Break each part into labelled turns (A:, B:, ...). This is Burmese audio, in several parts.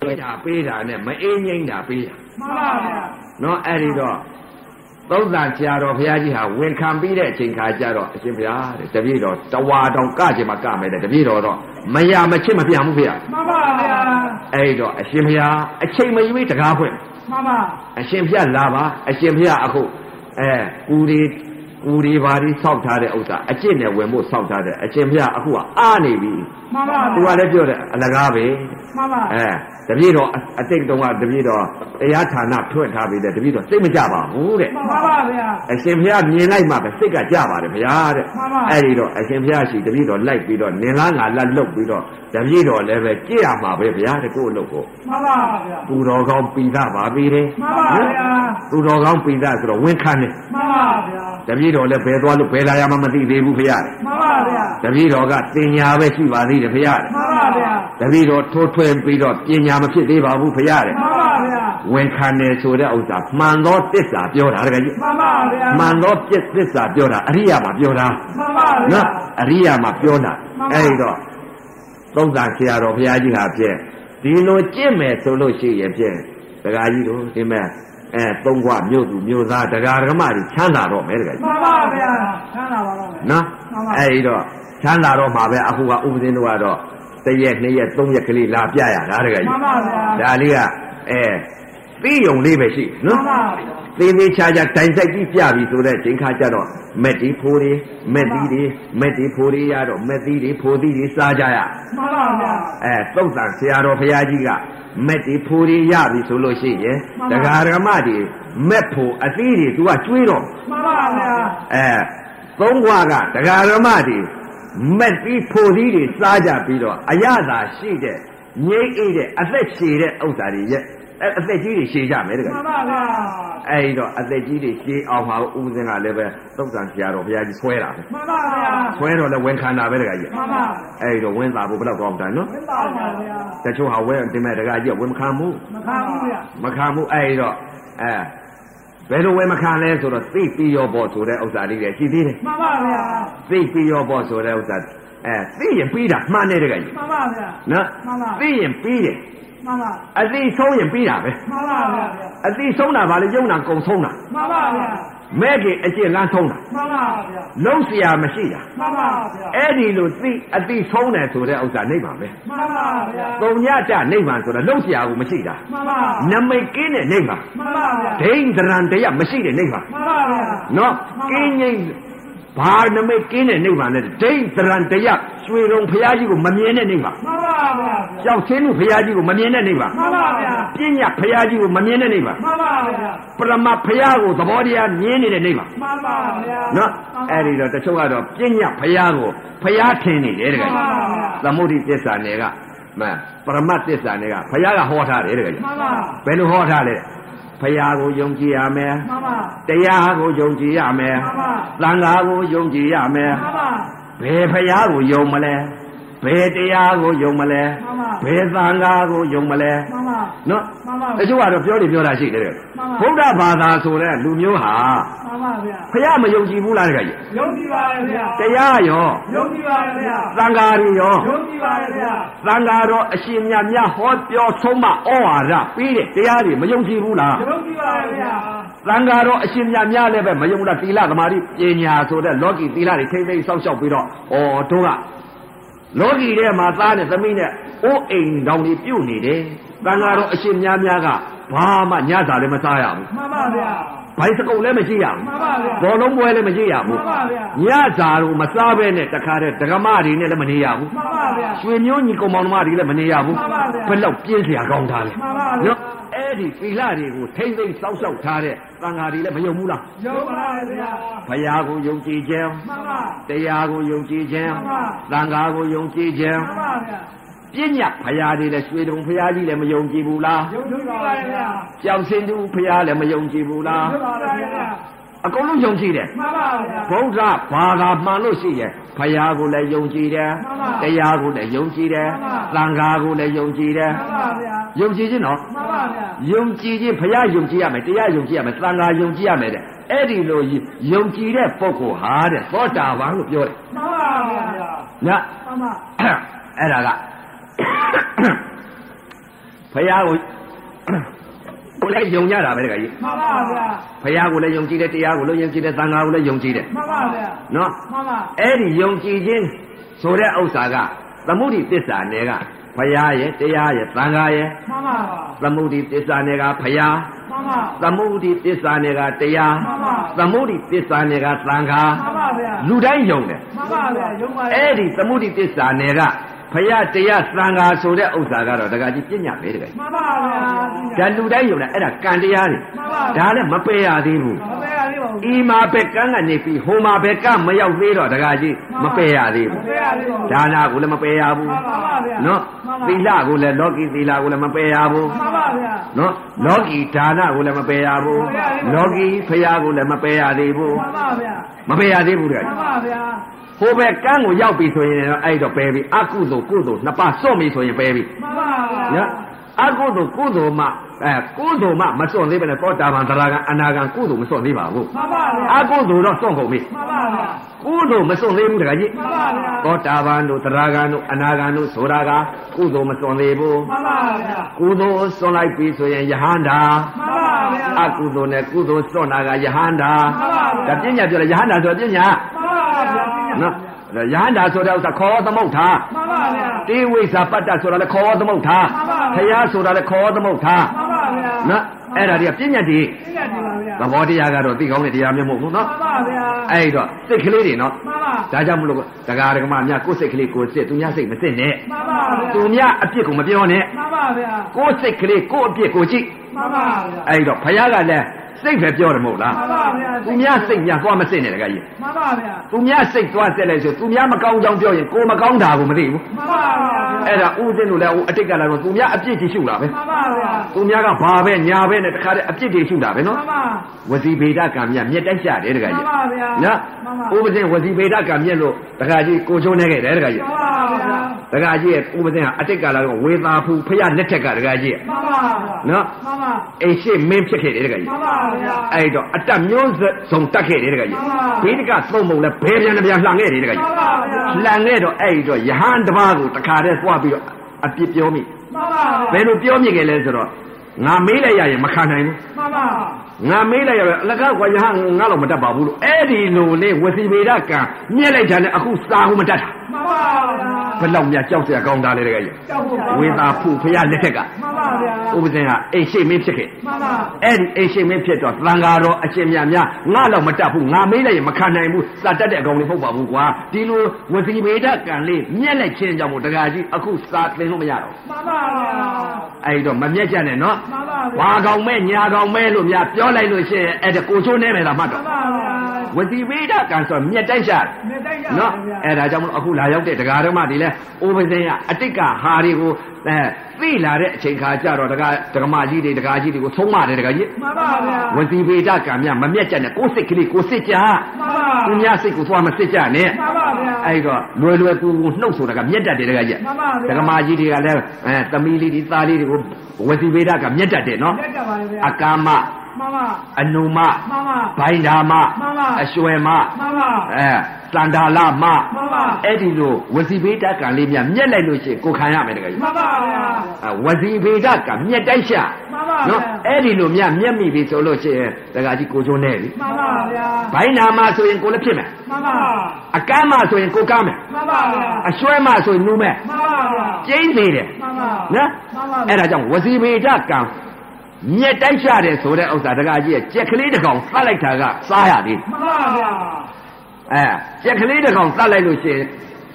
A: ပေးတာပေးတာနဲ့မအေးငိမ့်တာပေးတာ
B: မှန်ပါဗျာ
A: နော်အဲ့ဒီတော့သုဒ္ဓဆရာတော်ဘုရားကြီးဟာဝန်ခံပြီးတဲ့အချိန်ခါကျတော့အရှင်ဘုရားတဲ့တပည့်တော်တဝါတောင်ကချင်မကမယ်တဲ့တပည့်တော်တော့မရမချစ်မပြန်ဘူးဘုရား
B: မှန်ပါဗျာ
A: အဲ့ဒီတော့အရှင်ဘုရားအချိန်မရွေးတကားဖွင့်
B: မှန်ပါ
A: အရှင်ဖျက်လာပါအရှင်ဖျက်အခုအဲကူဒီကူဒီဘာဒီဆောက်ထားတဲ့ဥစ္စာအကျင့်နဲ့ဝင်ဖို့ဆောက်ထားတဲ့အရှင်ဖျက်အခုကအားနေပြီ
B: မှန်ပါ
A: သူကလည်းပြောတယ်အလကားပဲ
B: မှန်ပါ
A: အဲတပည့်တော်အအတိတ်တုန်းကတပည့်တော်တရားဌာနထွက်ထားပြီတဲ့တပည့်တော်စိတ်မကြပါဘူးတဲ့
B: မှန်ပါဗျာ
A: အရှင်ဖျက်မြင်လိုက်မှပဲစိတ်ကကြပါတယ်ဗျာတဲ့
B: မှန်ပါ
A: အဲ့ဒီတော့အရှင်ဖျက်ရှိတပည့်တော်လိုက်ပြီးတော့နင်လားငါလားလုတ်ပြီးတော့တပည့်တော်လည်းပဲကြည့်ရမှာပဲဗျာတဲ့ကိုယ့်အလုပ်ကို
B: မှန်ပါဗျာ
A: သူတော်ကောင်းပိသပါပြီတဲ့
B: မှန်ပါ
A: နော်
B: ဗျာ
A: သူတော်ကောင်းပိသဆိုတော့ဝန်ခံတယ်
B: မှန်ပါဗျာ
A: တပည့်တော်လည်းဘယ်သွားလို့ဘယ်လာရမှမသိသေးဘူးဖရား
B: မှန်ပါဗျာ
A: တပည့်တော်ကတင်ညာပဲရှိပါသေးတယ်ဖရား
B: မှန်ပါဗျာ
A: တပည့်တော်ထိုးထွင်းပြီးတော့ပညာမဖြစ်သေးပါဘူးဖရား
B: မှန်ပါဗျာ
A: ဝန်ခံတယ်ဆိုတဲ့ဥစ္စာမှန်သောတစ္ဆာပြောတာတကယ်ကြီး
B: မှန်ပါဗျာ
A: မှန်သောပြစ်တစ္ဆာပြောတာအရိယာမှာပြောတာ
B: မှန်ပါဗျာ
A: နော်အရိယာမှာပြောတာ
B: မှန်ပါ
A: အဲဒီတော့သုံးသာဆရာတော်ဘုရားကြီးဟာဖြင့်ဒီလိုကြင့်မယ်ဆိုလို့ရှိရင်ဖြင့်တကယ်ကြီးတို့ဒီမဲ့အဲသုံးခွမြို့သူမြို့သားဒကာဒကမတွေချမ်းသာတော့မယ်တကယ်ကြီး
B: မှန်ပါဗျာဆန်းလာပါတော့မယ်
A: နော်
B: မှန်ပါ
A: အဲ့ဒီတော့ချမ်းသာတော့မှာပဲအခုကဥပဒေတို့ကတော့တစ်ရက်နှစ်ရက်သုံးရက်ကလေးလာပြရတာတကယ်
B: မှ
A: ကြီး
B: န်ပါဗျာ
A: ဒါလေးကအဲသိယုံလေးပဲရှိ
B: မှန်
A: နော်
B: ပါ
A: သေးသေးချာချာတိုင်ဆိုင်ကြီးပြပြီဆိုတဲ့ချိန်ခါကျတော့မက်ဒီဖိုးတွေမက်ဒီတွေမက်ဒီဖိုးတွေရတော့မက်ဒီတွေဖိုးသီးတွေစားကြရ
B: မှန်ပါဗျာ
A: အဲသုတ်တန်ဆရာတော်ဘုရားကြီးကမက်ဒီဖိုးတွေရပြီဆိုလို့ရှိရင်
B: မှန်
A: ဒ
B: ပါ
A: ကာဒကမတွေမက်ဖို့အသေးတွေသူကကျွေးတော့
B: မှန်ပါဗျာ
A: အဲသုံးခွာကဒကာရမတွေမက်ပြီးဖိုသီးတွေစားကြပြီးတော့အရသာရှိတဲ့ငြိမ့်အေးတဲ့အသက်ရှည်တဲ့ဥစ္စာတွေရဲ့အဲအသက်ကြီးတွေရှည်ကြမယ်တကယ်
B: မှန်ပါဗျာ
A: အဲဒီတော့အသက်ကြီးတွေရှည်အောင်ပါဦးစင်းကလည်းပဲသုတ်တန်ဆရာတော်ဘုရားကြီးဆွဲတာပဲ
B: မှန်ပါဗျာ
A: ဆွဲတော့လည်းဝန်ခံတာပဲတကယ်ကြီး
B: မှန်ပါ
A: အဲဒီတော့ဝန်သာဖို့ဘယ်တော့ကောင်းတယ်နော်
B: မှန်ပါဗျာ
A: တချို့ဟာဝန်တင်မဲ့တကယ်ကြီးကဝန်မခံဘူး
B: မခံဘူးဗျာ
A: မခံဘူးအဲဒီတော့အဲဘယ်လိုဝန်မခံလဲဆိုတော့သိပြီးရောပေါ့ဆိုတဲ့ဥစ္စာလေးတွေရှိသေးတယ်
B: မှန်ပါဗျာ
A: သိပြီးရောပေါ့ဆိုတဲ့ဥစ္စာအဲသိရင်ပြီးတာမှန်တယ်တကယ်ကြီး
B: မှန်ပါဗျာ
A: နော်
B: မှန်ပါ
A: သိရင်ပြီးတယ်
B: မှန်ပါ
A: အသိဆုံးရင်ပြီးတာပဲ
B: မှန်ပါဗျာ
A: အသိဆုံးတာဗာလေယုံတာကုံဆုံးတာ
B: မှန်ပါဗျာ
A: မဲ့ခင်အကျင့်လန်းဆုံးတာ
B: မှန်ပါဗျာ
A: လုံးစရာမရှိတာ
B: မှန်ပါဗျာ
A: အဲ့ဒီလိုသိအသိဆုံးတယ်ဆိုတဲ့ဥစ္စာနိဗ္ဗာန်ပဲ
B: မှန်ပါဗျာ
A: ကုံညတနိဗ္ဗာန်ဆိုတာလုံးစရာကိုမရှိတာ
B: မှန်ပါ
A: နမိတ်ကင်းတဲ့နိဗ္ဗာန်
B: မှန်ပါဗျာ
A: ဒိန္ဒရံတရမရှိတဲ့နိဗ္ဗာန်
B: မှန်ပါဗျာ
A: နော်ကင်းငိမ့်ဘာနမိတ်ကင်းတဲ့နိဗ္ဗာန်လဲဒိန္ဒရံတရရွှေရုံဖရာကြီးကိုမမြင်တဲ့နိဗ္ဗာန်
B: မှန်ပါဗျာ
A: ကြောက်ချင်းလူဖရာကြီးကိုမမြင်တဲ့နေပါ
B: မှန်ပါဗျာ
A: ပညာဖရာကြီးကိုမမြင်တဲ့နေပါ
B: မှန်ပါဗျာ
A: ပရမဖရာကိုသဘောတရားမြင်နေတဲ့နေပါ
B: မှန်ပါဗျာ
A: နော်အဲ့ဒီတော့တချို့ကတော့ပညာဖရာကိုဖရာထင်နေတယ်တကယ်
B: မှန်ပါဗျာ
A: သမုဒိသစ္စာနယ်ကမန်ပရမသစ္စာနယ်ကဖရာကဟောထားတယ်တကယ်
B: မှန်ပါ
A: ဘယ်လိုဟောထားလဲဖရာကိုယုံကြည်ရမယ်
B: မှန်ပါ
A: တရားကိုယုံကြည်ရမယ်သံဃာကိုယုံကြည်ရမယ်
B: မှန်ပါ
A: ဘယ်ဖရာကိုယုံမလဲဘယ်တရားကိုယုံမလဲ
B: မှ
A: ဘ
B: န်ပါ
A: ယ်သံဃာကိုယုံမလဲ
B: မှန်ပါ
A: နော်
B: မှန်ပါ
A: တချို့ကတော့ပြောနေပြောတာရှိတယ်တဲ့
B: မှန်ပါ
A: ဗုဒ္ဓဘာသာဆိုတဲ့လူမျိုးဟာ
B: မှန်ပါဗျာ
A: ဖះမယုံကြည်ဘူးလားတခါကြီး
B: ယုံကြည်ပါရဲ့ဗျာ
A: တရားရော
B: ယုံကြည်ပါရဲ့ဗျာ
A: သံဃာတွေရော
B: ယုံကြည်ပါရဲ့ဗျာ
A: သံဃာတော်အရှင်မြတ်များဟောပြောဆုံးမဩဝါဒပေးတဲ့တရားတွေမယုံကြည်ဘူးလား
B: ယုံကြည်ပါရဲ့ဗျာ
A: သံဃာတော်အရှင်မြတ်များလည်းပဲမယုံလားသီလသမာဓိပညာဆိုတဲ့လောကီသီလတွေထိမ့်သိမ့်စောင့်ရှောက်ပြီးတော့ဩတို့ကလောကီထဲမှာသားနဲ့သမီးနဲ့အိုးအိမ်တောင်တွေပြုတ်နေတယ်သံဃာတော်အရှင်မြတ်များကဘာမှညစာလည်းမစားရဘူး
B: မှန်ပါဗျာ
A: ဘိုက်စကုတ်လည်းမရှိရဘူး
B: မှန်ပါဗျာ
A: ဘောလုံးပွဲလည်းမရှိရဘူး
B: မှန်ပါဗျာ
A: ညစာတို့မစားဘဲနဲ့တခါတည်းဒကမတွေနဲ့လည်းမနေရဘူး
B: မှန်ပါဗျာ
A: ရွှေမျိုးညီကောင်မောင်နှမတွေလည်းမနေရဘူး
B: မှန်ပါဗျာ
A: ဘယ်တော့ပြင်းစရာကောင်းတာလဲ
B: မှန်ပါဗျာ
A: နော်အဲ့ဒီသီလတွေကိုထိမ့်သိမ့်စောင့်ရှောက်ထားတဲ့သံဃာတွေလည်းမယုံဘူးလား
B: ယုံပါရဲ့ဗျာ
A: ဘုရားကိုယုံကြည်ခြင်း
B: မှန်ပါ
A: တရားကိုယုံကြည်ခြင်း
B: မှန်
A: သံဃာကိုယုံကြည်ခြင်း
B: မှန်ပါဗျာ
A: ပညာဘုရားတွေလည်းရွှေတုံဘုရားကြီးလည်းမယုံကြည်ဘူးလား
B: ယုံကြည်ပါရဲ့ဗျာ
A: ကြောင်စင်သူဘုရားလည်းမယုံကြည်ဘူးလား
B: ယုံပါရဲ့ဗျာ
A: အကုန်လုံးယုံကြည်တယ်
B: မှန်ပါဗျာ
A: ဗုဒ္ဓဘာသာမှန်လို့ရှိရင်ဘုရားကိုလည်းယုံကြည်တယ်
B: မှန်ပါ
A: တရားကိုလည်းယုံကြည်တယ်
B: မှန်ပါ
A: သံဃာကိုလည်းယုံကြည်တယ်
B: မှန်ပါဗျာ
A: ယုံကြည်ခြင်းနော်
B: မှန်ပါဗျာ
A: ယုံကြည်ခြင်းဘုရားယုံကြည်ရမယ်တရားယုံကြည်ရမယ်သံဃာယုံကြည်ရမယ်တဲ့အဲ့ဒီလိုယုံကြည်တဲ့ပုဂ္ဂိုလ်ဟာတဲ့သောတာပန်လို့ပြောတယ်
B: မှန်ပါဗျာ
A: နော်
B: မှန်ပါ
A: အဲ့ဒါက ဖះကို ကိုလည်းယုံကြတာပဲတခါကြီး
B: မှန်ပါဗျာ
A: ဖះကိုလည်းယုံကြည်တယ်တရားကိုလည်းယုံကြည်တယ်သံဃာကိုလည်းယုံကြည်တယ်
B: မှန်ပါဗျာ
A: နော်
B: မှန်ပါ
A: အဲ့ဒီယုံကြည်ခြင်းဆိုတဲ့ဥစ္စာကသမုဒိသစ္စာနယ်ကဖះရဲ့တရားရဲ့သံဃာရဲ့
B: မှန်ပါ
A: သမုဒိသစ္စာနယ်ကဖះ
B: မှန်ပါ
A: သမုဒိသစ္စာနယ်ကတရား
B: မှန်ပါ
A: သမုဒိသစ္စာနယ်ကသံဃာ
B: မှန်ပါဗျာ
A: လူတိုင်းယုံတယ်
B: မှန်ပါဗျာရုံပါလေ
A: အဲ့ဒီသမုဒိတစ္ဆာနယ်ကဖယတရားသံဃာဆိုတဲ့ဥစ္စာကတော့တကကြီးပြညာပဲတကကြီး
B: မှန်ပါဗျာ
A: ဒါလူတိုင်းယုံတာအဲ့ဒါကံတရားတွေ
B: မှန်ပါ
A: ဒါလည်းမပယ်ရသေးဘူး
B: မပေးရသေးပါဘူး
A: ဤမှာပဲကံကနေပြီးဟိုမှာပဲကမရောက်သေးတော့တကကြီးမပယ်ရသေး
B: မ
A: ဘူး
B: ပေးရသေးပါဘူး
A: ဒါနာကိုလည်းမပယ်ရဘူး
B: မှန်ပါဗျာ
A: နော်သီလကိုလည်းလောကီသီလကိုလည်းမပယ်ရဘူး
B: မှန်ပါဗျာ
A: နော်လောကီဒါနကိုလည်းမပယ်ရဘူး
B: မပယ်ရဘူး
A: လောကီဖယကိုလည်းမပယ်ရသေးဘူး
B: မှန်ပါဗျာ
A: မပယ်ရသေးဘူးတက
B: မှ
A: ကြီး
B: န်ပါဗျာ
A: ဟိုဘက်ကန်းကိုရောက်ပြီဆိုရင်တော့အဲ့တော့ပဲပြီအကုသို့ကုသို့နှစ်ပါးစွန့်ပြီဆိုရင်ပဲပြီ
B: မှန်ပါဗျာ
A: နော်အကုသို့ကုသို့မှအဲကုသို့မှမစွန့်သေးပဲနဲ့သောတာပန်တရာဂံအနာဂံကုသို့မစွန့်သေးပါဘူး
B: မှန်ပါဗျာ
A: အကုသို့တော့စွန့်ကုန်ပြီ
B: မှန်ပါဗျာ
A: ကုသို့မစွန့်သေးဘူးတခါကြီး
B: မှန်ပါဗျာ
A: သောတာပန်တို့တရာဂံတို့အနာဂံတို့ဆိုတာကကုသို့မစွန့်သေးဘူး
B: မှန်ပါဗျာ
A: ကုသို့စွန့်လိုက်ပြီဆိုရင်ယဟန္တာ
B: မှန်ပါဗျ
A: အ
B: ာ
A: ကုသို့နဲ့ကုသို့စွန့်တာကယဟန္တာဒါပညာပြောတယ်ယဟန္တာဆိုတော့ပညာ
B: မှန်ပါဗျာ
A: နော်အဲ့တော့ယဟန္တာဆိုတဲ့ဥစ္စာခေါ်သမုဋ္ဌာ
B: မှန်ပါဗျာ
A: တေဝိဇာပတ္တဆိုတာလည်းခေါ်သမုတ်ထား
B: မှန်ပါ
A: ခ
B: ဗျာ
A: ရားဆိုတာလည်းခေါ်သမုတ်ထား
B: မှန်ပါဗျာ
A: နော်အဲ့ဒါတွေကပြည့်ညတ်တွေ
B: သိရတယ်ပါဗျာ
A: သဘောတရားကတော့သိကောင်းတဲ့တရားမျိုးမဟုတ်ဘူးနော်
B: မှန်ပါဗျာ
A: အဲ့တော့စိတ်ကလေးတွေနော်
B: မှန်ပါ
A: ဒါကြောင့်မလို့တရားဓမ္မများကိုယ်စိတ်ကလေးကိုယ်စစ်သူများစိတ်မစစ်နဲ့
B: မှန်ပါဗျာ
A: သူများအပြစ်ကိုမပြောနဲ့
B: မှန်ပါဗျာ
A: ကိုယ်စိတ်ကလေးကိုယ်အပြစ်ကိုကြည့်
B: မှန်ပါဗျာ
A: အဲ့တော့ဖယားကလည်းစိတ်ပဲပြောတယ်မဟုတ်လား
B: မှန်ပါဗျာ
A: သူများစိတ်များသွားမစစ်နဲ့တကကြီး
B: မှန်ပါဗျာ
A: သူများစိတ်သွားစစ်လိုက်ဆိုသူများမကောင်းကြောင်းပြောရင်ကိုယ်မကောင်းတာကိုမသိဘူး
B: မှန်ပါဗျာ
A: အဲ့ဒါဥစဉ်လို့လည်းဟိုအတိတ်ကလည်းသူများအပြစ်ကြီးရှုတာပဲ
B: မှန်ပါဗျာ
A: သူများကဘာပဲညာပဲနဲ့တခါတည်းအပြစ်တွေရှုတာပဲ
B: မှ
A: နော်
B: န်ပါ
A: ဝစီဗေဒကံမြတ်မြက်တိုက်ကြတယ်တခါ
B: မှန်
A: ကြီး
B: ပါဗျာ
A: နော်ဥပ
B: မှန်ပါ
A: ဇင်ဝစီဗေဒကံမြက်လို့တခါကြီးကိုချုံးနေခဲ့တယ်တခါကြီး
B: မှန်ပါဗျာ
A: တခါကြီးရဲ့ဥပဇင်ကအတိတ်ကလာတော့ဝေသာဖူဖရလက်ထက်ကတခါကြီး
B: မှန်ပါဗျာ
A: နော်
B: မှန်ပါ
A: အိမ်ရှိမင်းဖြစ်ခဲ့တယ်တခါကြီး
B: မှန်ပါဗျာ
A: အဲ့တော့အတက်မျိုးစုံတက်ခဲ့တယ်တခါကြီး
B: မှန်ပါ
A: ဗေဒကသုံးပုံလဲဘယ်ပြန်တစ်ပြန်လှန်ခဲ့တယ်တခါ
B: မှ
A: ကြီး
B: န်ပါဗျာ
A: လှန်ခဲ့တော့အဲ့ဒီတော့ယဟန်တစ်ပါးကိုတခါတည်းသွားပြီးတော့အပြစ်ပြောမိ
B: မှန်ပါ
A: ဘယ်လိုပြောမိခဲ့လဲဆိုတော့ငါမေးလိုက်ရရင်မခံနိုင်ဘူး
B: မှန်ပါ
A: ငါမေးလိုက်ရတော့အလကားကွာယဟန်ငါတော့မတတ်ပါဘူးလို့အဲ့ဒီလိုလေဝစီဗေဒကံမြက်လိုက်တာနဲ့အခုစာဟုမတတ်တာ
B: မှန်ပါဗျာ
A: ဘယ်လောက်များကြောက်စရာကောင်းတာလဲတကယ်ကြီး
B: ကြောက်ဖို့
A: ဝေသာဖူဖရလက်ထက်က
B: မှန်ပါဗျာ
A: ဥပဇင်ကအိမ်ရှိမင်းဖြစ်ခဲ့
B: မှန်ပါ
A: အဲ့ဒီအိမ်ရှိမင်းဖြစ်တော့သံဃာတော်အရှင်မြတ်များငါတော့မတတ်ဘူးငါမေးလိုက်ရင်မခံနိုင်ဘူးစာတတ်တဲ့အကောင်လေးမဟုတ်ပါဘူးကွာဒီလိုဝစီဗေဒကံလေးမြက်လိုက်ခြင်းကြောင့်မို့တကယ်ကြီးအခုစာသင်လို့မရတော့ဘူး
B: 妈妈呀，
A: အဲ့ဒီတော့မမြက်ကြနဲ့နော်
B: 妈妈呀，
A: ဝါကောင်မဲညာကောင်မဲလို့များပြောလိုက်လို့ရှိရင်အဲ့ဒါကိုချိုးနေမယ်လားမှတ်
B: 妈
A: တော့
B: 妈呀，
A: ဝတိဝေဒကံဆိုမြက်တိုက်ရှာတယ်
B: 没带呀，
A: နော်
B: 妈呀，
A: အဲ့ဒါကြောင့်မလို့အခုလာရောက်တဲ့တရားဓမ္မတွေလဲအိုပဇင်ကအတိတ်ကဟာတွေကိုအဲသိလာတဲ့အချိန်ခါကျတော့တရားဓမ္မကြီးတွေတရားကြီးတွေကိုသုံးပါတယ်တရားကြီး
B: 妈妈
A: ဝ
B: 呀，
A: တိဝေဒကံမြမမြက်ကြနဲ့ကိုယ်စိတ်ကလေးကိုယ်စစ်ကြ
B: 妈妈，
A: သူများစိတ်ကိုသွားမစစ်ကြနဲ့
B: 妈妈呀，
A: အဲ့တော့လွယ်လွယ်ကူကူနှုတ်ဆိုတာကမြက်တတ်တယ်တရားကြီး
B: 妈妈
A: ဓ
B: 呀，
A: မ္မကြီးတွေကလည်းအဲသမီးလေးတွေသားလေးတွေကိုဝတိဝေဒကမြက်တတ်တယ်နော်
B: 别干嘛
A: အ
B: 呀，
A: ကာမ
B: 妈妈，
A: အနုမ
B: 妈妈，
A: ဘိုင်ဓာမ
B: မှန်ပါ
A: အရွှဲမ
B: 妈妈，
A: အဲတန္တာလမ
B: 妈妈，
A: အဲ့ဒီလိုဝစီဗေဒကံလေးများမြက်လိုက်လို့ရှိရင်ကိုယ်ခံရမယ်တကယ်ကြီး
B: 妈妈呀，
A: အဲဝစီဗေဒကံမြက်တိုက်ရှာ
B: 妈妈
A: နော်
B: 呀，
A: အဲ့ဒီလိုများမြက်မိပြီဆိုလို့ရှိရင်တကယ်ကြီးကိုကျိုးနေပြီ
B: 妈妈呀，
A: ဘိုင်းနာမဆိုရင်ကိုယ်လည်းဖြစ်မယ်
B: 妈妈，
A: အကမ်းမဆိုရင်ကိုယ်ကမ်းမယ်
B: 妈妈呀，
A: အရွှဲမဆိုရင်နူးမယ်
B: 妈妈呀，
A: ကျိန်းသေးတယ်
B: 妈妈，
A: နော်
B: 妈妈，
A: အဲ့，ဒါကြောင့်ဝစီဗေဒကံမြက်တိုက်ရှာတယ်ဆိုတဲ့ဥစ္စာတကယ်ကြီးရဲ့ကြက်ကလေးတစ်ကောင်ဖတ်လိုက်တာကစားရသေးတယ်
B: 妈妈呀，
A: အဲကြက်ကလေးတစ်ကောင်သတ်လိုက်လို့ရှိရင်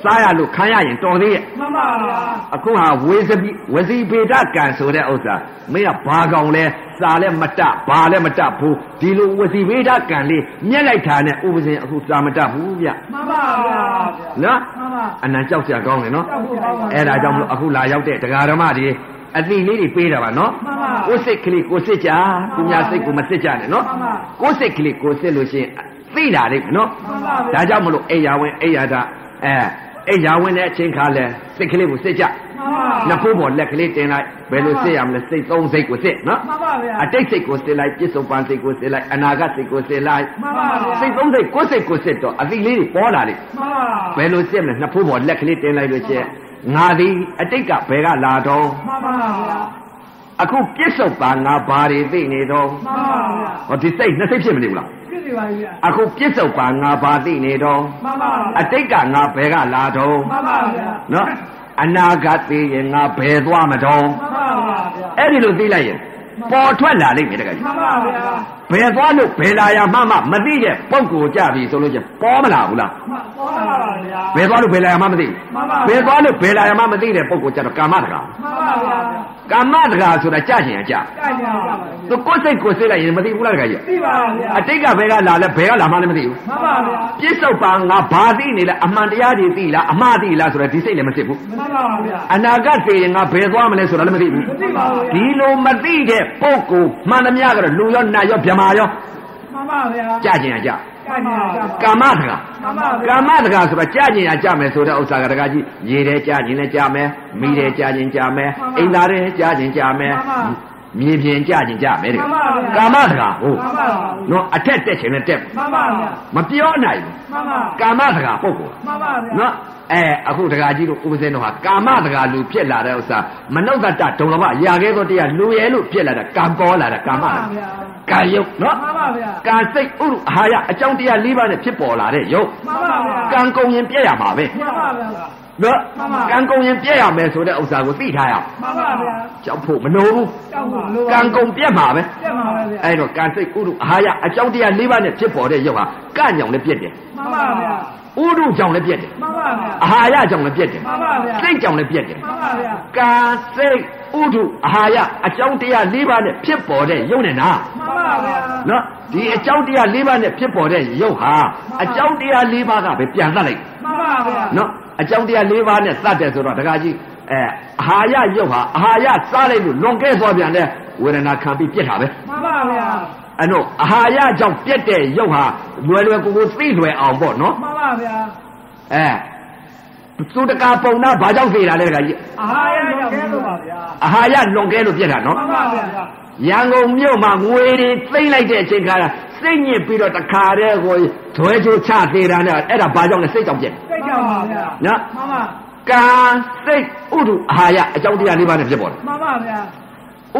A: စားရလို့ခံရရင်တော်သေးရဲ့
B: 妈妈呀，
A: အခုဟာဝေစပိဝစီပေဒကံဆိုတဲ့ဥစ္စာမင်းကဘာကောင်လဲစာလည်းမတတ်ဘာလည်းမတတ်ဘူးဒီလိုဝစီပေဒကံလေးမြက်လိုက်တာနဲ့ဥပဇင်အခုစာမတတ်ဘူးဗျ
B: 妈妈呀，
A: နော်
B: 妈妈，
A: အနံကြောက်စရာကောင်းတယ်နော်
B: 照顾好我。
A: အဲ့ဒါကြောင့်မလို့အခုလာရောက်တဲ့တရားဓမ္မတွေအတိလေးတွေပေးတာပါနော်
B: 妈妈，
A: ကိုယ်စိတ်ကလေးကိုယ်စစ်ကြသူများစိတ်ကိုမစစ်ကြနဲ့နော်
B: 妈妈，
A: ကိုယ်စိတ်ကလေးကိုယ်စစ်လို့ရှိရင်သိလာတယ်နော်
B: 妈妈
A: ဒါ
B: 呀，
A: ကြောင့်မလို့အိယာဝင်အိယာတာအဲအိယာဝင်တဲ့အချိန်ခါလဲစိတ်ကလေးကိုစစ်ကြ
B: 妈妈。
A: နှစ်ဖို့ပေါ်လက်ကလေးတင်လိုက်ဘယ်လိုစစ်ရမလဲစိတ်သုံးစိတ်ကိုစစ်နော်
B: မှန်ပါဗျာ
A: အတိတ်စိတ်ကိုစစ်လိုက်ပြစ္ဆုတ်ပန်စိတ်ကိုစစ်လိုက်အနာဂတ်စိတ်ကိုစစ်လိုက်
B: မှန်ပါဗျာ
A: စိတ်သုံးစိတ်ကိုယ်စိတ်ကိုစစ်တော့အသိလေးတွေပေါ်လာလိမ့်
B: မှန်ပါ
A: ဘယ်လိုစစ်မလဲနှစ်ဖို့ပေါ်လက်ကလေးတင်လိုက်လို့ချင်းငါသည်အတိတ်ကဘယ်ကလာတော့
B: မှန်ပါဗျာ
A: အခုပြစ္ဆုတ်ပါငါဘာတွေသိနေတော့
B: မှန်ပါဗျာ
A: ဟောဒီစိတ်နှစ်စိတ်ဖြစ်မနေဘူးလား
B: ဖြစ်နေပါပြီဗျာ
A: အခုပြစ္ဆုတ်ပါငါဘာသိနေတော့
B: မှန်ပါဗျာ
A: အတိတ်ကငါဘယ်ကလာတော့
B: မှန်ပါဗျာ
A: နော်အနာဂတ်သိရင်ငါဘယ်သွားမတော့
B: မှန်ပါဗျာ
A: အဲ့ဒီလိုသိလိုက်ရင်ပေါ်ထွက်လာလိမ့်မယ်တကယ်ကြီး
B: မှန်ပါဗျာ
A: ဘယ်သွားလို့ဘယ်လာရမှမမသိတဲ့ပုံကိုကြပြီဆိုလို့ချင်းပေါ်မလာဘူးလား
B: မှန်ပါဗျာ
A: ဘယ်သွားလို့ဘယ်လာရမှမသိ
B: မှန်ပါ
A: ဘူးဘ
B: ဗျာ
A: ယ်သွားလို့ဘယ်လာရမှမသိတဲ့ပုံကိုကြတော့ကာမတကာ
B: မှန်ပါဗျာ
A: ကာမတကာဆိုတာကြချင်ရကြ
B: ကြာကြာ
A: သူကိုယ်စိတ်ကိုယ်စိတ်လိုက်ရင်မသိဘူးလားတခါကြီး
B: သိပါဗျာ
A: အတိတ်ကဘယ်ကလာလဲဘယ်ကလာမှလည်းမသိဘူး
B: မှန်ပါဗျာ
A: ပြစ္ဆုတ်ပါငါဘာသိနေလဲအမှန်တရားတွေသိလားအမှားသိလားဆိုတော့ဒီစိတ်လည်းမသိဘူး
B: မှန်ပါဗျာ
A: အနာဂတ်သိရင်ငါဘယ်သွားမလဲဆိုတာလည်းမသိဘူး
B: သိပါဗျာ
A: ဒီလိုမသိတဲ့ပုံကိုမှန်သမျှကတော့လူရောနာရောဗြဟ္မာရော
B: မှန်ပါဗျာ
A: ကြချင်ရကြ
B: ကြာကြာ
A: ကာမတကာ
B: မှန်
A: ကာမတ
B: ပါဗျာ
A: ကာဆိုတာကြာကျင်ရကြမယ်ဆိုတဲ့ဥစ္စာကတကာကြီးရေတယ်ကြာကျင်လည်းကြာမယ်မိတယ်ကြာကျင်ကြာမယ်အိမ်သားတယ်ကြာကျင်ကြာမယ်မြေပြင်ကြာကျင်ကြာမယ်တဲ့ကာမတကာဟုတ်
B: မှန်ပါ
A: နော်အထက်တက်ချင်လည်းတက်
B: မှန်ပါဗျာ
A: မပြောနိုင်ဘူး
B: မှန်ပါ
A: ကာမတကာပုဂ္ဂိုလ်
B: မှန်ပါဗျာ
A: နော်အဲအခုတကာကြီးတို့ဥပဇင်းတို့ဟာကာမတကာလူဖြစ်လာတဲ့ဥစ္စာမနုဿတ္တဒုံလဘရာခဲသောတရားလူရဲလို့ဖြစ်လာတာကံပေါ်လာတာကာမတကာ
B: ဗျာ
A: ကာယုတ်နော်
B: မှန်ပါဗျာ
A: ကာစိတ်ဥရုအာဟာရအကြောင်းတရား၄ပါးနဲ့ဖြစ်ပေါ်လာတဲ့ယုတ်
B: မှန်ပါဗျာ
A: ကံကုန်ရင်ပြည့်ရမှာပဲ
B: မှန်ပါဗျာ
A: နော်
B: မှန်ပါ
A: ကံကုန်ရင်ပြက်ရမယ်ဆိုတဲ့ဥစ္စာကိုသိထားရအောင်
B: မှန်ပါဗျာ
A: ကြောက်ဖို့မလိုဘူး
B: တောက်ဖို့လို
A: ကံကုန်ပြက်မှာပဲ
B: ပြတ်ပါပဲဗျာ
A: အဲ့တော့ကံစိတ်ဥဒုအာဟာရအကြောင်းတရား၄ပါးနဲ့ဖြစ်ပေါ်တဲ့ရုပ်ဟာကံကြောင့်လည်းပြက်တယ်
B: မှန်ပါဗျာ
A: ဥဒုကြောင့်လည်းပြက်တယ်
B: မှန်ပါဗျာ
A: အာဟာရကြောင့်လည်းပြက်တယ်
B: မှန်ပါဗျာ
A: စိတ်ကြောင့်လည်းပြက်တယ်
B: မှန်ပါဗျာ
A: ကံစိတ်ဥဒုအာဟာရအကြောင်းတရား၄ပါးနဲ့ဖြစ်ပေါ်တဲ့ရုပ်နဲ့နာ
B: မှန်ပါဗျာ
A: နော်ဒီအကြောင်းတရား၄ပါးနဲ့ဖြစ်ပေါ်တဲ့ရုပ်ဟာအကြောင်းတရား၄ပါးကပဲပြန်သတ်လိုက်
B: မှန်ပါဗျာ
A: နော်အကြောင်းတရား၄ပါးနဲ့သတ်တယ်ဆိုတော့ဒကာကြီးအဲအာဟာရရုပ်ဟာအာဟာရစားလိုက်လို့လွန်ကဲသွားပြန်တဲ့ဝေဒနာခံပြီးပြက်တာပဲ
B: မှန်ပါဗျာ
A: အဲ့တော့အာဟာရကြောင့်ပြက်တဲ့ရုပ်ဟာလွယ်လွယ်ကူကူသိလွယ်အောင်ပေါ့နော်
B: မှန်ပါဗျာ
A: အဲသူတကာပုံနာဘာကြောင့်သိတာလဲဒကာကြီး
B: အားရကြောင့်ကဲလို့ပါဗျာ
A: အာဟာရလွန်ကဲလို့ပြက်တာနော်
B: မှန်ပါဗျာ
A: ရန်ကုန်မြို့မှာငွေတွေသိမ့်လိုက်တဲ့အချိန်ခါစိတ်ညစ်ပြီးတော့တခါတည်းကိုဇွဲချိုးချသေးတာနဲ့အဲ့ဒါဘာကြောင့်လဲစိတ်ကြောင့်ပြက်တယ်
B: စိတ်ကြောင့်ပါဗျာ
A: နော်
B: မှန်ပါ
A: ကံစိတ်ဥဒုအာဟာရအကြောင်းတရား၄ပါးနဲ့ဖြစ်ပေါ်တယ်
B: မှန်ပါဗျာ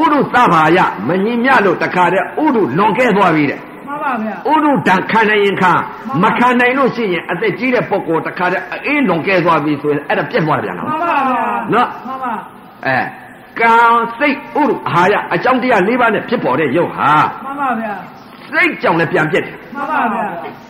A: ဥဒုသဘာယမညီမြလို့တခါတည်းဥဒုလွန်ခဲ့သွားပြီတဲ့
B: မှန်ပါဗျာ
A: ဥဒုဓာတ်ခံနိုင်ရင်ခံမခံနိုင်လို့ရှိရင်အသက်ကြီးတဲ့ပုဂ္ဂိုလ်တခါတည်းအေးလွန်ခဲ့သွားပြီဆိုရင်အဲ့ဒါပြက်သွားပြန်
B: မှန်
A: လား
B: ပါဗျာ
A: နော်
B: မှန်ပါ
A: အဲကံစိတ်ဥဒုဟာယအကြောင်းတရား၄ပါးနဲ့ဖြစ်ပေါ်တဲ့ယုတ်ဟာ
B: မှန်ပါဗျာ
A: စိတ်ကြောင့်လည်းပြန်ပြက်တယ်
B: မှန်ပါဗျာ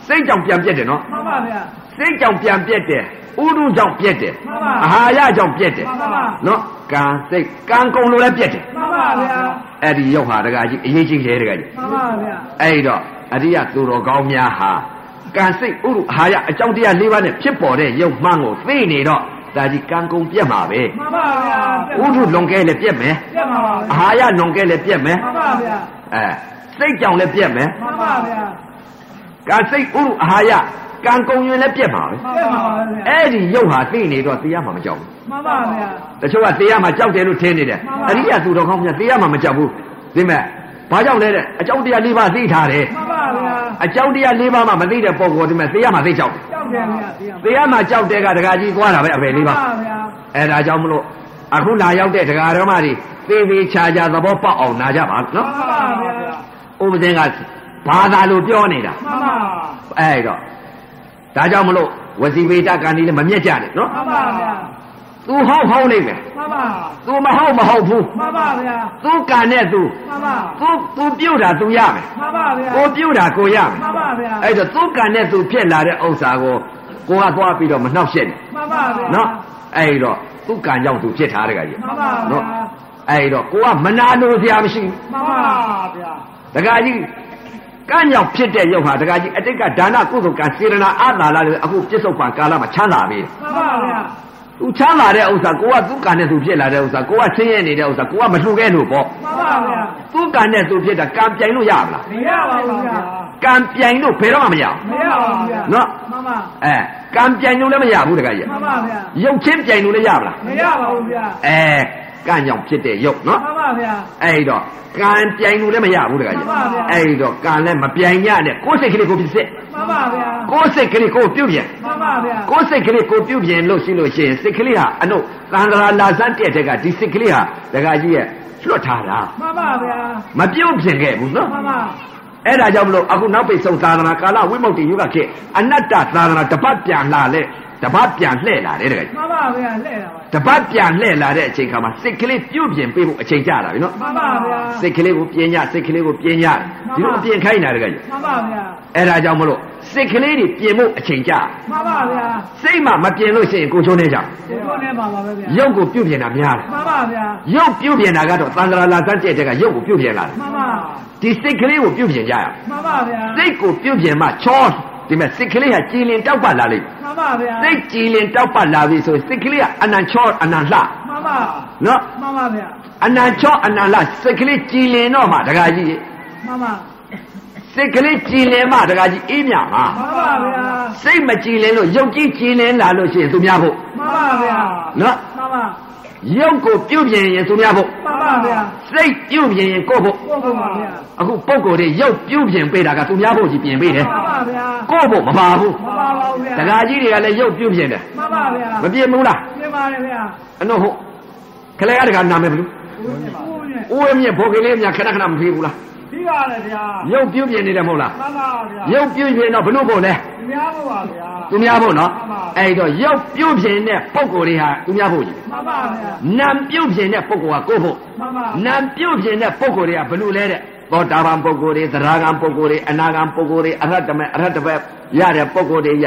A: စိတ်ကြောင့်ပြန်ပြက်တယ်နော်
B: မှန်ပါဗျာ
A: စိတ်ကြောင့်ပြန်ပြက်တယ်ဥဒုကြောင့်ပြက်တယ်
B: မှန်ပါ
A: အာဟာရကြောင့်ပြက်တယ်
B: မှန်ပါဗျာ
A: နော်ကံစိတ်ကံကုန်လို့လည်းပြက်တယ်
B: မှန်ပါဗျာ
A: အဲ့ဒီယုတ်ဟာတကကြီးအရေးကြီးတယ်တကကြီး
B: မှန်ပါဗျာ
A: အဲ့တော့အရိယသူတော်ကောင်းများဟာကံစိတ်ဥရုဟာရအကြောင်းတရား၄ပါးနဲ့ဖြစ်ပေါ်တဲ့ယုံမှန်ကိုသိနေတော့ဒါကြီးကံကုန်ပြက်မှာပဲ
B: မှန်ပါဗျာ
A: ဥရုလွန်ကဲလည်းပြက်မယ်
B: ပြတ်ပါပါဗျာ
A: အာဟာရလွန်ကဲလည်းပြက်မယ်
B: မှန်ပါဗျာ
A: အဲစိတ်ကြောင့်လည်းပြက်မယ်
B: မှန်ပါဗျာ
A: ကံစိတ်ဥရုအာဟာရကံကုန်ရင်လည်းပြက်မှာပဲ
B: မှန်ပါဗျာ
A: အဲ့ဒီယုံဟာသိနေတော့တရားမှမကြောက်ဘူး
B: မှန်ပါဗျာ
A: တချို့ကတရားမှကြောက်တယ်လို့ထင်နေတယ်
B: မှန်
A: အ
B: ပါ
A: ရိယသူတော်ကောင်းများတရားမှမကြောက်ဘူးဒီမဲ့ဘာကြောင့်လဲတဲ့အကြောင်းတရား၄ပါးသိထားတယ်
B: မှန်ပါဗျာ
A: အကြောင်းတရား၄ပါးမှမသိတဲ့ပုံကိုဒီမဲ့တရားမှသိကြောက်တယ်
B: ကြောက်တယ်ဗျာဗျာ
A: ။တရားမှာကြောက်တဲ့ကဒကာကြီးသွားတာပဲအပေလေးပါ
B: မှန်ပါဗျာ
A: ။အဲဒါကြောင့်မလို့အခုလာရောက်တဲ့ဒကာတော်မတွေသေသေးချာချာသဘောပေါက်အောင်နာကြပါ
B: မှန်
A: နော်
B: ပါဗျာ
A: ။ဥပဇင်းကဘာသာလို့ပြောနေတာ
B: မှန်ပါ
A: ။အဲတော့ဒါကြောင့်မလို့ဝစီဝေတကံဒီလည်းမမျက်ကြနဲ့နော်
B: မှန်ပါဗျာ
A: ။ तू ဟောက်ဟောက်နေမယ်
B: မှန်ပါ
A: ။ तू မဟောက်မဟောက်ဘူး
B: မှန်ပါဗျာ
A: ။ तू ကံနဲ့ तू
B: မှန်ပါ
A: तू तू ပြုတ်တာ तू ရမယ်
B: မှန်ပါဗျာ
A: ။ကိုပြုတ်တာကိုရမယ်
B: မှန်ပါဗျာ
A: ။အဲတော့ तू ကံနဲ့ तू ဖြစ်လာတဲ့ဥစ္စာကိုကိုကသွားပြီးတော့မနှောက်ရှက်နဲ့
B: မှန်ပါဗျာ
A: နော်။အဲတော့သူကံကြောင့် तू ဖြစ်ထားတဲ့ကကြီး
B: မှန်ပါဗျာ
A: နော်အဲ့တော့ကိုကမနာလို့ဆရာမရှိ
B: မှန်ပါဗျာ
A: ဘူးတခါကြီးကံ့ကြောင့်ဖြစ်တဲ့ရုပ်ဟာတခါကြီးအတိတ်ကဒါနကုသိုလ်ကံစေရနာအာသာလာလို့အခုပြစ္ဆုတ်ပါကာလမှာချမ်းသာပြီ
B: မှန်ပါဗျာ
A: သူချမ်းသာတဲ့ဥစ္စာကိုကသူ့ကံနဲ့သူဖြစ်လာတဲ့ဥစ္စာကိုကဆင်းရဲနေတဲ့ဥစ္စာကိုကမလှူခဲ့လို့ပေါ့
B: မှန်ပါဗျာ
A: သူ့ကံနဲ့သူဖြစ်တာကံပြိုင်လို့ရမလား
B: မရပါဘူးဗျာ
A: ကံပြိုင်လို့ဘယ်တော့မှမရဘူး
B: မရပါဘူးဗျာ
A: နော်
B: မှန်ပါ
A: အဲကံပြိုင်လို့လည်းမရဘူးတခါကြီး
B: မှန်ပါဗျာ
A: ရုပ်ချင်းပြိုင်လို့လည်းရမလား
B: မရပါဘူးဗျာ
A: အဲကံ့ကြောင့်ဖြစ်တဲ့ရုပ်နော်
B: မှန်ပါဗျာ
A: အဲ့တော့ကံပြိုင်လို့လည်းမရဘူးတခါကြီး
B: မှန်ပါဗျာ
A: အဲ့တော့ကံလည်းမပြိုင်ညနဲ့ကိုယ်စိတ်ကလေးကိုပြစ်စစ်
B: မှန်ပါဗျာ
A: ကိုယ်စိတ်ကလေးကိုပြုတ်ပြန်
B: မှန်ပါဗျာ
A: ကိုယ်စိတ်ကလေးကိုပြုတ်ပြန်လို့ရှိလို့ရှိရင်စိတ်ကလေးဟာအနုသန္တရာလာစမ်းတက်တဲ့ကဒီစိတ်ကလေးဟာတခါကြီးရဲ့ လွတ်ထားတာ
B: မှန်ပါဗျာ
A: မပြုတ်ဖြစ်ခဲ့ဘူးနော်
B: မှန်ပါ
A: အဲ့ဒါကြောင့်မလို့အခုနောက်ပိတ်ဆုံးသာသနာကာလဝိမု ക്തി ယုဂခေတ်အနတ္တသာသနာတပတ်ပြန်လာလေတပတ်ပြန်လှည့်လာတယ်တကယ်
B: မှန်ပါဗျာလှဲ့တာပါ
A: တပတ်ပြန်လှည့်လာတဲ့အချိန်ခါမှာစိတ်ကလေးပြုတ်ပြင်ပေးဖို့အချိန်ကျလာပြီနော်
B: မှန်ပါဗျာ
A: စိတ်ကလေးကိုပြင်ရစိတ်ကလေးကိုပြင်ရဒီလိုအပြင်ခိုင်းတာတကယ်
B: မှန်ပါဗျာ
A: အဲ့ဒါကြောင့်မလို့စိတ်ကလေးတွေပြင်ဖို့အချိန်ကျ
B: မှန်ပါဗျာ
A: စိတ်မှမပြင်လို့ရှိရင်ကိုချိုးနေကြ
B: ဒီတော့နဲ့ပါပါပဲဗျာ
A: ရုပ်ကိုပြုတ်ပြင်တာများတယ်
B: မှန်ပါဗျာ
A: ရုပ်ပြုတ်ပြင်တာကတော့သံဃာလာစတဲ့တက်ကရုပ်ကိုပြုတ်ပြင်လာတယ်
B: မှန်ပါ
A: ဒီစိတ်ကလေးကိုပြုတ်ပြင်ကြရအောင်
B: မှန်ပါဗျာ
A: စိတ်ကိုပြုတ်ပြင်မှချောဒီမဲ့စိတ်ကလေးဟာကြည်လင်တောက်ပလာလိမ့်
B: မှန်ပါဗျာ
A: မယ်စိတ်ကြည်လင်တောက်ပလာပြီဆိုရင်စိတ်ကလေးကအနံချောအနံလှ
B: မှန်ပါ
A: နော်
B: မှန်ပါဗျာ
A: အနံချောအနံလှစိတ်ကလေးကြည်လင်တော့မှဒကာကြီး
B: မှန်ပါ
A: စိတ်ကလေးကြည်လင်မှဒကာကြီးအေးမြမှာ
B: မှန်ပါဗျာ
A: စိတ်မကြည်လင်လို့ရုပ်ကြီးကြည်လင်လာလို့ရှိရင်သူများဖို့
B: မှန်ပါဗျာ
A: နော်
B: မှန်ပါ
A: ရုပ်ကိုပြုတ်ပြင်ရင်သူများဖို့
B: မှန်ပါဗျာ
A: စိတ်ပြုတ်ပြင်ရင်ကိုယ့်ဖို့
B: ကိုကိုပါဗျာ
A: အခုပုံကိုယ်တွေရုပ်ပြုတ်ပြင်ပေးတာကသူများဖို့ကြီးပြင်ပေးတယ်
B: မှန်ပါဗျာ
A: ကိုယ့်ဖို့မပါဘူး
B: မှန်ပါပါဗျာ
A: ဒကာကြီးတွေကလည်းရုပ်ပြုတ်ပြင်တယ်
B: မှန်ပါဗျာ
A: မပြင်းဘူးလား
B: ပြင်ပါတယ်ဗျာ
A: အနှုတ်ဟုတ်ခလဲကတကနာမည်ဘယ်လို
B: ဦးပြင်ပါဦးပြင်
A: ဦးဝင်းမြင့်ဘောကလေးများခဏခဏမဖေးဘူးလား
B: ပြီးပါတယ်ဗျာ
A: ရုပ်ပြုတ်ပြင်နေတယ်မဟုတ်လား
B: မှန်ပါဗျာ
A: ရုပ်ပြုတ်ပြင်တော့ဘလို့ဖို့လဲ
B: သူများဖို့ပါဗျာ
A: သူများဖို့နော်အဲ့တော့ရုပ်ပြုတ်ပြင်တဲ့ပုံကိုယ်တွေဟာသူများဖို့ကြီး
B: မှန်ပါဗျာ
A: နာမ်ပြုတ်ပြင်တဲ့ပုံကိုယ်ကကိုယ့်ဖို့
B: မှန်ပါ
A: နာမ်ပြုတ်ပြင်တဲ့ပုံကိုယ်တွေကဘလို့လဲတဲ့သောတာပန်ပုဂ္ဂိုလ်တွေသရဂံပုဂ္ဂိုလ်တွေအနာဂံပုဂ္ဂိုလ်တွေအရဟတမေအရဟတပဲရတဲ့ပုဂ္ဂိုလ်တွေရ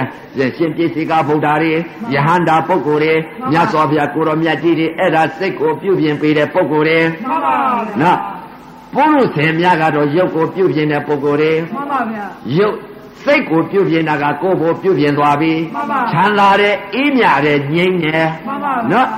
A: ရှင်ပြည့်စေကဗုဒ္ဓတွေယဟန္တာပုဂ္ဂိုလ်တွေမြတ်စွာဘုရားကိုရောမြတ်ကြီးတွေအဲ့ဒါစိတ်ကိုပြုပြင်ပေးတဲ့ပုဂ္ဂိုလ်တွေ
B: မှန်ပါဗျာ
A: နော်ပုရုษေများကတော့ရုပ်ကိုပြုပြင်တဲ့ပုဂ္ဂိုလ်တွေ
B: မှန်ပါဗျာ
A: ရုပ်စိတ်ကိုပြုပြင်တာကကိုယ်ကိုပြုပြင်သွားပြီ
B: မှန်ပါ
A: ချမ်းသာတဲ့အေးမြတဲ့ငြိမ်းတဲ့
B: မှန်ပါဗျာ
A: နော်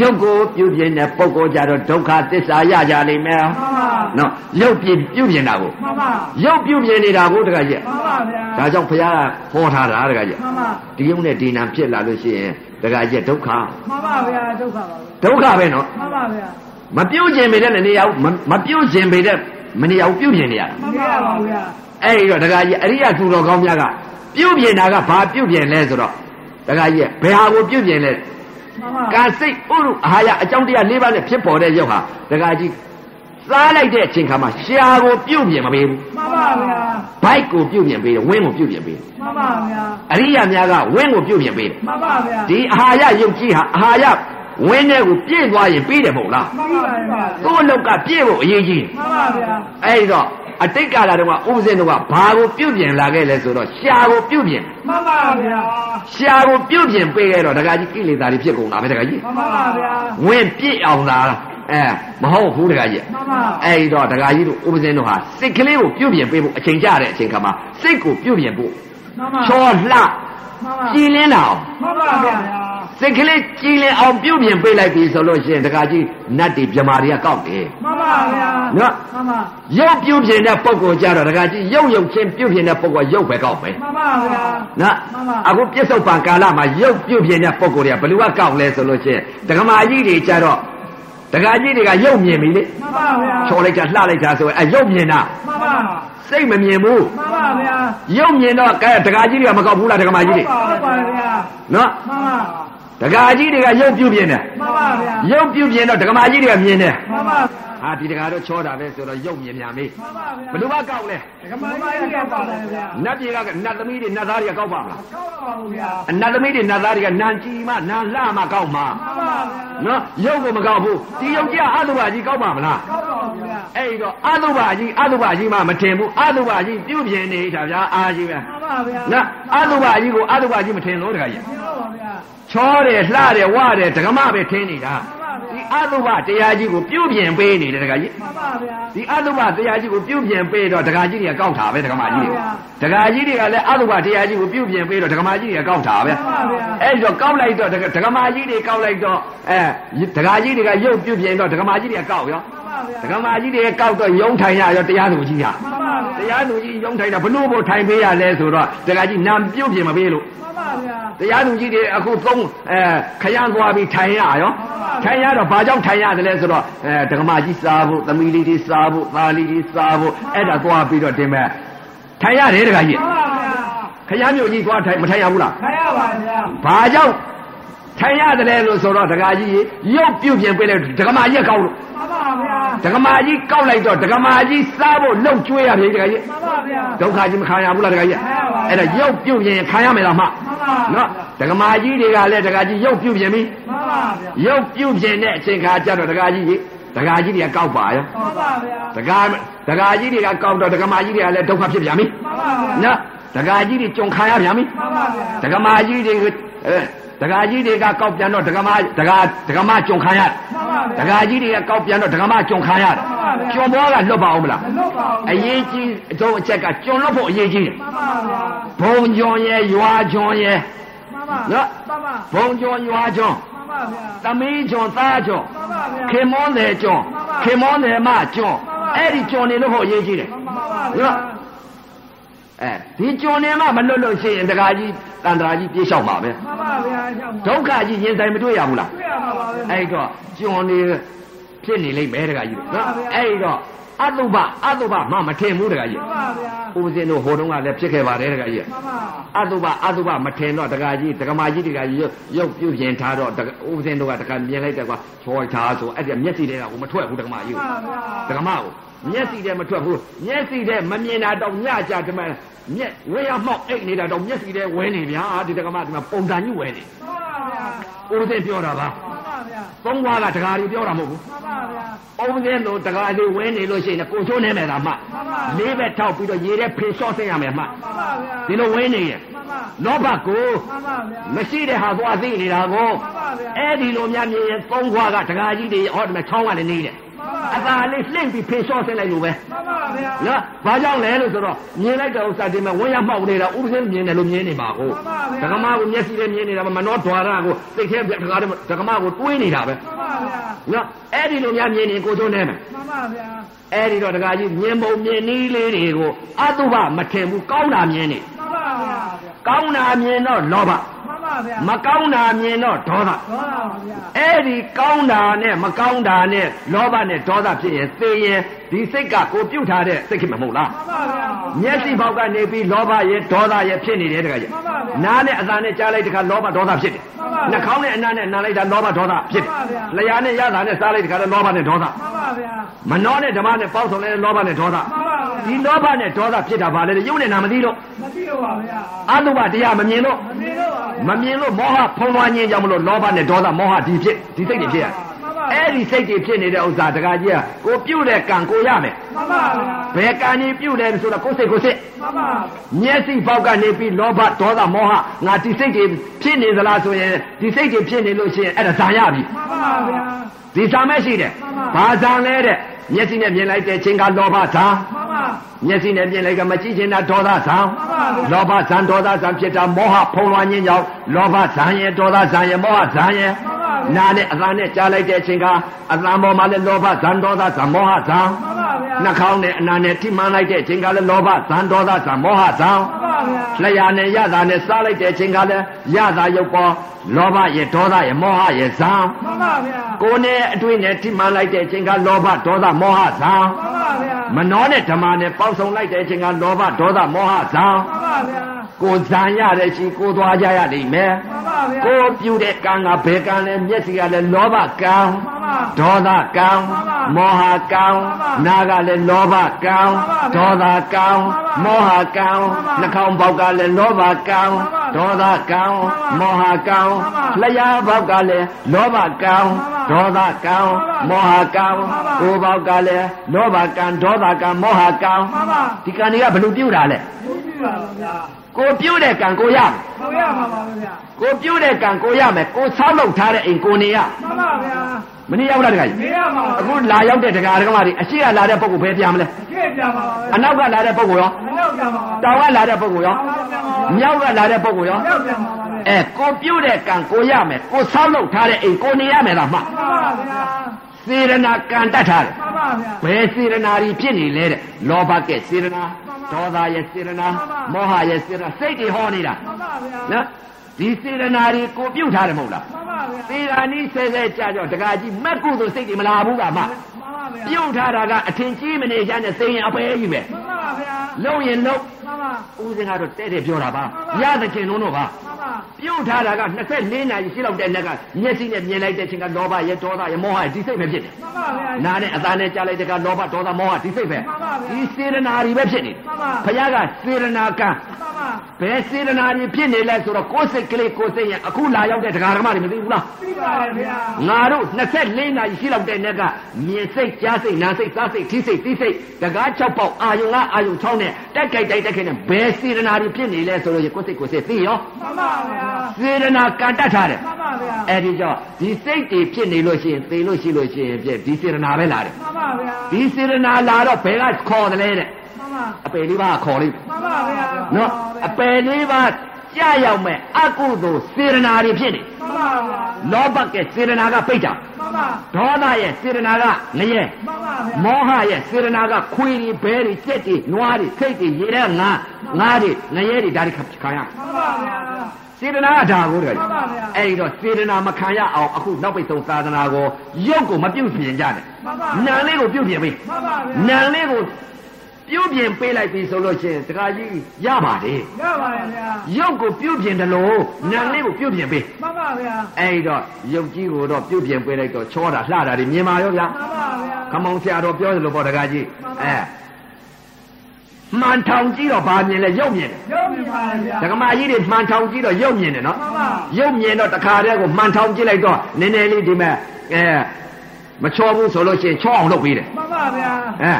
A: ရုပ်ကိုပြုပြင်တဲ့ပုဂ္ဂိုလ်ကြတော့ဒုက္ခသစ္စာရကြလိမ့်မယ်
B: မှန်ပါ
A: နော်ရုပ်ပြင်ပြုပြင်တာကို
B: မှန်ပါ
A: ရုပ်ပြုပြင်နေတာကိုတခါကြီး
B: မှန်ပါဗျာ
A: ဒါကြောင့်ဘုရားကဟောထားတာတခါကြီး
B: မှန်ပါ
A: ဒီယုံနဲ့ဒီနာဖြစ်လာလို့ရှိရင်တခါကြီးဒုက္ခ
B: မှန်ပါဗျာဒုက္ခပါပဲ
A: ဒုက္ခပဲနော်
B: မှန်ပါဗျာ
A: မပြုတ်ခြင်းပေတဲ့နေရာကိုမမပြုတ်ခြင်းပေတဲ့မနေရာကိုပြုတ်ပြင်နေရတာ
B: မှန်ပါပါဗျာ
A: အဲ့ဒီတော့တခါကြီးအရိယသူတော်ကောင်းများကပြုတ်ပြင်တာကဘာပြုတ်ပြင်လဲဆိုတော့တခါကြီးဘယ်ဟာကိုပြုတ်ပြင်လဲ
B: မှန်ပါ
A: ကာစိတ်ဥရုအာဟာရအကြောင်းတရား၄ပါးနဲ့ဖြစ်ပေါ်တဲ့ရုပ်ဟာဒကာကြီးစားလိုက်တဲ့အချိန်ခါမှာရှာကိုပြုတ်ပြင်မပေးဘူး
B: မှန်ပါဗျာ
A: ဘိုက်ကိုပြုတ်ပြင်ပေးတယ်ဝင်းကိုပြုတ်ပြင်ပေးတယ်
B: မှန်ပါဗျာ
A: အရိယာများကဝင်းကိုပြုတ်ပြင်ပေးတယ်
B: မှန်ပါဗျာ
A: ဒီအာဟာရရုပ်ကြီးဟာအာဟာရဝင်းတဲ့ကိုပြည့်သွားရင်ပြီးတယ်မဟုတ်လား
B: မှန်ပါဗျာ
A: သူ့အလောက်ကပြည့်ဖို့အရေးကြီးတယ်
B: မှန်ပါဗျာ
A: အဲဒီတော့အတိတ်ကာလတုန်းကဥပဇင်းတို့ကဘာကိုပြုတ်ပြင်လာခဲ့လဲဆိုတော့ရှာကိုပြုတ်ပြင်
B: မှန်ပါဗျာ
A: ရှာကိုပြုတ်ပြင်ပေးရတော့ဒကာကြီးကိလေသာတွေဖြစ်ကုန်တာပဲဒကာကြီး
B: မှန်ပါဗျာ
A: ဝင်းပြည့်အောင်လာအဲမဟုတ်ဘူးဒကာကြီး
B: မှန်ပါ
A: အဲ့ဒီတော့ဒကာကြီးတို့ဥပဇင်းတို့ဟာစိတ်ကလေးကိုပြုတ်ပြင်ပေးဖို့အချိန်ကြတဲ့အချိန်ခါမှာစိတ်ကိုပြုတ်ပြင်ဖို့
B: မှန်ပါ
A: ချောလှ
B: မှန်ပါ
A: ကြည်လင်းလာအောင်
B: မှန်ပါဗျာ
A: စိတ်ကလေးကြည်လင်းအောင်ပြုတ်ပြင်ပေးလိုက်ပြီဆိုလို့ရှိရင်ဒကာကြီးနတ်တွေမြမာတွေကကောက်တယ်
B: မှန်ပါဗျာ
A: နော်
B: မှန်ပါ
A: ရုပ်ပြုတ်ပြင်တဲ့ပုံကိုလ်ကြတော့ဒကာကြီးရုပ်ရုပ်ချင်းပြုတ်ပြင်တဲ့ပုံကရုပ်ပဲကောက်ပဲ
B: မှန်ပါဗျာ
A: နော်
B: မှန်ပါ
A: အခုပြစ္ဆုတ်ပံကာလမှာရုပ်ပြုတ်ပြင်တဲ့ပုံကိုလ်တွေကဘယ်လိုကကောက်လဲဆိုလို့ရှိရင်ဒကမာကြီးတွေကြတော့ဒကာကြီးတွေကရုပ်မြင်ပြီလေ
B: မှန်ပါဗျာ
A: ချောလိုက်တာလှလိုက်တာဆိုရင်အဲရုပ်မြင်တာ
B: မှန်ပါ
A: စိတ်မမြင်ဘူး
B: မှန်ပါဗျာ
A: ရုပ်မြင်တော့ကဲဒကာကြီးတွေကမကောက်ဘူးလားဒကာမကြီးတွေ
B: ဟုတ်ပါဗျာ
A: နော်
B: မှန်ပါ
A: ဒကာကြီးတွေကရုပ်ပြုတ်ပြင်းတယ်
B: မှန်ပါဗျာ
A: ရုပ်ပြုတ်ပြင်းတော့ဒကာမကြီးတွေကမြင်တယ်
B: မှန်ပါဗျာ
A: ဟာဒီဒကာတော့ချောတာပဲဆိုတော့ရုပ်မြင်များမေး
B: မှန်ပါ
A: ဘ
B: ဗျာ
A: ယ်လိုမှကောက်လဲ
B: ဒကမာကြီးကပါတယ်ဗျာ
A: နတ်ပြည်ကကနတ်သမီးတွေနတ်သားတွေကကောက်ပါမလား
B: ကောက်ပါဘူးဗျာ
A: အနတ်သမီးတွေနတ်သားတွေကနန်ကြီးမှနန်လှမှကောက်မှာ
B: မှန်ပါဗျာ
A: နော်ရုပ်ကမကောက်ဘူးဒီရုပ်ကြီးကအတုပါကြီးကောက်ပါမလား
B: ကောက်ပါဘူးဗျာ
A: အဲ့ဒီတော့အတုပါကြီးအတုပါကြီးမှမထင်ဘူးအတုပါကြီးပြုတ်ပြင်းနေတာဗျာအာကြီးပဲ
B: မှန်ပါဗျာ
A: နော်အတုပါကြီးကိုအတုပါကြီးမထင်လို့ဒကာကြီး
B: ပြောပါဗျာ
A: ချောတယ်လှတယ်ဝတယ်ဓကမပဲထင်းနေတာဒီအတုပတရားကြီးကိုပြုတ်ပြင်ပေးနေတယ်ဓကကြီး
B: မှန်ပါဗျာ
A: ဒီအတုပတရားကြီးကိုပြုတ်ပြင်ပေးတော့ဓကကြီးတွေကကောက်တာပဲဓကမကြီး
B: မှ
A: တွေ
B: န်ပါ
A: ဓကကြီးတွေကလည်းအတုပတရားကြီးကိုပြုတ်ပြင်ပေးတော့ဓကမကြီးတွေကကောက်တာပဲ
B: မှန်ပါဗျာ
A: အဲ့ဒီတော့ကောက်လိုက်တော့ဓကဓကမကြီးတွေကောက်လိုက်တော့အဲဓကကြီးတွေကရုပ်ပြုတ်ပြင်တော့ဓကမကြီးတွေကကောက်ရော
B: မှန်ပါ
A: ဓကမ
B: ဗျာ
A: ကြီးတွေကောက်တော့ရုံထိုင်ရရောတရားသူကြီးက
B: မှန်ပါဗျာ
A: တရားသူကြီးရုံထိုင်တာဘလို့ဖို့ထိုင်ပေးရလဲဆိုတော့ဓကကြီးနာပြုတ်ပြင်မပေးလို့
B: မှန်ပါဗျာ
A: တရားသူကြီးတွေအခုသုံးအဲခရမ်းသွားပြီးထိုင်ရရော
B: ဟုတ်ပါဘူး
A: ထိုင်ရတော့ဘာကြောင့်ထိုင်ရတယ်လဲဆိုတော့အဲဓမ္မကြီးစားဖို့သမီးလေးတွေစားဖို့သားလေးတွေစားဖို့အဲ့ဒါသွားပြီးတော့ဒီမဲ့ထိုင်ရတယ်တခါကြီး
B: မှန်ပါဗျာ
A: ခရမ်းမြို့ကြီးသွားထိုင်မထိုင်ရဘူးလား
B: ခရပါဗျာ
A: ဘာကြောင့်ထိုင်ရတယ်လဲလို့ဆိုတော့တခါကြီးရုပ်ပြုတ်ပြင်ပေးလဲဓမ္မကြီးကကောက်လို့
B: မှန်ပါဗျာ
A: ဒကမာကြီးကောက်လိုက်တော့ဒကမာကြီးစားဖို့လှုပ်ကျွေးရတယ်ဒကာကြီး
B: မှန်ပါဗျာ
A: ဒုက္ခကြီးမခံရဘူးလားဒကာကြီး
B: ခံရပါဘူး
A: အဲ့ဒါရုပ်ပြုတ်ပြင်ရင်ခံရမယ်လားမ
B: မှန်ပါဗျာ
A: နော်ဒကမာကြီးတွေကလည်းဒကာကြီးရုပ်ပြုတ်ပြင်ပြီ
B: မှန်ပါဗျာ
A: ရုပ်ပြုတ်ပြင်တဲ့အချိန်ခါကျတော့ဒကာကြီးကြီးဒကာကြီးတွေကကောက်ပါရော
B: မှန်ပါဗျာ
A: ဒကာဒကာကြီးတွေကကောက်တော့ဒကမာကြီးတွေကလည်းဒုက္ခဖြစ်ပြန်ပြီ
B: မှန်ပါဗျာမှန်
A: နော်ဒကာကြီးတွေကြုံခံရပြန်ပြီ
B: ပါဗျာ
A: ဒကမာကြီးတွေကအဲဒကာကြီးတွေကကောက်ပြန်တော့ဒကမာဒကာဒကမာကြုံခံရတယ်
B: မှန်ပါ
A: ဒကာ
B: ဗျာ
A: ကြီးတွေကကောက်ပြန်တော့ဒကမာကြုံခံရတယ်
B: မှန်ပါဗျာ
A: ကြုံဘောကလွတ်ပါအောင်မလား
B: မလွတ်ပါ
A: အ
B: ဘူး
A: ရေးကြီးအဆုံးအချက်ကကြုံလွတ်ဖို့အရေးကြီးတယ်
B: မှန်ပါဗျာ
A: ဘုံကြုံရဲ့ရွာကြုံရဲ့
B: မှန်ပါမှန်ပါ
A: ဘုံကြုံရွာကြုံ
B: မှန်ပါဗျာ
A: သမီးကြုံသားကြုံ
B: မှန်ပါဗျာ
A: ခင်မောတယ်ကြုံခင်မောတယ်မကြုံအဲ့ဒီကြုံနေလို့ဖို့အရေးကြီးတယ်
B: မှန်ပါ
A: နော်
B: ဗျာ
A: အဲဒီကြုံနေမှမလွတ်လို့ရှိရင်ဒကာကြီးတန်တရာကြီးပြေးလျှောက်ပါပဲ
B: မှန်ပါဗျာရှောက်ပါ
A: ဒုက္ခကြီးရင်ဆိုင်မတွေ့ရဘူးလား
B: တွေ့ရမှာပါပဲ
A: အဲ့တော့ကျွန်နေဖြစ်နေလိမ့်မယ်တကကြီးနော်အဲ့တော့အတုပအတုပမမထင်ဘူးတကကြီး
B: မှန်ပါဗျာ
A: ဥပဇင်းတို့ဟိုတုန်းကလည်းဖြစ်ခဲ့ပါတယ်တကကြီး
B: မှန်ပါ
A: အတုပအတုပမထင်တော့တကကြီးတကမာကြီးတကကြီးရုပ်ရုပ်ပြုပြင်ထားတော့တကဥပဇင်းတို့ကတကမြင်လိုက်တယ်ကွာချောထားဆိုအဲ့ဒီမျက်စိတွေကဟိုမထွက်ဘူးတကမာကြီး
B: မှ
A: ကို
B: န်
A: တကမာ
B: ပါဗျာ
A: ကိုမျက်စိတွေမထွက်ဘူးမျက်စိတွေမမြင်တာတော့ညကြတမန်မျက်ဝေရမောက်အိတ်နေတာတော့မျက်စိတွေဝဲနေဗျာဒီတကမာဒီမှာပုံတန်ညွဝဲနေ
B: မှန်ပါဗျာ
A: ဥပဇင်းပြောတာပါ
B: မှန်ပါဗျာ
A: သုံးွားကတကကြီးပြောတာမဟုတ်ဘူး
B: မှန်ပါဗျာ
A: ။ပုံစံလိုတကားလေးဝဲနေလို့ရှိရင်ကိုချိုးနေမယ်လားမ
B: မှန်ပါ
A: ။
B: ဗျာ
A: လေးပဲထောက်ပြီးတော့ရေထဲဖေလျှော့သိရမယ်မ
B: မှန်ပါဗျာ
A: ။ဒီလိုဝဲနေရင်
B: မှန်ပါ
A: လောဘကို
B: မှန်ပါဗျာမှန်
A: မရှိတဲ့ဟာသွားသိနေတာကို
B: ပါဗျာ
A: အဲ့ဒီလိုများမြင်ရင်သုံးခွာကတကားကြီးတွေဟောဒီမှာချောင်းကနေနေတယ်
B: မှန်
A: ။
B: ပါ
A: အသာလေးလှင့်ပြီးဖေလျှော့သိလိုက်လို့ပဲ
B: မှန်ပါဗျာ
A: ။နော်။ဘာကြောင့်လဲလို့ဆိုတော့မြင်လိုက်တဲ့ဥစ္စာဒီမှာဝင်းရမှောက်နေတာဥပဒေမြင်တယ်လို့မြင်နေပါကို။ဒကမကိုမျက်စိနဲ့မြင်နေတာမနောဓွာရကိုသိခဲဒကာဒကမကိုတွေးနေတာပဲ
B: မှန်ပါဗျာ
A: ။နော်။အဲ့ဒီလိုများမြင်ရင်ကိုချိုးနေမယ်
B: မှန်ပါဗျာ
A: အဲ့ဒီတော့တကကြီးမြင်ပုံမြင်နည်းလေးတွေကိုအတုပမထင်ဘူးကောင်းတာမြင်နေ
B: မှန်ပါဗျာ
A: ကောင်းတာမြင်တော့လောဘ
B: မှန်ပါဗျာ
A: မ
B: မှန်ပါဗျာ
A: ကောင်းတာမြင်တော့ဒေါသ
B: ဒေါသပါဗျာ
A: အဲ့ဒီကောင်းတာနဲ့မကောင်းတာနဲ့လောဘနဲ့ဒေါသဖြစ်ရင်သိရင်ဒီစိတ်ကကိုပြုတ်ထားတဲ့စိတ်ခင်မဟုတ်လား
B: မှန်ပါဗျာ
A: မျက်စိပေါက်ကနေပြီးလောဘရဲ့ဒေါသရဲ့ဖြစ်နေတယ်တကကြီး
B: မှန်ပါဗျာ
A: နားနဲ့အသံနဲ့ကြားလိုက်တခါလောဘဒေါသဖြစ်တယ်
B: မှန်ပါဗျာ
A: နှာခေါင်းနဲ့အနားနဲ့နားလိုက်တာလောဘဒေါသဖြစ်
B: မှန်ပါဗျာ
A: တယ်လျှာနဲ့ရတာနဲ့စားလိုက်တခါတော့လောဘနဲ့ဒေါသ
B: မှန်ပါဗျာ
A: မနှောနဲ့ဓမ္မနဲ့ပေါက်ဆုံးလဲလောဘနဲ့ဒေါသ
B: မှန်
A: ဒီ
B: ပါဗျာ
A: လောဘနဲ့ဒေါသဖြစ်တာဗာလေရုပ်နဲ့နာမသိလို့
B: မသိတော့ပါဗျာ
A: အတုပတရားမမြင်လို့
B: မသိတော့ပါဗျာ
A: မမြင်လို့မောဟဖုံးလွှမ်းခြင်းကြောင့်မလို့လောဘနဲ့ဒေါသမောဟဒီဖြစ်ဒီစိတ်တွေဖြစ်ရတယ်
B: မှန်ပါဗျာ
A: အဲ့ဒီစိတ်တွေဖြစ်နေတဲ့ဥစ္စာတကကြီးကကိုပြုတ်တဲ့ကံကိုရမယ်
B: မှန်ပါ
A: ဘ
B: ဗျာ
A: ယ်ကံကြီးပြုတ်တယ်ဆိုတော့ကိုယ်စိတ်ကိုယ်စိတ်
B: မမ
A: မျက်စိပေါက်ကနေပြီးလောဘဒေါသမောဟငါဒီစိတ်တွေဖြစ်နေသလားဆိုရင်ဒီစိတ်တွေဖြစ်နေလို့ရှိရင်အဲ့ဒါဇာရပြီ
B: မမဗျာ
A: ဒီဇာမဲ့ရှိတယ်
B: မှန်ပါ
A: ဘာဇာလဲတဲ့မျက်စိနဲ့မြင်လိုက်တဲ့ချင်းကလောဘဇာ
B: မမ
A: မျက်စိနဲ့မြင်လိုက်ကမကြည့်ချင်တာဒေါသဆံ
B: မှန်ပါဗျာ
A: လောဘဆံဒေါသဆံဖြစ်တာမောဟဖုံးလွှမ်းခြင်းကြောင့်လောဘဆံရဲ့ဒေါသဆံရဲ့မောဟဆံရဲ့
B: မမဗျာ
A: နားနဲ့အသံနဲ့ကြားလိုက်တဲ့အချိန်ကအသံပေါ်မှာလည်းလောဘဆံဒေါသဆံမောဟဆံ
B: မမဗျာ
A: နှာခေါင်းနဲ့အနာနဲ့ထိမှန်လိုက်တဲ့အချိန်ကလည်းလောဘဆံဒေါသဆံမောဟဆံ
B: မမဗျာ
A: လျှာနဲ့ရတာနဲ့စားလိုက်တဲ့အချိန်ကလည်းရတာရုပ်ပေါ်လောဘရဲ့ဒေါသရဲ့မောဟရဲ့ဆံ
B: မမဗျာ
A: ကိုယ်နဲ့အတွေ့နဲ့ထိမှန်လိုက်တဲ့အချိန်ကလောဘဒေါသမောဟဆံ
B: မမဗျာ
A: မနှောနဲ့ဓမ္မနဲ့ပေါင်းစုံလိုက်တဲ့အချိန်ကလောဘဒေါသမောဟဇံ
B: မမဗျာ
A: ကိုဇံရတဲ့ရှိကိုသွားကြရလိမ့်မယ်
B: မမဗျာ
A: ကိုပြုတဲ့ကံကဘယ်ကံလဲမျက်စိကလည်းလောဘကံ
B: မမ
A: ဒေါသကံ
B: မှန်ပါ
A: မောဟကံ
B: မှန်ပါ
A: နာကလည်းလောဘကံ
B: မှ
A: ဒေါ
B: န်
A: သ
B: ပါ
A: ကံ
B: မှ
A: မော
B: န်
A: ဟ
B: ပါ
A: ကံ
B: မှ
A: နှာ
B: န်
A: ခေါင်း
B: ပါ
A: ပေါက်ကလည်းလောဘကံ
B: မှ
A: ဒေါ
B: န်
A: သ
B: ပါ
A: ကံ
B: မှ
A: မော
B: န်
A: ဟ
B: ပါ
A: ကံ
B: မှန်ပါ
A: လျာပေါက်ကလည်းလောဘကံ
B: မှ
A: ဒေါ
B: န်
A: သ
B: ပါ
A: ကံ
B: မှ
A: မော
B: န်
A: ဟ
B: ပါ
A: ကံ
B: မှန်ပါ
A: ကိုယ်ပေါက်ကလည်းလောဘကံဒေါသကံမောဟကံ
B: မမ
A: ဒီကံတွေကဘယ်လိုပြုတ်တာလဲ
B: ဘူးပြပါဗျာ
A: ကိုပြုတ်တဲ့ကံကိုရမယ်
B: ဟုတ်ရမှာပါဗျာ
A: ကိုပြုတ်တဲ့ကံကိုရမယ်ကိုဆောက်လုပ်ထားတဲ့အိမ်ကိုနေရ
B: မမဗျာ
A: မနေရဘူးလားတခါကြီး
B: နေရမှာ
A: အခုလာရောက်တဲ့တရားဓမ္မတွေအရှိကလာတဲ့ပုံကိုဘယ်ပြန်မလဲ
B: ကြည့်ပြပါ
A: အ
B: ဗျာ
A: နောက်ကလာတဲ့ပုံကိုရော
B: အနောက်ပြပါဗျာ
A: တောင်ကလာတဲ့ပုံကိုရောမြောက်ကလာတဲ့ပုံကိုရော
B: အနောက်ပြပါဗျာ
A: အဲကိုပြုတ်တဲ့ကံကိုရမယ်ကိုဆောက်လုပ်ထားတဲ့အိမ်ကိုနေရမယ်လားမှ
B: မမဗျာ
A: စေရနာကံတတ်ထားတယ်
B: မမ
A: ဘ
B: ဗျာ
A: ယ်စေရနာကြီးဖြစ်နေလဲတဲ့လောဘကဲ့စေရနာဒေါသရဲ့စေရနာ
B: မှန်ပါ
A: မောဟရဲ့စေရနာစိတ်တွေဟောနေတာ
B: မမဗျာ
A: နော်ဒီစေတနာတွေကိုပြုတ်ထားတယ်မဟုတ်လား
B: မမဗျာ
A: သေတာနည်းဆဲဆဲကြကြောတကကြီးမက်ကုသိုလ်စိတ်တွေမလာဘူးကမ
B: မမဗျာ
A: ပြုတ်ထားတာကအထင်ကြီးမနေချမ်းတဲ့စိတ်ရင်အပဲကြီးပဲ
B: မမဗျာ
A: လုံရင်လုံ
B: မမ
A: ဦးစင်ကတော့တဲ့တဲ့ပြောတာပါ
B: မှန်ပါ
A: ရသခင်တို့တော့ပါ
B: မမ
A: ပြုတ်ထားတာက24နာရီရှိလောက်တဲ့နေ့ကမျက်စိနဲ့မြင်လိုက်တဲ့အချိန်ကလောဘရဲ့ဒေါသရဲ့မောဟရဲ့ဒီစိတ်ပဲဖြစ်တယ်
B: မှန်ပါဗျာ
A: ။နားနဲ့အသားနဲ့ကြားလိုက်တဲ့ကလောဘဒေါသမောဟဒီစိတ်ပဲ
B: မှန်ပါဗျာ
A: ဒီစေရနာတွေပဲဖြစ်နေတယ်
B: မှန်ပါ
A: ။ဘုရားကစေရနာကံ
B: မှန်ပါ
A: ဘယ်စေရနာတွေဖြစ်နေလဲဆိုတော့ကိုယ်စိတ်ကလေးကိုယ်စိတ်ရဲ့အခုလာရောက်တဲ့တရားဓမ္မတွေမသိဘူးလား။
B: သိပါတယ်ဗျာ
A: ငါတို့24နာရီရှိလောက်တဲ့နေ့ကမြင်စိတ်ကြားစိတ်နားစိတ်စားစိတ်ထိစိတ်သိစိတ်တကား6ပေါက်အာယုံကအာယုံ6နဲ့တက်ကြိုက်တိုက်တက်ခဲနဲ့ဘယ်စေတနာတွေဖြစ်နေလဲဆိုလို့ရကိုယ်စိတ်ကိုယ်စိတ်သိရော
B: မှန်ပါဗျာ
A: စေတနာကံတတ်ထားတယ်
B: မှန်ပါဗျာ
A: အဲ့ဒီကြောင့်ဒီစိတ်တွေဖြစ်နေလို့ရှိရင်သိလို့ရှိလို့ရှိရင်ပြည့်ဒီစေတနာပဲလာတယ်
B: မှန်ပါဗျာ
A: ဒီစေတနာလာတော့ဘယ်ကခေါ်တယ်လဲတဲ့
B: မှန်ပါ
A: အပေလေးပါးကခေါ်လိမ့်မယ်
B: မှန်ပါဗျာ
A: နော်အပေလေးပါးကြရောက်မဲ့အကုသိုလ်စေတနာတွေဖြစ်နေ
B: မှန်ပါဗျာ
A: လောဘကဲစေတနာကပိတ်တာ
B: မှန်ပါ
A: ဒေါသရဲ့စေတနာကငရဲ
B: မှန်ပါဗျာ
A: မောဟရဲ့စေရနာကခွေတွေဘဲတွေကြက်တွေနွားတွေခိတ်တွေရေထဲငါငါတွေငရဲတွေဒါတွေခံရ
B: မှန်ပါဗျာ
A: စေရနာကဒါကိုတည်း
B: မှန်ပါဗျာ
A: အဲ့ဒီတော့စေရနာမခံရအောင်အခုနောက်ပိတ်ဆုံးသာသနာကိုရုပ်ကိုမပြုတ်ပြင်ကြနဲ့
B: မှန်ပါ
A: နာမ်လေးကိုပြုတ်ပြင်ပေး
B: မှန်ပါဗျာ
A: နာမ်လေးကိုပြုတ်ပြင်ပေးလိုက်ပြီဆိုလို့ရှိရင်တခါကြီးရပါတယ်
B: ရပါတယ်ဗျာ
A: ရုပ်ကိုပြုတ်ပြင်တယ်လို့နာမ်လေးကိုပြုတ်ပြင်ပေး
B: မှန်ပါဗျာ
A: အဲ့ဒီတော့ရုပ်ကြီးကိုတော့ပြုတ်ပြင်ပေးလိုက်တော့ချောတာလှတာတွေမြင်ပါရောဗျာ
B: မှန်
A: ခ
B: ပါဗျာ
A: မောင်ဆရာတော်ပြောတယ်လို့ပေါ့တကားကြီးအဲမှန်ထောင်ကြည့်တော့ဘာမြင်လဲရုပ်မြင်တယ်
B: ရုပ်မြင်ပါတယ်ဗျာ
A: ဒကမာကြီးတွေမှန်ထောင်ကြည့်တော့ရုပ်မြင်တယ်နော်
B: မှန်ပါ
A: ရုပ်မြင်တော့တခါတည်းကိုမှန်ထောင်ကြည့်လိုက်တော့နည်းနည်းလေးဒီမဲ့အဲမချောဘူးဆိုလို့ရှိရင်ချောအောင်လုပ်ပေးတယ်
B: မှန်ပါဗျာ
A: အဲ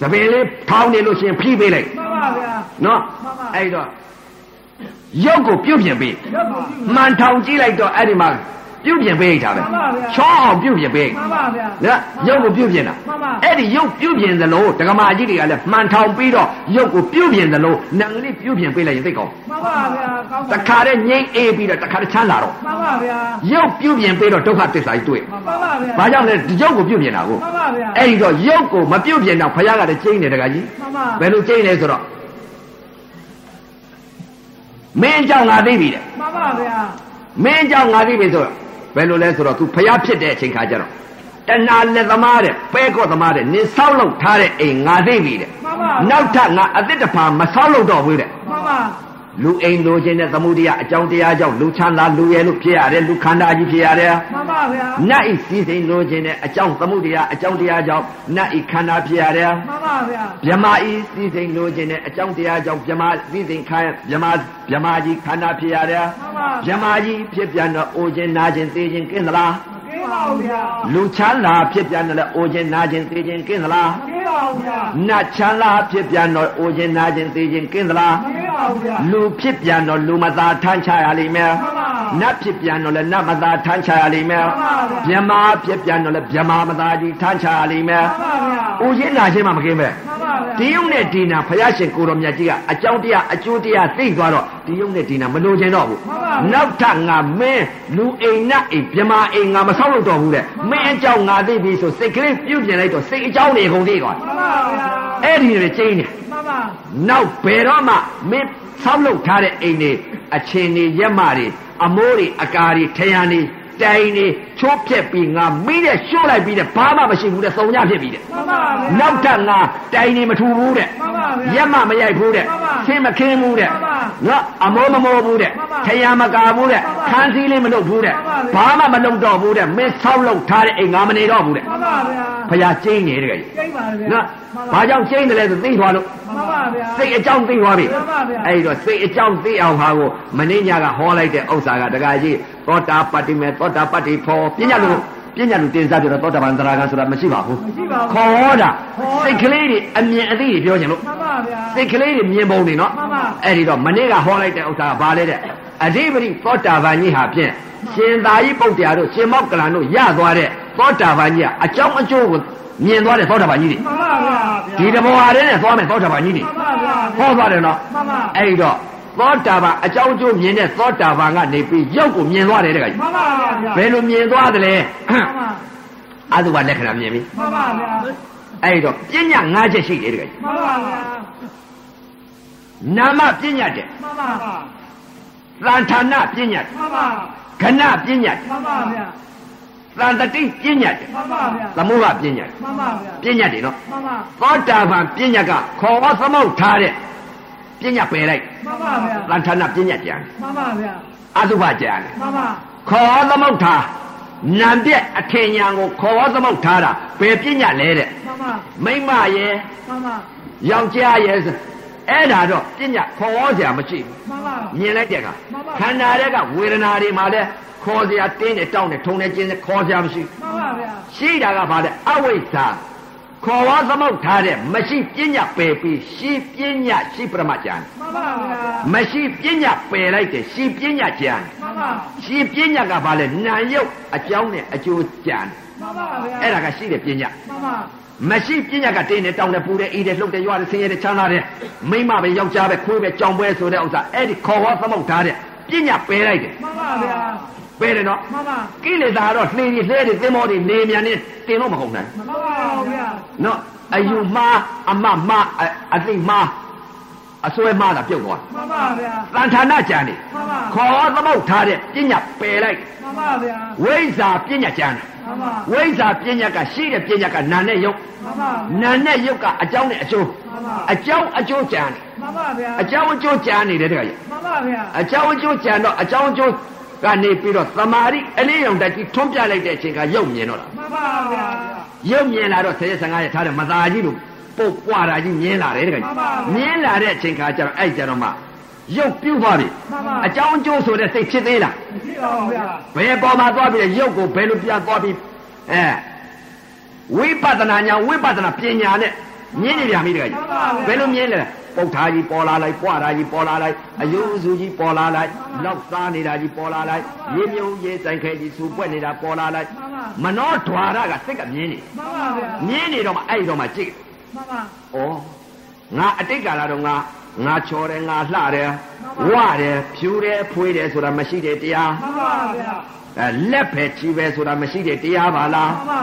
A: သပင်လေးထောင်နေလို့ရှိရင်ဖြီးပေးလိုက်
B: မှန်ပါဗျာ
A: နော်
B: မှန်ပါ
A: အဲ့တော့ရုပ်ကိုပြုတ်ပြင်ပေး
B: ရုပ်ကိုကြည့်
A: မှန်ထောင်ကြည့်လိုက်တော့အဲ့ဒီမှာပြုတ်ပြင်ပေးလိုက်တာပဲ
B: မှန်ပါဗျာ
A: ချောအောင်ပြုတ်ပြင်ပေးလိုက်
B: မှန်ပါဗျာ
A: နော်ရုပ်ကိုပြုတ်ပြင်တာ
B: မှန်ပါ
A: အဲ့ဒီရုပ်ပြုတ်ပြင်သလိုဓကမာကြီးတွေကလည်းမှန်ထောင်ပြီးတော့ရုပ်ကိုပြုတ်ပြင်သလိုနံလေးပြုတ်ပြင်ပေးလိုက်ရင်သိကောင်း
B: မှန်ပါဗျာကောင်း
A: တ
B: ပါ
A: ခါတည်းငြိမ့်အေးပြီးတော့တခါတည်းချမ်းလာတော့
B: မှန်ပါဗျာ
A: ရုပ်ပြုတ်ပြင်ပေးတော့ဒုက္ခသစ္စာကြီးတွေ့
B: မှန်ပါဗျာ
A: ဘာကြောင့်လဲဒီရုပ်ကိုပြုတ်ပြင်တာကို
B: မှန်ပါဗျာ
A: အဲ့ဒီတော့ရုပ်ကိုမပြုတ်ပြင်တော့ဘုရားကလည်းကျိန်းတယ်တခါကြီး
B: မှန်ပါ
A: ဘယ်လိုကျိန်းလဲဆိုတော့မင်းကြောင့်ငါသိပြီတဲ့
B: မှန်ပါဗျာ
A: မင်းကြောင့်ငါသိပြီဆိုတော့ဘယ်လိုလဲဆိုတော့ तू ဘုရားဖြစ်တဲ့အချိန်ခါကျတော့တဏှာလက်သမားတဲ့ပဲကော့သမားတဲ့နင်ဆောက်လုပ်ထားတဲ့အိမ်ငါသိပြီတဲ့
B: မှန်ပါ
A: နောက်ထပ်ငါအသစ်တစ်ဖန်မဆောက်လို့တော့ဘူးတဲ့
B: မှန်ပါ
A: လူအိမ်လိုခြင်းနဲ့သမှုတရားအကြောင်းတရားကြောင့်လူချမ်းသာလူရဲလို့ဖြစ်ရတယ်လူခန္ဓာကြီးဖြစ်ရတယ်
B: မှန်ပါဗျာ
A: နတ်ဤစည်းစိမ်လိုခြင်းနဲ့အကြောင်းသမှုတရားအကြောင်းတရားကြောင့်နတ်ဤခန္ဓာဖြစ်ရတယ်
B: မှန်ပါဗျာ
A: မြမဤစည်းစိမ်လိုခြင်းနဲ့အကြောင်းတရားကြောင့်မြမစည်းစိမ်ခန္ဓာမြမမြမကြီးခန္ဓာဖြစ်ရတယ်
B: မှန်ပါ
A: မြမကြီးဖြစ်ပြန်တော့အိုခြင်းနာခြင်းသိခြင်းကင်းသလား
B: ကင်းပါဗျာ
A: လူချမ်းသာဖြစ်ပြန်တယ်လည်းအိုခြင်းနာခြင်းသိခြင်းကင်းသလား
B: ကင်းပါဗျာ
A: နတ်ချမ်းသာဖြစ်ပြန်တော့အိုခြင်းနာခြင်းသိခြင်းကင်းသလား
B: ကင်းပါဗျာ
A: လူဖြစ်ပြန်တော့လူမသာထမ်းချရလိမ့်မယ်
B: မှန်ပါ
A: ။နတ်ဖြစ်ပြန်တော့လည်းနတ်မသာထမ်းချရလိမ့်မယ်။မြမာဖြစ်ပြန်တော့လည်းမြမာမသာကြီးထမ်းချရလိမ့်မယ်
B: မှန်ပါဗျာ
A: ။ဦးရင်းလာချင်းမှမကင်းပဲ
B: မှန်ပါ
A: ။
B: ဗျာ
A: ဒီယုံနဲ့ဒီနာဘုရားရှင်ကိုတော်မြတ်ကြီးကအကြောင်းတရားအကျိုးတရားသိသွားတော့ဒီယုံနဲ့ဒီနာမလိုချင်တော့ဘူး။နောက်ထပ်ငါမင်းလူအိမ်နဲ့အိမ်မြမာအိမ်ငါမဆောက်လို့တော့ဘူးတဲ့။မင်းအကြောင်းငါသိပြီဆိုစိတ်ကလေးပြုတ်ပြင်လိုက်တော့စိတ်အကြောင်းတွေအကုန်သိသွားတယ်
B: မှန်ပါဗျာ
A: ။အဲ့ဒီတွေကျင်းတယ်
B: မှန်ပါ
A: နောက်ဘယ်တော့မှမင်းဆောက်လုပ်ထားတဲ့အိမ်တွေအချင်းတွေရက်မတွေအမိုးတွေအကာတွေထရံတွေတိုင်တွေချိုးဖြက်ပြီးငါမိတဲ့ရှို့လိုက်ပြီးတဲ့ဘာမှမရှိဘူးတဲ့စုံညဖြစ်ပြီးတဲ့
B: မှန်ပါဗျာ
A: နောက်ထပ်ငါတိုင်တွေမထူဘူးတဲ့
B: မှန်ပါဗျာ
A: ရက်မမရိုက်ဘူးတဲ့
B: မှန်ပါ
A: ဆင်းမခင်းဘူးတဲ့
B: မှန်ပါ
A: နော်အမိုးမမိုးဘူးတဲ့
B: မှန်ပါ
A: ထရံမကာဘူးတဲ့
B: မှန်ပါ
A: ခန်းစည်းလေးမလုပ်ဘူးတဲ့
B: မှန်ပါ
A: ဘာမှမလုပ်တော့ဘူးတဲ့မင်းဆောက်လုပ်ထားတဲ့အိမ်ငါမနေတော့ဘူးတဲ့
B: မှန်ပါဗျာ
A: ဖယားကျင်းနေတဲ့ကကြီး
B: ကျိန်းပါဗျာ
A: နော်ဘာကြောင့်ကျင်းတယ်လဲဆိုသိသွားလို့
B: မှန်ပါဗျာ
A: စိတ်အကြောင်းသိသွားပြီ
B: မှန်ပါဗျာ
A: အဲ့တော့စိတ်အကြောင်းသိအောင်ဟာကိုမင်းညာကဟောလိုက်တဲ့ဥစ္စာကတကကြီးသောတာပတ္တိမေသောတာပတ္တိဖောပညာလူပညာလူတင်စားပြောတော့သောတာပန်တရာကဆိုတာမရှိပါဘူး
B: မရှိပါဘူး
A: ခေါ်ဟောတာစိတ်ကလေးတွေအမြင်အသိတွေပြောချင်လို့
B: မှန်ပါဗျာ
A: စိတ်ကလေးတွေမြင်ပုံတွေနော်
B: မှန်ပါ
A: အဲ့ဒီတော့မင်းကဟောလိုက်တဲ့ဥစ္စာကဘာလဲတဲ့အဓိပတိသောတာပန်ကြီးဟာဖြင့်ရှင်သာရိပုတ္တရာတို့ရှင်မောက္ကလန်တို့ရသွားတဲ့သောတာပန်ကြီးကအကြောင်းအကျိုးကိုမြင်သွားတဲ့သောတာပန်ကြီးတွေ
B: မှန်ပါ
A: ဒီတဘောဟာတ
B: ဗျာ
A: ည်းနဲ့သွားမယ်သောတာပန်ကြီးတွေ
B: မှန်ပါဗျာ
A: ဟောသွားတယ်နော်
B: မှန်ပါ
A: အဲ့တော့သောတာပန်အကြောင်းအကျိုးမြင်တဲ့သောတာပန်ကနေပြီးရုပ်ကိုမြင်သွားတယ်တဲ့ကကြီး
B: မှန်ပါဗျာ
A: ဘယ်လိုမြင်သွားသလဲ
B: မ
A: အတုပလက္ခဏာမြင်ပြီ
B: ှန်ပါဗျာ
A: အဲ့တော့ပညာ၅ချက်ရှိတယ်တဲ့ကကြီး
B: မှန်ပါဗျာ
A: နာမပညာတဲ့
B: မှန်ပါဗျာ
A: သံဌာနပညာတဲ့
B: မှန်ပါ
A: ခဏပညာတဲ့
B: မှန်ပါဗျာ
A: သံတတိပညာတဲ့
B: မှန်ပါဗျာ
A: သမုဟပညာ
B: မှန်ပါဗျာ
A: တဲ့ပညာတွေနော်
B: မှန်ပါ
A: သောတာပန်ပညာကခေါ်ဝသမုတ်ထားတဲ့ ပြညာပယ်လိုက်
B: မှန်ပါဗျာ
A: လန်ထာနာပြညာကြံ
B: မှန်ပါဗျာ
A: အတုပကြံ
B: မှန်ပါ
A: ခေါ်သမုတ်ထာနံပြက်အထင်ညာကိုခေါ်သမုတ်ထားတာဘယ်ပြညာလဲတဲ့
B: မှန်ပါ
A: မိမ့်မရဲ့
B: မှန်ပါ
A: ယောက်ျားရဲ့ဆိုအဲ့ဒါတော့ပြညာခေါ်စရာမရှိဘူး
B: မှန်ပါ
A: မြင်လိုက်တဲ့အခါ
B: မှန်ပါ
A: ခန္ဓာတွေကဝေဒနာတွေမှာလဲခေါ်စရာတင်းတယ်တောင်းတယ်ထုံတယ်ကျင်းတယ်ခေါ်စရာမရှိ
B: မှန်ပါဗျာ
A: ရှိတာကဘာလဲအဝိဇ္ဇာခေါ်ဝါသမုတ်ထားတဲ့မရှိပညာပယ်ပြီးရှိပညာရှိပရမကျန်
B: မှန်ပါဗျာ
A: မရှိပညာပယ်လိုက်တယ်ရှိပညာကျန်
B: မှန်ပါ
A: ရှိပညာကဘာလဲနာယုတ်အကြောင်းနဲ့အကျိုးကျန်
B: မှန်ပါဗျာ
A: အဲ့ဒါကရှိတဲ့ပညာ
B: မှန်ပါ
A: မရှိပညာကတင်းတယ်တောင်းတယ်ပူတယ်အေးတယ်လှုပ်တယ်ရွာတယ်ဆင်းရဲတယ်ချမ်းသာတယ်မိမ့်မပဲယောက်ျားပဲခွေးပဲကြောင်ပွဲဆိုတဲ့ဥစ္စာအဲ့ဒီခေါ်ဝါသမုတ်ထားတဲ့ပညာပယ်လိုက်တယ်
B: မှန်ပါဗျာ
A: ပဲတယ်နော်
B: မှန်ပါ
A: ကိလေသာကတော့လှေတွေလှဲတွေသင်္ဘောတွေနေမြန်နေတင်တော့မကုန်နိုင်
B: မှန်ပါဗျာ
A: နော်အယူမှားအမမှားအအသိမှားအစွဲမှားတာပြုတ်သွား
B: မှန်ပါဗျာ
A: တန်ဌာဏကြံနေ
B: မှန်ပါ
A: ခေါ်သမုတ်ထားတဲ့ပညာပယ်လိုက်
B: မှန်ပါဗျာ
A: ဝိဇ္ဇာပညာကြံတယ်
B: မှန်ပါ
A: ဝိဇ္ဇာပညာကရှိတဲ့ပညာကနာနဲ့ယုတ်
B: မှန်ပါ
A: နာနဲ့ယုတ်ကအကြောင်းနဲ့အကျိုး
B: မှန်ပါ
A: အကြောင်းအကျိုးကြံတယ်
B: မှန်ပါဗျာ
A: အကြောင်းအကျိုးကြံနေတဲ့တခါကြီး
B: မှန်ပါဗျာ
A: အကြောင်းအကျိုးကြံတော့အကြောင်းအကျိုးကနေပြီးတော့သမာဓိအလေးရုံတက်ကြီးထွန်းပြလိုက်တဲ့အချိန်ကယုတ်မြင်တော့တာ
B: မှန်ပါဗျာ
A: ရုပ်မြင်လာတော့ဆယ်ရက်ဆန်ငါးရက်ထားတယ်မသားကြီးလို့ပုတ်ပွားတာကြီးမြင်လာတယ်တကယ်
B: မှ
A: ကြီး
B: န်ပါဗျာ
A: မြင်လာတဲ့အချိန်ခါကျတော့အဲ့ကျတော့မှရုပ်ပြုတ်သွားပြီ
B: မှန်ပါ
A: အကြောင်းအကျိုးဆိုတဲ့စိတ်ဖြစ်သေးလား
B: ဖြစ်အောင်ဗျာ
A: ဘယ်ပေါ်မှာသွားပြီးရုပ်ကိုဘယ်လိုပြသွားပြီးအဲဝိပဿနာညာဝိပဿနာပညာနဲ့မြင်နေပြန်ပြီတကယ်ကြီးဘယ်လိုမြင်လဲပုတ်ထားကြီးပေါ်လာလိုက်ပွားတာကြီးပေါ်လာလိုက်အယုစုကြီးပေါ်လာလိုက်လောက်သားနေတာကြီးပေါ်လာလိုက်ရေမြုပ်ရေဆိုင်ခဲကြီးစူပွက်နေတာပေါ်လာလိုက်မနောဓွာရကစိတ်ကမြင်နေ
B: မှန်ပါဗျာ
A: မြင်းနေတော့မှအဲ့ဒီတော့မှကြည့်
B: မှန်ပါ
A: ဩငါအတိတ်ကာလတော့ငါငါချော်တယ်ငါလှတယ်ဝတယ်ဖြူတယ်ဖွေးတယ်ဆိုတာမရှိတဲ့တရား
B: မှန်ပါဗျာ
A: အဲလက်ပဲချီပဲဆိုတာမရှိတဲ့တရားပါလား
B: မှန်ပါ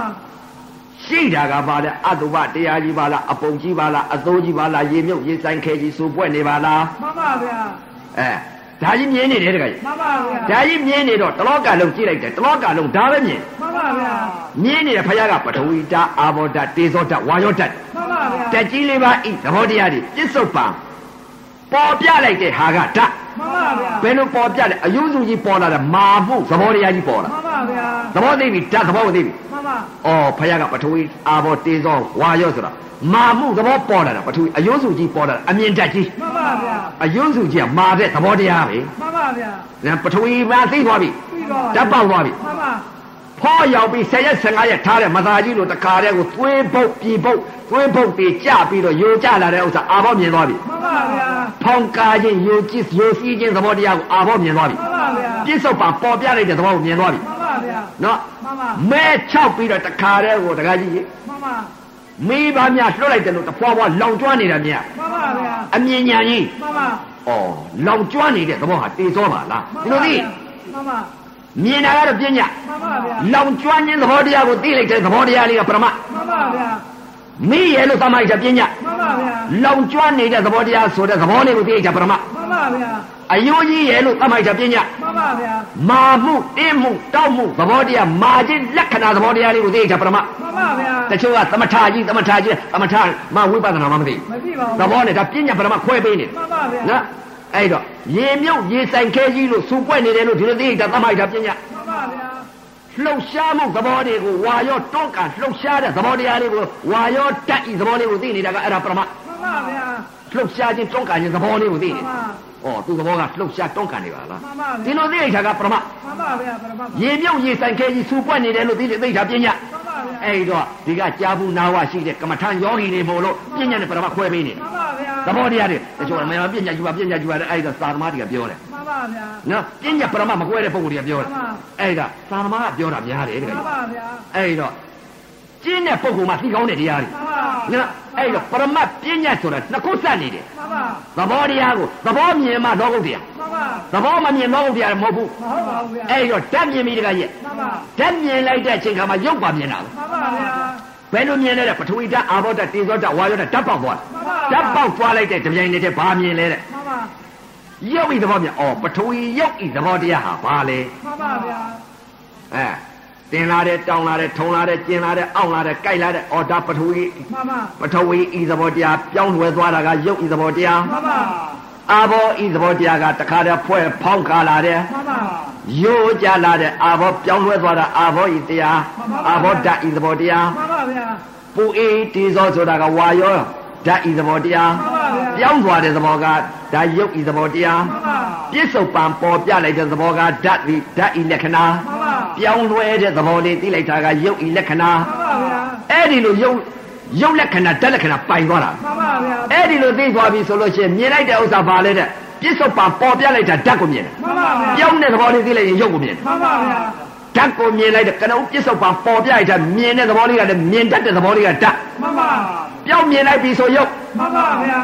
A: ရှိတာကပါလဲအတုပတရားကြီးပါလားအပုံကြီးပါလားအသိုးကြီးပါလားရေမြုပ်ရေဆိုင်ခဲကြီးစူပွက်နေပါလား
B: မှန်ပါဗျာ
A: အဲဒါကြီးမြင်းနေတယ်တကယ်ကြီး
B: မှန်ပါဗျာ
A: ဒါကြီးမြင်းနေတော့တလောကလုံးကြည့်လိုက်တယ်တလောကလုံးဒါပဲမြင်
B: မှန်ပါဗျာ
A: မြင်းနေတဲ့ဖခင်ကပထဝီဓာတ်အာဘောဓာတ်တေဇောဓာတ်ဝါယောဓာတ်
B: မှန်ပါဗျာ
A: တက်ကြီးလေးပါဤသဘောတရားတွေပြစ္ဆုတ်ပါပေါ်ပြလိုက်တဲ့ဟာကဓာတ်
B: မှန်ပါဗျာ
A: ဘယ်လိုပေါ်ပြလဲအယုစုကြီးပေါ်လာတာမာမှုသဘောတရားကြီးပေါ်လာ
B: မှန်ပါဗျာ
A: သဘောသိပြီဓာတ်သဘောကိုသိပြီ
B: မှန်ပါ
A: အော်ဖခင်ကပထဝီအာဘောတေဇောဝါရောဆိုတာမာမှုသဘောပေါ်လာတာပထဝီအယုစုကြီးပေါ်လာတာအမြင်ဓာတ်ကြီး
B: မှန်ပါဗျာ
A: အယုစုကြီးကမာတဲ့သဘောတရားပဲ
B: မှန်ပါဗျာ
A: ဒါပထဝီမာသိသွားပြီ
B: ပြီးတော့
A: ဓာတ်ပေါက်သွားပြီ
B: မှန်ပါ
A: ဖောရောက်ပြီ၁၀ရက်၁၅ရက်ထားတဲ့မသားကြီးလိုတခါတည်းကိုသွေးပုတ်ပြီပုတ်သွေးပုတ်ပြီးကြပြီးတော့ယိုကြလာတဲ့ဥစ္စာအာဘောမြင်သွားပြီ
B: မှန်ပါဗျာ
A: ဖောင်ကားခြင်းယုံကြည်ယုံစည်းခြင်းသဘောတရားကိုအာဘောမြင်သွားပြီ
B: မှန်ပါဗျာ
A: ပြစ္ဆုတ်ပါပေါ်ပြလိုက်တဲ့သဘောကိုမြင်သွားပြီ
B: မှန်ပါဗျာ
A: နော်
B: မှန်ပါ
A: မဲ၆ပြီးတော့တခါတည်းကိုတခါကြီးကြီး
B: မှန်ပါ
A: မိဘများလွှတ်လိုက်တယ်လို့တဖွာဖွာလောင်ကျွမ်းနေတာများ
B: မှန်ပါဗျာ
A: အမြင်ညာကြီး
B: မှန်ပါ
A: ဩလောင်ကျွမ်းနေတဲ့သဘောဟာတေသောပါလား
B: မှန်
A: ဒီလိုသိ
B: ပါမှန်ပါ
A: မြင်တာကတော့ပညာ
B: မှန်ပါဗျာ
A: လောင်ကျွမ်းခြင်းသဘောတရားကိုသိလိုက်တဲ့သဘောတရားလေးကပရမ
B: မှန်ပါဗျာ
A: မိရဲ့လို့သတ်မှတ်ချက်ပညာ
B: မှန်ပါဗျာ
A: လောင်ကျွမ်းနေတဲ့သဘောတရားဆိုတဲ့သဘောလေးကိုသိလိုက်တာပရမ
B: မှန်ပါဗျာ
A: အယိုးကြီးရဲ့လို့သတ်မှတ်ချက်ပညာ
B: မှန်ပါဗျာ
A: မာမှုတင်းမှုတောက်မှုသဘောတရားမာခြင်းလက္ခဏာသဘောတရားလေးကိုသိကြပရမ
B: မှန်ပါဗျာ
A: တချို့ကသမထကြီးသမထကြီးသမထမဝိပဿနာမှမသိ
B: မသိပါ
A: ဘူး
B: ဘူး
A: သဘောနဲ့ဒါပညာပရမခွဲပေးနေတယ်
B: မှန်ပါဗျာ
A: နော်အဲ့တော့ရေမြုပ်ရေဆိုင်ခဲကြီးလို့စူပွက်နေတယ်လို့ဒီလိုသိကြသမထကြီးပညာ
B: မှန်ပါဗျာ
A: လှုပ်ရှားမှုသဘောတွေကိုဝါရောတွန့်ကန်လှုပ်ရှားတဲ့သဘောတရားလေးကိုဝါရောတက်ဤသဘောလေးကိုသိနေတာကအဲ့ဒါပရမ
B: မှန်ပါဗျာ
A: လှုပ်ရှားခြင်းတွန့်ကန်ခြင်းသဘောလေးကိုသိ
B: မှ
A: နေ
B: န်
A: တယ်ဩသူ
B: ပါ
A: သဘောကလှုပ်ရှားတွန့်ကန်နေပါလား
B: မှန်ပါ
A: ဒီ
B: ဗျာ
A: လိုသိကြတာကပရမ
B: မှန်ပါဗျာပရမတ်
A: ရေမြုပ်ရေဆိုင်ခဲကြီးစူပွက်နေတယ်လို့သိတဲ့သိကြပညာ
B: မှန်ပါဗျာ
A: အဲ့တော့ဒီကကြာဘူးနာဝရှိတဲ့ကမ္မထံယောဂီတွေမို့လို့ပညာနဲ့ပရမခွဲပေးနေ
B: မှန်ပါဗျာ
A: သဘောတရားတွေတချို့ကမြန်မာပညာယူပါပညာယူပါတယ်အဲ့ဒါသာသမာတွေကပြောတယ်
B: မှန်ပါဗျာ
A: နော်ပညာပရမမခွဲတဲ့ပုံကိုယ်တွေကပြောတယ်
B: မှန်ပါ
A: အဲ့ဒါသာသမာကပြောတာများတယ်တက
B: မှ
A: ယ်
B: န်
A: ကြီး
B: ပါဗျာ
A: အဲ့တော့ကျင်းတဲ့ပုံကယ်မှသိကောင်းတဲ့တရားတွေ
B: မှန်ပါ
A: နော်အဲ့တော့ပရမပညာဆိုတာနှစ်ခုဆက်နေတယ်
B: မှန်
A: သ
B: ပါ
A: ဘောတရားကိုသဘောမြင်မှလောကုတ်တရား
B: မှန်ပါ
A: သဘောမမြင်လောကုတ်တရားမဟုတ်ဘူး
B: မဟုတ်ပါဘူးဗျာ
A: အဲ့တော့ဓာတ်မြင်ပြီးတကယ်ကြီး
B: မှန်ပါ
A: ဓာတ်မြင်လိုက်တဲ့အချိန်ခါမှာရုပ်ပါမြင်တာပဲ
B: မှန်ပါဗျာ
A: ဘယ်လိုမြင်လဲတဲ့ပထဝီဓာတ်အာဘောဓာတ်တေဇောဓာတ်ဝါယောဓာတ်ဓာတ်ပေါက်သွား
B: မှ
A: တာ
B: န်
A: ဓာတ်
B: ပါ
A: ပေါက်သွားလိုက်တဲ့ကြပြိုင်နေတဲ့ဘာမြင်လဲတဲ့
B: မှန်ပါ
A: ရုပ်ဤသဘောမြင်အော်ပထဝီရုပ်ဤသဘောတရားဟာဘာလဲ
B: မှန်ပါဗျာ
A: အဲတင်လာတဲ့တောင်းလာတဲ့ထုံလာတဲ့ကျင်လာတဲ့အောင့်လာတဲ့ကြိုက်လာတဲ့အော်ဒါပထဝီ
B: မှန်ပါ
A: ပထဝီဤသဘောတရားပြောင်းလဲသွားတာကရုပ်ဤသဘောတရား
B: မှန်ပါ
A: အာဘောဤသဘောတရားကတခါတည်းဖွဲ့ဖောင်းခါလာတယ်
B: မှန်ပါ
A: ရိုးကြလာတဲ့အာဘောပြောင်းလဲသွားတာအာဘောဤတရား
B: မှန်ပါ
A: အာဘောဓာတ်ဤသဘောတရား
B: မှန်ပါဗျာ
A: ပူအေးတေဇောဆိုတာကဝါရောဓာတ်ဤသဘောတရား
B: မှန်ပါဗျာ
A: ပြောင်းသွားတဲ့သဘောကဓာတ်ရုပ်ဤသဘောတရား
B: မှန်ပါ
A: ပြစ္ဆုတ်ပံပေါ်ပြလိုက်တဲ့သဘောကဓာတ်ဤဓာတ်ဤလက္ခဏာ
B: မှန်ပါ
A: ပြောင်းလဲတဲ့သဘောလေးသိလိုက်တာကရုပ်ဤလက္ခဏာ
B: မှန်ပါဗျာ
A: အဲ့ဒီလိုရုပ်ရုပ်လက္ခဏာဓာတ်လက္ခဏာပိုင်သွားတာ
B: မှန်ပါဗျာ
A: အဲ့ဒီလိုသိသွားပြီဆိုလို့ရှိရင်မြင်လိုက်တဲ့ဥစ္စာပါလဲတဲ့ပြစ္ဆုတ်ပါပေါ်ပြလိုက်တာဓာတ်ကိုမြင်တယ်
B: မှန်ပါဗျာ
A: ပြောင်းတဲ့သဘောလေးသိလိုက်ရင်ရုပ်ကိုမြင်တယ်
B: မှန်ပါဗျာ
A: ဓာတ်ကိုမြင်လိုက်တဲ့ကနုပ်ပြစ္ဆုတ်ပါပေါ်ပြလိုက်တာမြင်တဲ့သဘောလေးကလည်းမြင်တတ်တဲ့သဘောလေးကဓာတ်
B: မှန်ပါ
A: ပြောင်းမြင်လိုက်ပြီဆိုရုပ်
B: မှန်ပါဗျာ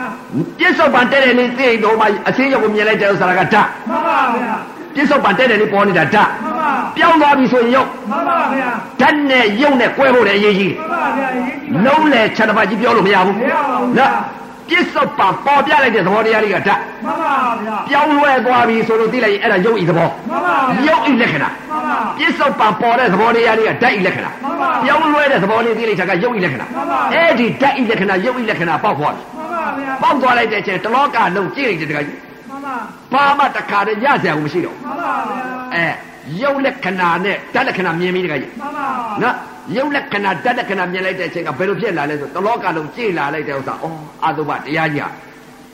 A: ပြစ္ဆုတ်ပါတဲ့တဲ့လေးသိရင်တော့မှအစင်းရုပ်ကိုမြင်လိုက်တဲ့ဥစ္စာကဓာတ်
B: မှန်ပါဗျာ
A: ပြစ္ဆုတ်ပါတဲ့တဲ့လေးပေါ်နေတာဓာတ်
B: မှန်ပါ
A: ပြောင်းသွားပြီဆိုရင်ရုပ်
B: မှန်ပါဗျာ
A: ဓာတ်နဲ့ရုပ်နဲ့ကွဲဖို့လည်းအရေးကြီး
B: မှန်ပါဗျာရေးကြည့်
A: တယ်
B: ပါ
A: လုံးလေခြံတစ်ပတ်ကြီးပြောလို့မရဘူး
B: မရပါဘူး
A: နော်ပြစ္ဆုတ်ပါပေါ်ပြလိုက်တဲ့သဘောတရားလေးကဓာတ်
B: မှန်ပါဗျာ
A: ပြောင်းလဲသွားပြီဆိုလို့သိလိုက်ရင်အဲ့ဒါရုပ်ဤသဘော
B: မှန်ပါဗျာ
A: ရုပ်ဤလက္ခဏာ
B: မှန်ပါ
A: ပြစ္ဆုတ်ပံပေါ်တဲ့သဘောတရားလေးကဓာတ်ဤလက္ခဏာ
B: မှန်ပါ
A: ပြောင်းလွဲတဲ့သဘောလေးသိလိုက်တာကရုပ်ဤလက္ခဏာ
B: မှန်ပါ
A: အဲ့ဒီဓာတ်ဤလက္ခဏာရုပ်ဤလက္ခဏာပေါက်သွားပြီ
B: မှန်ပါဗျာ
A: ပေါက်သွားလိုက်တဲ့အချိန်တလောကလုံးကြည့်လိုက်တဲ့တခါကြီး
B: မှန်ပါ
A: ဘာမှတခါတည်းရစရာကိုမရှိတော့ဘူး
B: မှန်ပါဗျာ
A: အဲရုပ်လက္ခဏာနဲ့ဓာတ်လက္ခဏာမြင်ပြီးတခါကြီး
B: မှန်ပါ
A: နော်ရုပ်လက္ခဏာဓာတ်လက္ခဏာမြင်လိုက်တဲ့အချိန်ကဘယ်လိုဖြစ်လာလဲဆိုတလောကလုံးကြည့်လာလိုက်တဲ့ဥစ္စာအော်အာသုဘတရားကြီးဟာ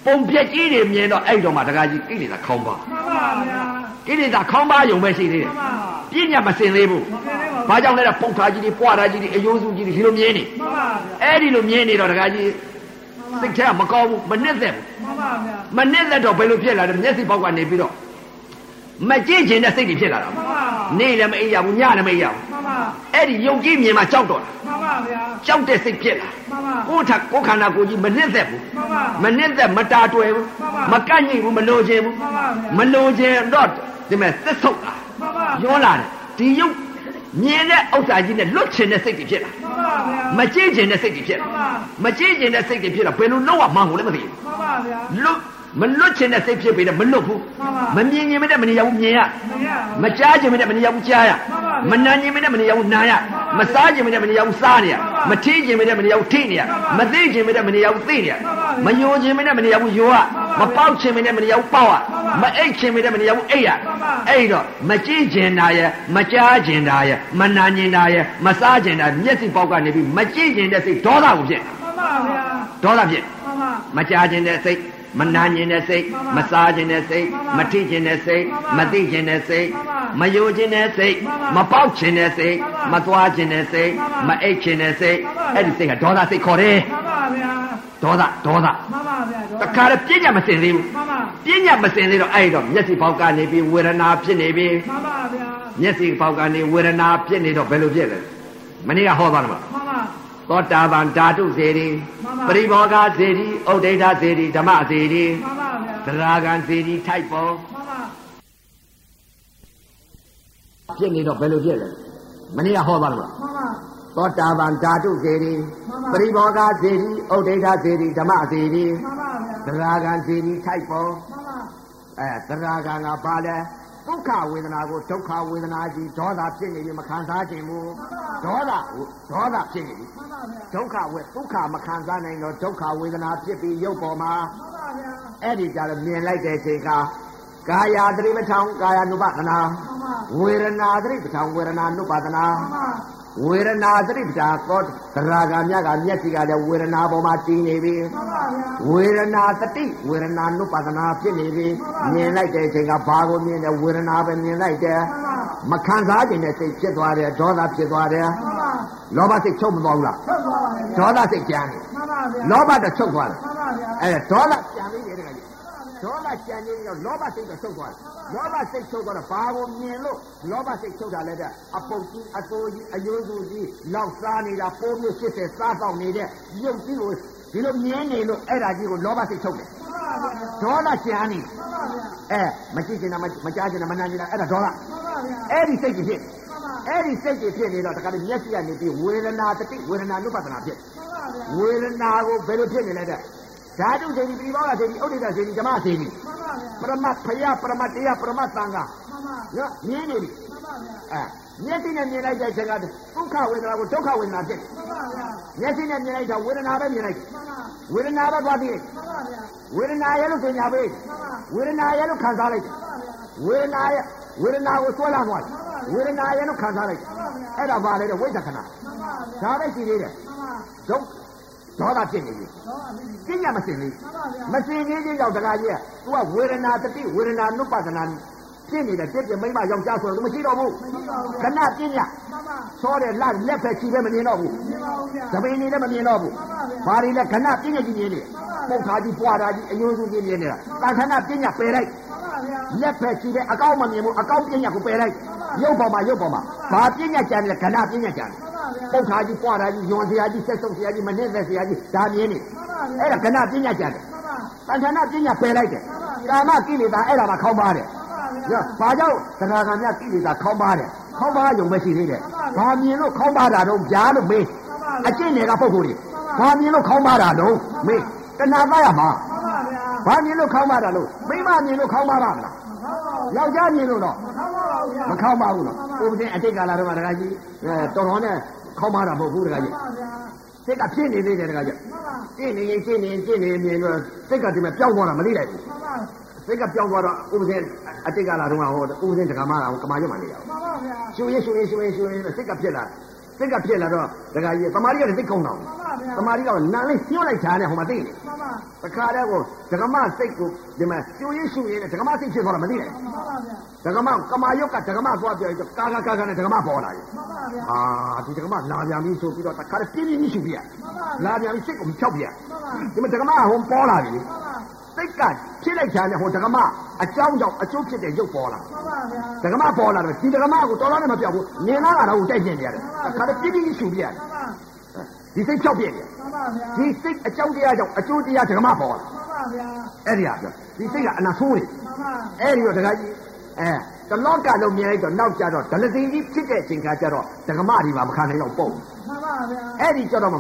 A: ပုံပြက်ကြီးတွေမြင်တော့အဲ့တော့မှတခါကြီးကိလေသာခေါင်းပါ
B: မှန်ပါဗျာ
A: ကိလေသာခေါင်းပါယုံပဲရှိသေးတယ်
B: မှန်ပါ
A: ပြည့်ညတ်မစင်သေးဘူး
B: မကဲနေပါ
A: ။
B: ဘူး
A: ဘာကြောင့်လဲတဲ့ပုံထားကြီးတွေပွားထားကြီးတွေအယိုးစုကြီးတွေဒီလိုမြင်နေ
B: မှန်ပါဗျာ
A: ။အဲ့ဒီလိုမြင်နေတော့တကကြီးစိတ်ထဲကမကောင်းဘူးမနှက်သက်ဘူး
B: မှန်ပါဗျာ
A: ။မနှက်သက်တော့ဘယ်လိုဖြစ်လာလဲမျက်စိပေါက်ကနေပြီးတော့မကြည့်ချင်တဲ့စိတ်တွေဖြစ်လာတာ
B: မှန်
A: ပေါ့
B: ပါ
A: ။နေလည်းမအေးရဘူးညလည်းမအေးရဘူး
B: မှန်ပါ
A: ။အဲ့ဒီယုံကြည်မြင်မှကြောက်တော့တာ
B: မှန်ပါဗျာ
A: ။ကြောက်တဲ့စိတ်ဖြစ်လာ
B: မှန်ပါ
A: ။ကိုယ်ထက်ကိုယ်ခန္ဓာကိုယ်ကြီးမနှက်သက်ဘူး
B: မှန်ပါ
A: ။မနှက်သက်မတာတွယ်ဘူး
B: မှ
A: မ
B: န်ပါ
A: ကန့်ညိဘူးမလိုချင်ဘူး
B: မှန်ပါဗျာ
A: မလိုချင်တော့ဒီမဲ့သစ္ဆုတ်တာ
B: မှန်ပါမှန်
A: ရောလာတယ်ဒီယုံမြင်တဲ့ဥစ္စာကြီးနဲ့လွတ်ချင်တဲ့စိတ်တွေဖြစ်လာ
B: ပါဗျာ
A: မကြည့်ကျင်တဲ့စိတ်တွေဖြစ်လာ
B: မှန်ပါ
A: မကြည့်ကျင်တဲ့စိတ်တွေဖြစ်လာဘယ်လိုလောက်ရမှန်းကိုလည်းမသိဘူး
B: မှန်ပါဗျာ
A: လွတ်မလွတ်ကျင်တဲ့စိတ်ဖြစ်ပေတဲ့မလွတ်ဘူး
B: မှန်ပါ
A: မမြင်ကျင်မတဲ့မနေရဘူးမြင်ရ
B: မရဘူး
A: မကြားကျင်မတဲ့မနေရဘူးကြားရ
B: မှ
A: မ
B: န်ပါ
A: နာကျင်မတဲ့မနေရဘူးနာရ
B: မှ
A: မ
B: န်ပါ
A: စားကျင်မတဲ့မနေရဘူးစားနေရ
B: မှန်ပါ
A: မထီးကျင်မတဲ့မနေရဘူးထီးနေရမ
B: မှန်ပါ
A: သိကျင်မတဲ့မနေရဘူးသိနေရမ
B: မှန်ပါ
A: ယိုကျင်မတဲ့မနေရဘူးယိုရမ
B: မှန်ပါ
A: ပေါက်ကျင်မတဲ့မနေရဘူးပေါက်ရမ
B: မှန်ပါ
A: အိတ်ကျင်မတဲ့မနေရဘူးအိတ်ရ
B: မှန်ပါ
A: အဲ့တော့မကြည့်ကျင်တာရမကြားကျင်တာရမနာကျင်တာရမစားကျင်တာမျက်စိပေါက်ကနေပြီးမကြည့်ကျင်တဲ့စိတ်ဒေါသကိုဖြစ်
B: မှန်ပါဗျာ
A: ဒေါသဖြစ်
B: မှန်ပါ
A: မကြားခြင်းတဲ့စိတ်မနာခြင်းတဲ့စိတ်
B: မှန်ပါ
A: မစားခြင်းတဲ့စိတ်မ
B: မှန်ပါ
A: ထိခြင်းတဲ့စိတ်မ
B: မှန်ပါ
A: သိခြင်းတဲ့စိတ်မ
B: မှန်ပါ
A: ယိုခြင်းတဲ့စိတ်မ
B: မှန်ပါ
A: ပေါက်ခြင်းတဲ့စိတ်မ
B: မှန်ပါ
A: သွားခြင်းတဲ့စိတ်မ
B: မှန်ပါ
A: အိတ်ခြင်းတဲ့စိတ်
B: မှန်ပါ
A: အဲ့ဒီစိတ်ကဒေါသစိတ်ခေါ်တယ်
B: မှန်ပါဗျာ
A: ဒေါသဒေါသ
B: မှန်ပါဗျာ
A: တခါတည်းပြည့်ညတ်မစင်သေးဘူး
B: မှန်ပါ
A: ပြည့်ညတ်မစင်သေးတော့အဲ့တော့မျက်စိပေါက်ကနေပြီးဝေဒနာဖြစ်နေပြီး
B: မှန်ပါဗျာ
A: မျက်စိပေါက်ကနေဝေဒနာဖြစ်နေတော့ဘယ်လိုဖြစ်လဲမနေ့ကဟောသွားတယ်မလား
B: မှန်ပါ
A: သောတာပန်ဓာတုစေတီ
B: မှန်ပါ
A: ပရိဘောဂစေတီဥဒိဋ္ဌစေတီဓမ္မစေတီ
B: မှန်ပါဗျာ
A: သရာဂံစေတီထိုက်ပေါ်
B: မှန်ပါ
A: ဖြစ်နေတော့ဘယ်လိုဖြစ်လဲမနေ့ကဟောပါလို့လား
B: မှန်ပါ
A: သောတာပန်ဓာတုစေတီ
B: မှန်ပါ
A: ပရိဘောဂစေတီဥဒိဋ္ဌစေတီဓမ္မစေတီ
B: မှန်ပါဗျာ
A: သရာဂံစေတီထိုက်ပေါ်
B: မှန်ပါ
A: အဲသရာဂံကပါလဲဒုက္ခဝေဒနာကိုဒုက္ခဝေဒနာကြီးဒေါသဖြစ်နေပြီမခံစားခြင်းဘူးဒေါသကိုဒေါသဖြစ်နေပြီ
B: မှန်ပါဗျာ
A: ဒုက္ခဝေဒုက္ခမခံစားနိုင်တော့ဒုက္ခဝေဒနာဖြစ်ပြီးရုပ်ပေါ်မှာ
B: မှန်ပါဗျာ
A: အဲ့ဒီကြတော့မြင်လိုက်တဲ့အချိန်ကကာယသတိပဋ္ဌာန်ကာယ ानु ပါဒနာ
B: မှန်
A: ဝေရ
B: ပါ
A: ဏသတိပဋ္ဌာန်ဝေရဏ ानु ပါဒနာ
B: မှန်ပါ
A: ဝေရဏသတိပဋ္ဌာန်သောသရဂါမြတ်ကမျက်စိကလည်းဝေရဏပေါ်မှာတည်နေပြီ
B: မှန်ပါဗျာ
A: ဝေရဏသတိဝေရဏ ानु ပါဒနာဖြစ်နေပြီမြင်လိုက်တဲ့အချိန်ကဘာကိုမြင်လဲဝေရဏပဲမြင်လိုက်တယ်
B: မှန်
A: မ
B: ပါ
A: ခံစားခြင်းနဲ့စိတ်ဖြစ်သွားတယ်ဒေါသဖြစ်သွားတယ်
B: မှန်ပါ
A: လောဘစိတ်ချုပ်မသွားဘူးလား
B: ထွက်သွားပါလေဗျာ
A: ဒေါသစိတ်ကြမ်းတယ်
B: မှန်ပါဗျာ
A: လောဘတော့ချုပ်သွားတယ်
B: မှန်ပါဗျာ
A: အဲဒေါသကြံနေတယ်တခါကြီးဒေါသကြံနေတော့လောဘစိတ်တော့ချုပ်သွားတယ်လောဘစိတ်ချုပ်သွားတော့ဘာကိုမြင်လို့လောဘစိတ်ချုပ်တာလဲတဲ့အပုပ်ကြီးအတိုးကြီးအယိုးစုကြီးလောက်စားနေတာပိုးမျိုး80စားပေါက်နေတဲ့ရုပ်ကြီးကိုဒီလိုမြင်နေလို့အဲ့ဒါကြီးကိုလောဘစိတ်ချုပ်တယ်
B: မှန်ပါဗျာ
A: ဒေါသကြံနေ
B: မှန်ပါဗျာ
A: အဲမကြည့်ချင်တာမမကြားချင်တာမနာချင်တာအဲ့ဒါဒေါသ
B: မှန်ပါဗျာ
A: အဲ့ဒီစိတ်ကြီးဖြစ်
B: မှန်ပါမှန်
A: အဲ့ဒီစိတ်ကြီးဖြစ်နေတော့တခါတည်းမျက်စိကနေပြီးဝေဒနာတတိဝေဒနာနုပဒနာဖြစ်တယ်
B: ပါဗျာ
A: ဝေဒနာကိုဘယ်လိုဖြစ်နေလဲတဲ့ဓာတုစေတီပြိပောကစေတီဥဒိတစေတီဓမ္မစေတီ
B: မှန်ပါဗျာ
A: ပရမတ်ဖယပရမတ်တရားပရမတ်သံဃာ
B: မှန်ပါမှ
A: နော်မြင်နေပြီ
B: န်ပါဗျာ
A: အဲမျက်စိနဲ့မြင်လိုက်တဲ့အချိန်ကဒုက္ခဝေဒနာကိုဒုက္ခဝေဒနာဖြစ်တယ်
B: မှန်ပါဗျာ
A: မျက်စိနဲ့မြင်လိုက်တာဝေဒနာပဲမြင်လိုက်တယ်
B: မှန်ပါ
A: ဒ
C: ဝေဒနာပဲသွားပြီးလိုက်
B: မှန်ပါဗျာ
C: ဝေဒနာရဲ့လို့ဆိုညာ
B: မှ
C: ပေး
B: န်ပါ
C: ဝေဒနာရဲ့လို့ခံစားလိုက်တယ်
B: မှန်ပါဗျာ
C: ဝေဒနာရဲ့ဝေဒနာကိုဆွဲလာသွားတယ်ဝေဒနာရဲ့လို့ခံစားလိုက်တယ်
B: မှန်ပါဗျာ
C: အဲ့ဒါပါလေတဲ့ဝိသခဏ
B: မှန်ပါဗျာ
C: ဒါပဲရှိသေးတယ်
B: မှန်ပါ
C: ဒုက္ခဒေါသဖြစ်နေပြီ
B: တော့အမိကြီး
C: ပြညာမစင်ဘူး
B: မှန်ပါဗျာ
C: မစင်ကြီးကြီးရောက်တကားကြီးက तू ကဝေဒနာတတိဝေဒနာနုပဒနာဖြစ်နေတဲ့တစ်ပြမိမ့်မရောက်ကြဆိုတော့ तू မရှိတော့ဘူး
B: မရှိပါဘူး
C: ခ
B: ဗျာ
C: ဏပြင်းရ
B: မှန်ပါ
C: သောတဲ့လက်လက်ပဲခြိပဲမမြင်တော့ဘူး
B: မြင်ပါဘူးဗျာ
C: သပင်းနေလည်းမမြင်တော့ဘူးဘာတွေလဲခဏပြင်းရကြီးမြင်နေပုတ်ခါကြီးပွာတာကြီးအယိုးစုကြီးမြင်နေတာတာခဏပြင်းရပယ်လိုက်
B: မှန်ပါဗျာ
C: လက်ပဲခြိပဲအကောင်းမမြင်ဘူးအကောင်းပြင်းရကိုပယ်လိုက်ရုပ်ပေါ်မှာရုပ်ပေါ်မှာဘာပြင်းရကြံလဲခဏပြင်းရကြံ
B: မှန်ပါဗျာ
C: ပုတ်ခါကြီးပွာတာကြီးညွန်စရာကြီးဆက်ဆုံးစရာကြီးမနှက်သက်စရာကြီးဒါမြင်နေ
B: မှန်ပါဗျာ
C: အဲ့ဒါခဏပြင်းရကြတယ်
B: မှန်ပါ
C: ။တဏ္ဍာပညာပယ်လိုက်တယ်။ကာမကိလေသာအဲ့ဒါမှခေါင်းပါတယ်
B: မှန်ပါဗျာ
C: ။နော်။ဘာကြောင့်သရဂံမြတ်ကိလေသာခေါင်းပါတယ်။ခေါင်းပါရုံပဲရှိသေးတယ်။ဘာမြင်လို့ခေါင်းပါတာတော့ကြားလို့
B: မှန
C: မေး
B: ်ပါဗျာ
C: အကျင့်တွေကပုံကိုယ်တွေ
B: မှန်ပါ
C: ဘာမြင်လို့ခေါင်းပါတာတော့မေးတဏှာပါရ
B: မှ
C: မှာ
B: န်ပါဗျာ
C: ဘာမြင်လို့ခေါင်းပါတာလို့မိမမြင်လို့ခေါင်းပါပါမလား
B: မဟုတ်ပါဘူး
C: ။ယောက်ျားမြင်လို့တော့
B: မဟုတ်ပါဘူးဗျာ
C: မခေါင်းပါဘူးနော်။ဥပဒေအတိတ်ကာလတော့ကတခါကြီးအဲတော်တော်နဲ့ခေါင်းပါတာမဟုတ်ဘူးတခါကြီး
B: မှန်ပါဗျာ
C: ။စိတ်ကဖြစ်နေသေးတယ်တခါကြီး
B: မှန်ပါ
C: ။ကျင့်နေရင်ကျင့်နေရင်ကျင့်နေရင်မြင်လို့စိတ်ကဒီမှာပျောက်သွားတာမလေးလိုက်ဘူး
B: မှန်ပါ
C: စိတ်ကပြောင်းသွားတော့ဥပဇင်းအတိတ်ကလာတော့ဟောဥပဇင်းတက္ကမလာဟောကမာရွတ်မှနေရအောင်
B: မှန်ပါဗျာ
C: ရှင်ရင်ရှင်ရင်ရှင်ရင်ရှင်ရင်စိတ်ကဖြစ်လာစိတ်ကဖြစ်လာတော့ဒကာကြီးကတမာရီကလည်းစိတ်ကောင်းတော့
B: မှန်ပါဗျာ
C: တမာရီကနာလေးညှို့လိုက်တာနဲ့ဟိုမှာသိနေ
B: မှန်ပါ
C: တခါတည်းကိုဒကမစိတ်ကိုဒီမှာရှင်ရင်ရှင်ရင်ဒကမစိတ်ဖြစ်သွားတော့မသိနဲ့
B: မှန်ပါဗျာ
C: ဒကမကမာရွတ်ကဒကမသွားပြောကာကာကာကာနဲ့ဒကမပေါ်လာတယ်
B: မှန်ပါဗျာ
C: အာဒီဒကမလာပြန်ပြီဆိုပြီးတော့တခါတည်းပြင်းပြင်းကြီးရှူပြ
B: မှန်ပါဗျာ
C: လာပြန်ပြီစိတ်ကိုမဖြောက်ပြ
B: မှန်ပါမှန်
C: ဒီမှာဒကမဟိုပေါ်လာပြီ
B: ပါ
C: သိက္ခာဖြစ်လိုက်တာနဲ့ဟိုဓကမအကြောင်းကြောင့်အကျိုးဖြစ်တဲ့ရုပ်ပေါ်လာ
B: မှန်ပါဗျာ
C: ဓကမပေါ်လာတယ်ဒီဓကမကိုတော်တော်နဲ့မပြောက်ဘူးနင်လာကတော့ကိုတိုက်ကျင်နေရတယ်အခါတည်းပြင်းပြင်းကြီးရှူပြရတယ်
B: မှန်ပါ
C: ဒီစိတ်ချောက်ပြည့်
B: မှန်ပါဗျ
C: တယ်
B: ာ
C: ဒီစိတ်အကြောင်းတရားကြောင့်အကျိုးတရားဓကမပေါ်လာ
B: မှန်ပါဗျာ
C: အဲ့ဒီဟာပြောဒီစိတ်ကအနာဆိုးတယ်
B: မှန်ပါ
C: အဲ့ဒီတော့ဓကကြီးအဲတလောကလုံးမြင်လိုက်တော့နောက်ကြတော့ဒလသင်ကြီးဖြစ်တဲ့အချိန်ခါကျတော့ဓကမဒီမှာမခံနိုင်တော့ပုံ
B: မှန်ပါဗျာ
C: အဲ့ဒီကျတော့ဓက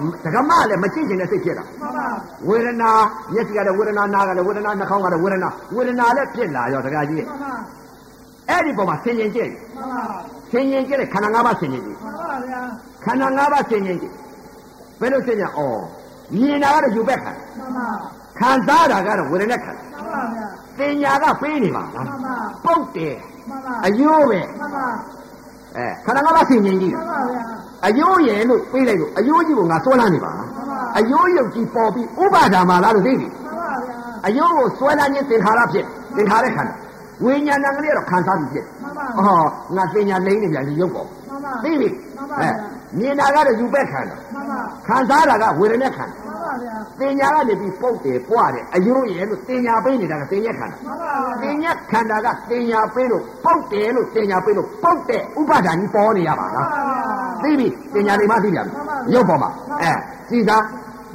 C: မလည်းမကြည့်ချင်တဲ့စိတ်ဖြစ်တာ
B: မှန်ပါ
C: ဝေဒနာမျက်စိကလည်းဝေဒနာနားကလည်းဝေဒနာနှာခေါင်းကလည်းဝေဒနာဝေဒနာလည်းဖြစ်လာရောတခါကြီး
B: မှန်ပါ
C: အဲ့ဒီပုံမှာဆင်ញင်ကြည့်
B: မှန်ပါ
C: ဆင်ញင်ကြည့်တဲ့ခန္ဓာ၅ပါးဆင်ញင်ကြည့်
B: မှန်ပါဗျာ
C: ခန္ဓာ၅ပါးဆင်ញင်ကြည့်ဘယ်လိုဆင်ញင်ဩမြင်တာကတော့ယူဘက်ခန္ဓာ
B: မှန်ပါ
C: ခံစားတာကတော့ဝေဒနာခန္ဓာ
B: မှန်ပါဗျာ
C: သင်ညာကပေးနေပါလား
B: မှန်ပါ
C: ပုတ်တယ်
B: မှန်ပါ
C: အယိုးပဲ
B: မှန်ပါ
C: အဲခန္ဓာ၅ပါးဆင်ញင်ကြည့်
B: မှန်ပါဗျာ
C: အယိုးရယ်လို့ပေးလိုက်လို့အယိုးကြီးကငါဆွဲလာနေပါလား
B: မှန်ပါ
C: အယိုးရုပ်ကြီးပေါ်ပြီးဥပါဒါမာလားလို့သိပြီ
B: မှန်ပါဗျာ
C: အယုံကိုစွဲလာခြင်းသင်္ခါရဖြစ်သင်္ခါရခန္ဓာဝိညာဏကလေးကတော့ခံစားပြီးဖြစ်
B: မှန်ပါ
C: ဟောငါသိညာလိမ့်နေပြန်ဒီရုပ်ပေါ်
B: မှန်ပါ
C: သိပြီမြင်တာကတော့ယူပက်ခန္ဓာ
B: မှန်ပါ
C: ခံစားတာကဝေဒနာခန္ဓာ
B: မှန်ပါဗျာ
C: သင်ညာကနေပြီးပုတ်တယ်ပွားတယ်အယုံရဲ့လို့သင်ညာပေးနေတာကသင်ညာခန္ဓာ
B: မှန်ပါ
C: သင်ညာခန္ဓာကသင်ညာပေးလို့ပုတ်တယ်လို့သင်ညာပေးလို့ပုတ်တဲ့ဥပါဒဏ်ကြီးပေါ်နေရပါလားသိပြီသင်ညာတွေမှသိပြန်ပြီရုပ်ပေါ်မှာအဲစီစား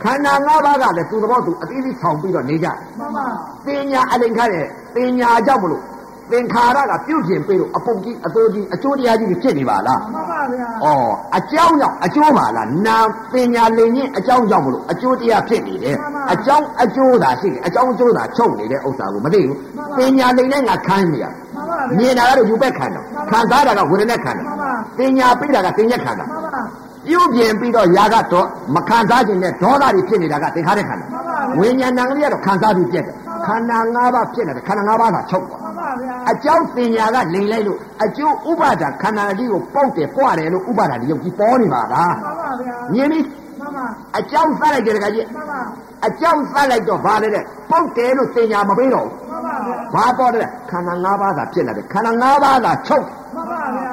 C: ခန္ဓာ၅ပါးကလည်းသူ့သဘောသူအသေးသေးဆောင်ပြီးတော့နေကြတယ်
B: မှန်ပါ
C: ပညာအလင်္ကားတဲ့ပညာကြောင့်မလို့သင်္ခါရကပြုတ်ကျင်ပေးလို့အပုတ်ကြီးအတိုးကြီးအကျိုးတရားကြီးတွေဖြစ်နေပါလား
B: မှန်ပါဗျာ
C: ။ဩအကြောင်းကြောင့်အကျိုးပါလား။နာပညာလင်ရင်အကြောင်းကြောင့်မလို့အကျိုးတရားဖြစ်နေတယ်။အကြောင်းအကျိုးသာရှိတယ်။အကြောင်းအကျိုးသာချုပ်နေတဲ့ဥစ္စာကိုမသိဘူး။ပညာလင်နဲ့ငါခံနေရတယ်
B: မှန်ပါ
C: ။
B: ဗျာ
C: မြင်တာကတော့ယူပက်ခံတာ။ခံစားတာကဝေဒနာခံတာ။ပညာပိတာကသင်ညက်ခံတာ
B: မှန်ပါ
C: ။ပြုတ်ကျင်ပြီးတော့ຢာကတော့မခံစားခြင်းနဲ့ဒေါသတွေဖြစ်နေတာကသင်္ခါရခံ
B: မှ
C: တာ
B: န်ပါဗျာ
C: ဝိညာဏကလေးကတော့ခံစားပြီးပြက်တယ်။ခန္ဓာ၅ပါးဖြစ်နေတယ်ခန္ဓာ၅ပါးသာချုပ်သွား
B: မှန်ပါဗျာ
C: အကြောင်းပညာကလိမ်လိုက်လို့အကျိုးဥပါဒခန္ဓာလေးကိုပေါက်တယ်ပွားတယ်လို့ဥပါဒဒီရုပ်ကြီးပေါ်နေပါလား
B: မှန်ပါဗျာ
C: မြင်ပြီ
B: မှန်ပါ
C: အကြောင်းသတ်လိုက်တယ်တခါကြီး
B: မှန်ပါ
C: အကြောင်းသတ်လိုက်တော့ဘာလဲတဲ့ပေါက်တယ်လို့ပညာမပေးတော့
B: မှန်ပါဗျာ
C: ဘူးဘာပေါ်တယ်လဲခန္ဓာ၅ပါးသာဖြစ်လာတယ်ခန္ဓာ၅ပါးသာချုပ်
B: မှန်ပါဗျာ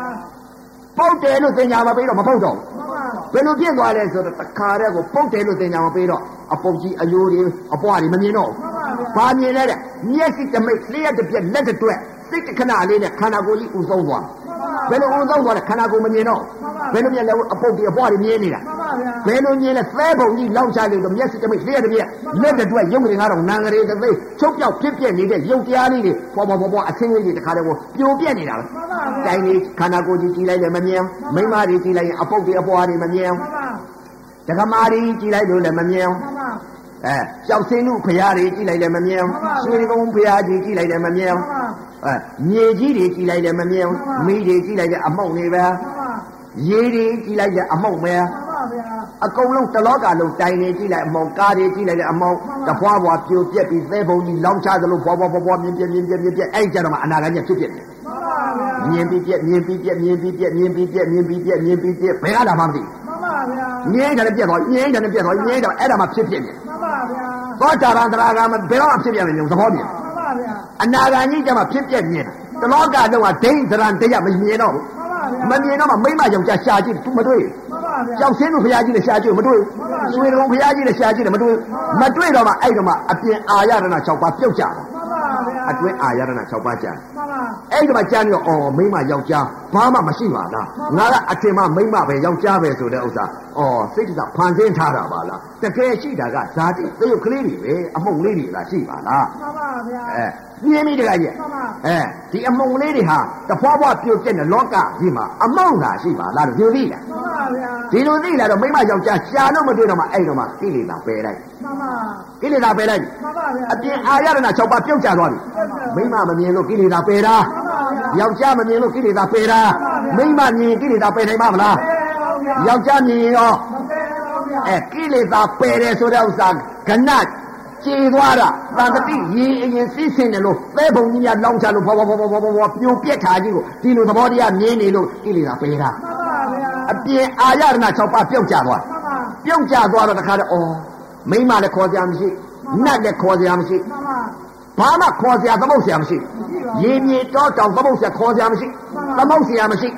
C: ပေါက်တယ်လို့ပညာမပေးတော့မပေါက်တော့
B: မှန်ပါ
C: ဘူးဘယ်လိုဖြစ်သွားလဲဆိုတော့တခါတည်းကိုပေါက်တယ်လို့ပညာမပေးတော့အပုတ်ကြီးအယိုးတွေအပွားတွေမမြင်တော့
B: မ
C: ဘူး
B: ှန်ပါဗျာ
C: ဘာမြင်လဲတဲ့မျက်စိတစ်မိတ်လျှက်တစ်ပြက်လက်တစ်တွက်စိတ်တစ်ခဏလေးနဲ့ခန္ဓာကိုယ်ကြီးဥဆုံးသွားဘယ်လိုဥဆုံးသွားလဲခန္ဓာကိုယ်မမြင်တော့ဘယ်လိုမြင်လဲအပုတ်တွေအပွားတွေမြင်နေတာ
B: မှန်ပါဗျာ
C: ဘယ်လိုမြင်လဲသဲပုံကြီးလောက်ချလိုက်တော့မျက်စိတစ်မိတ်လျှက်တစ်ပြက်လက်တစ်တွက်ရုပ်ကလေးကတော့နာငရေတစ်သိမ်းချုပ်ပြောက်ဖြစ်ပြနေတဲ့ရုပ်တရားလေးတွေပေါ်ပေါ်ပေါ်ပေါ်အဆင်းလေးတွေတခါတည်းကိုပြိုပြက်နေတာပဲတိုင်းနေခန္ဓာကိုယ်ကြီးကြည့်လိုက်လည်းမမြင်မိမတွေကြည့်လိုက်ရင်အပုတ်တွေအပွားတွေမမြင်
B: မှန်ပါ
C: ဓကမာတွေကြည့်လိုက်လို့လည်းမမြင်
B: မှန်ပါ
C: အဲကြောက်စင်းလူဖရားတွေကြည့်လိုက်လည်းမမြင်
B: မှန်ပါ
C: ဆွေကုန်းဖရားကြီးကြည့်လိုက်လည်းမမြင်
B: မှန်ပါ
C: အဲမြေကြီးတွေကြည့်လိုက်လည်းမမြင်
B: မှန်ပါ
C: မိတွေကြည့်လိုက်လည်းအမှုန့်တွေပဲ
B: မှန်ပါ
C: ရေတွေကြည့်လိုက်လည်းအမှုန့်ပဲ
B: မှန်ပါဗျာ
C: အကုန်လုံးတစ်လောကလုံးတိုင်နေကြည့်လိုက်အမောင်ကားတွေကြည့်လိုက်လည်းအမောင်တဖွာဖွာပြိုပြက်ပြီးသဲပုံကြီးလောင်းချသလိုဘွားဘွားဘွားဘွားမြင်ပြက်မြင်ပြက်မြင်ပြက်အဲ့ကြတော့မှအနာဂတ်ညက်ဖြစ်ဖြစ်တယ်
B: မှန်ပါဗျာ
C: မြင်ပြီးပြက်မြင်ပြီးပြက်မြင်ပြီးပြက်မြင်ပြီးပြက်မြင်ပြီးပြက်မြင်ပြီးပြက်ဘယ်ကလာမှမသိဘူး
B: မှန်ပါဗျာ
C: ငြိမ်းတယ်နဲ့ပြက်သွားငြိမ်းတယ်နဲ့ပြက်သွားငြိမ်းတယ်အဲ့ဒါမှဖြစ်ဖြစ်တယ်
B: မှန်ပါဗျာ
C: သောတာပန်တရာဂါမဘယ်တော့မှဖြစ်ပြက်မယ်လို့သဘောပြ
B: မှန်
C: န်
B: ပါဗျာ
C: အနာဂါကြီးကျမှဖြစ်ပြက်မြင်တာတလောကလုံးကဒိဋ္ဌရံတရားမမြင်တော့
B: မှန်ပါဗျာ
C: ဘူးမမြင်တော့မှမိမယောက်ျားရှာကြည့် तू မတွေ့
B: မှန်ပါဗျာ
C: ကြောက်စင်းတို့ဖရာကြီးနဲ့ရှာကြည့်မတွေ့ဆွေတော်ဖရာကြီးနဲ့ရှာကြည့်တယ်မတွေ့မတွေ့တော့မှအဲ့တော့မှအပြင်အာရဏ6ပါးပြုတ်ကြတာ
B: မှန်ပါဗျာ
C: အတွင်းအာရဏ6ပါးကြာ
B: မှန်ပါ
C: အဲ့တော့မှကြာနေတော့အော်မိမယောက်ျားဘာမှမရှိပါလားငါကအထင်မှမိမပဲယောက်ျားပဲဆိုတဲ့ဥစ္စာအော်စိတ်ကဖန်ဆင်းထားတာပါလားတကယ်ရှိတာကဇာတိသေယုတ်ကလေးတွေပဲအမှုန့်လေးတွေလားရှိပါလား
B: မှန်ပါဗျာ
C: အဲမြင်မိတကကြီး
B: မှန်ပါ
C: အဲဒီအမုံလေးတွေဟာတဖွာဖွာပြုတ်ပြက်တဲ့လောကကြီးမှာအမောင်းတာရှိပါလားလို့ဒီလိုသိလား
B: မှန်ပါဗျာ
C: ဒီလိုသိလားတော့မိမယောက်ျားရှာလို့မတွေ့တော့မှအဲ့တော့မှကိလေသာပယ်လိုက်
B: မှန်ပါ
C: ကိလေသာပယ်လိုက်
B: မှန်ပါဗျာ
C: အပြင်အာရဏ6ပါးပြုတ်ကျသွားပြီမိမမမြင်လို့ကိလေသာပယ်တာ
B: မှန်ပါဗျာ
C: ယောက်ျားမမြင်လို့ကိလေသာပယ်တာမိမမြင်ရင်ကိလေသာပယ်နိုင်ပါမလား
B: ဘယ်တော့ဗျာ
C: ယောက်ျားမြင်ရင်ရော
B: မပဲတော့ဗျာ
C: အဲကိလေသာပယ်တယ်ဆိုတဲ့ဥစ္စာကဏကျေသွားတာတန်တတိရင်အရင်စစ်စင်တယ်လို့သဲပုံကြီးများလောင်းချလို့ဘောဘောဘောဘောဘောဘောပြိုပြက်ခါကြီးကိုဒီလိုသဘောတရားမြင်နေလို့ကိလေသာပယ်တာ
B: မှန်ပါဗျာ
C: အပြင်အာရဏ6ပါးပြုတ်ကျသွား
B: မှန်ပါ
C: ပြုတ်ကျသွားတော့တခါတော့အော်မိမလည်းခေါ်စရာမရှိနတ်လည်းခေါ်စရာမရှိ
B: မှန်ပါ
C: ဘာမှခေါ်စရာသမုတ်စရာမရှိရေမြေတောတောင်သမုတ်စရာခေါ်စရာမရှိသမုတ်စရာမရှိ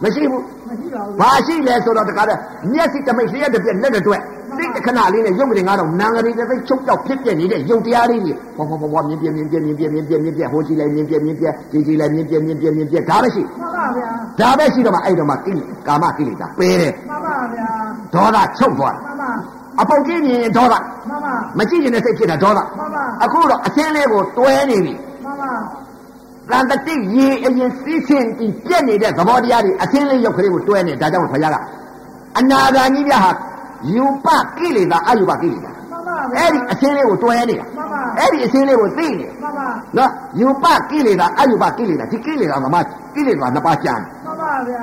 B: မှန်ပါ
C: မရှိဘူး
B: မရှိပါဘူး
C: ဘာရှိလဲဆိုတော့တခါတည်းမျက်စိတမိတ်လျှက်တစ်ပြက်လက်တစ်တွက်တိတ်တစ်ခဏလေးနဲ့ရုပ်ကလေးငါတော့နံကလေးတစ်သိပ်ချုပ်တော့ဖြစ်ပြက်နေတဲ့ရုပ်တရားလေးကြီးဘောဘောဘောဘောမြင်ပြက်မြင်ပြက်မြင်ပြက်မြင်ပြက်မြင်ပြက်ဟိုကြည့်လိုက်မြင်ပြက်မြင်ပြက်ဒီကြည့်လိုက်မြင်ပြက်မြင်ပြက်မြင်ပြက်ဒါပဲရှိ
B: မှန်ပါဗျာ
C: ဒါပဲရှိတော့မှအဲ့တော့မှကိလေကာမကိလေသာပယ်တယ်
B: မှန်ပါဗျာ
C: ဒေါသချုပ်သွား
B: မှန်ပါ
C: အပုတ်ကြီးမြင်ရင်ဒေါသ
B: မှန်ပါ
C: မကြည့်ရင်လည်းစိတ်ဖြစ်တာဒေါသ
B: မှန်ပါ
C: အခုတော့အသင်းလေးကိုတွဲနေပြီ
B: မှန်ပါ
C: တန်တတိရေအရင်စီးဆင်းပြီးပြက်နေတဲ့သဘောတရားတွေအသင်းလေးရုပ်ကလေးကိုတွဲနေဒါကြောင့်ဘုရားကအနာဂါကြီးပြဟာယူပကိလေသာအယူပကိလေ
B: မ
C: သာ
B: ှန်ပါဗျာ
C: အဲ့ဒီအစင်းလေးကိုတွဲနေတာအဲ့ဒီအစင်းလေးကိုသိနေ
B: မှန်ပါ
C: နော်ယူပကိလေသာအယူပကိလေသာဒီကိလေသာကမှကိလေသာနှစ်ပါးကြံ
B: မှန်ပါဗျာ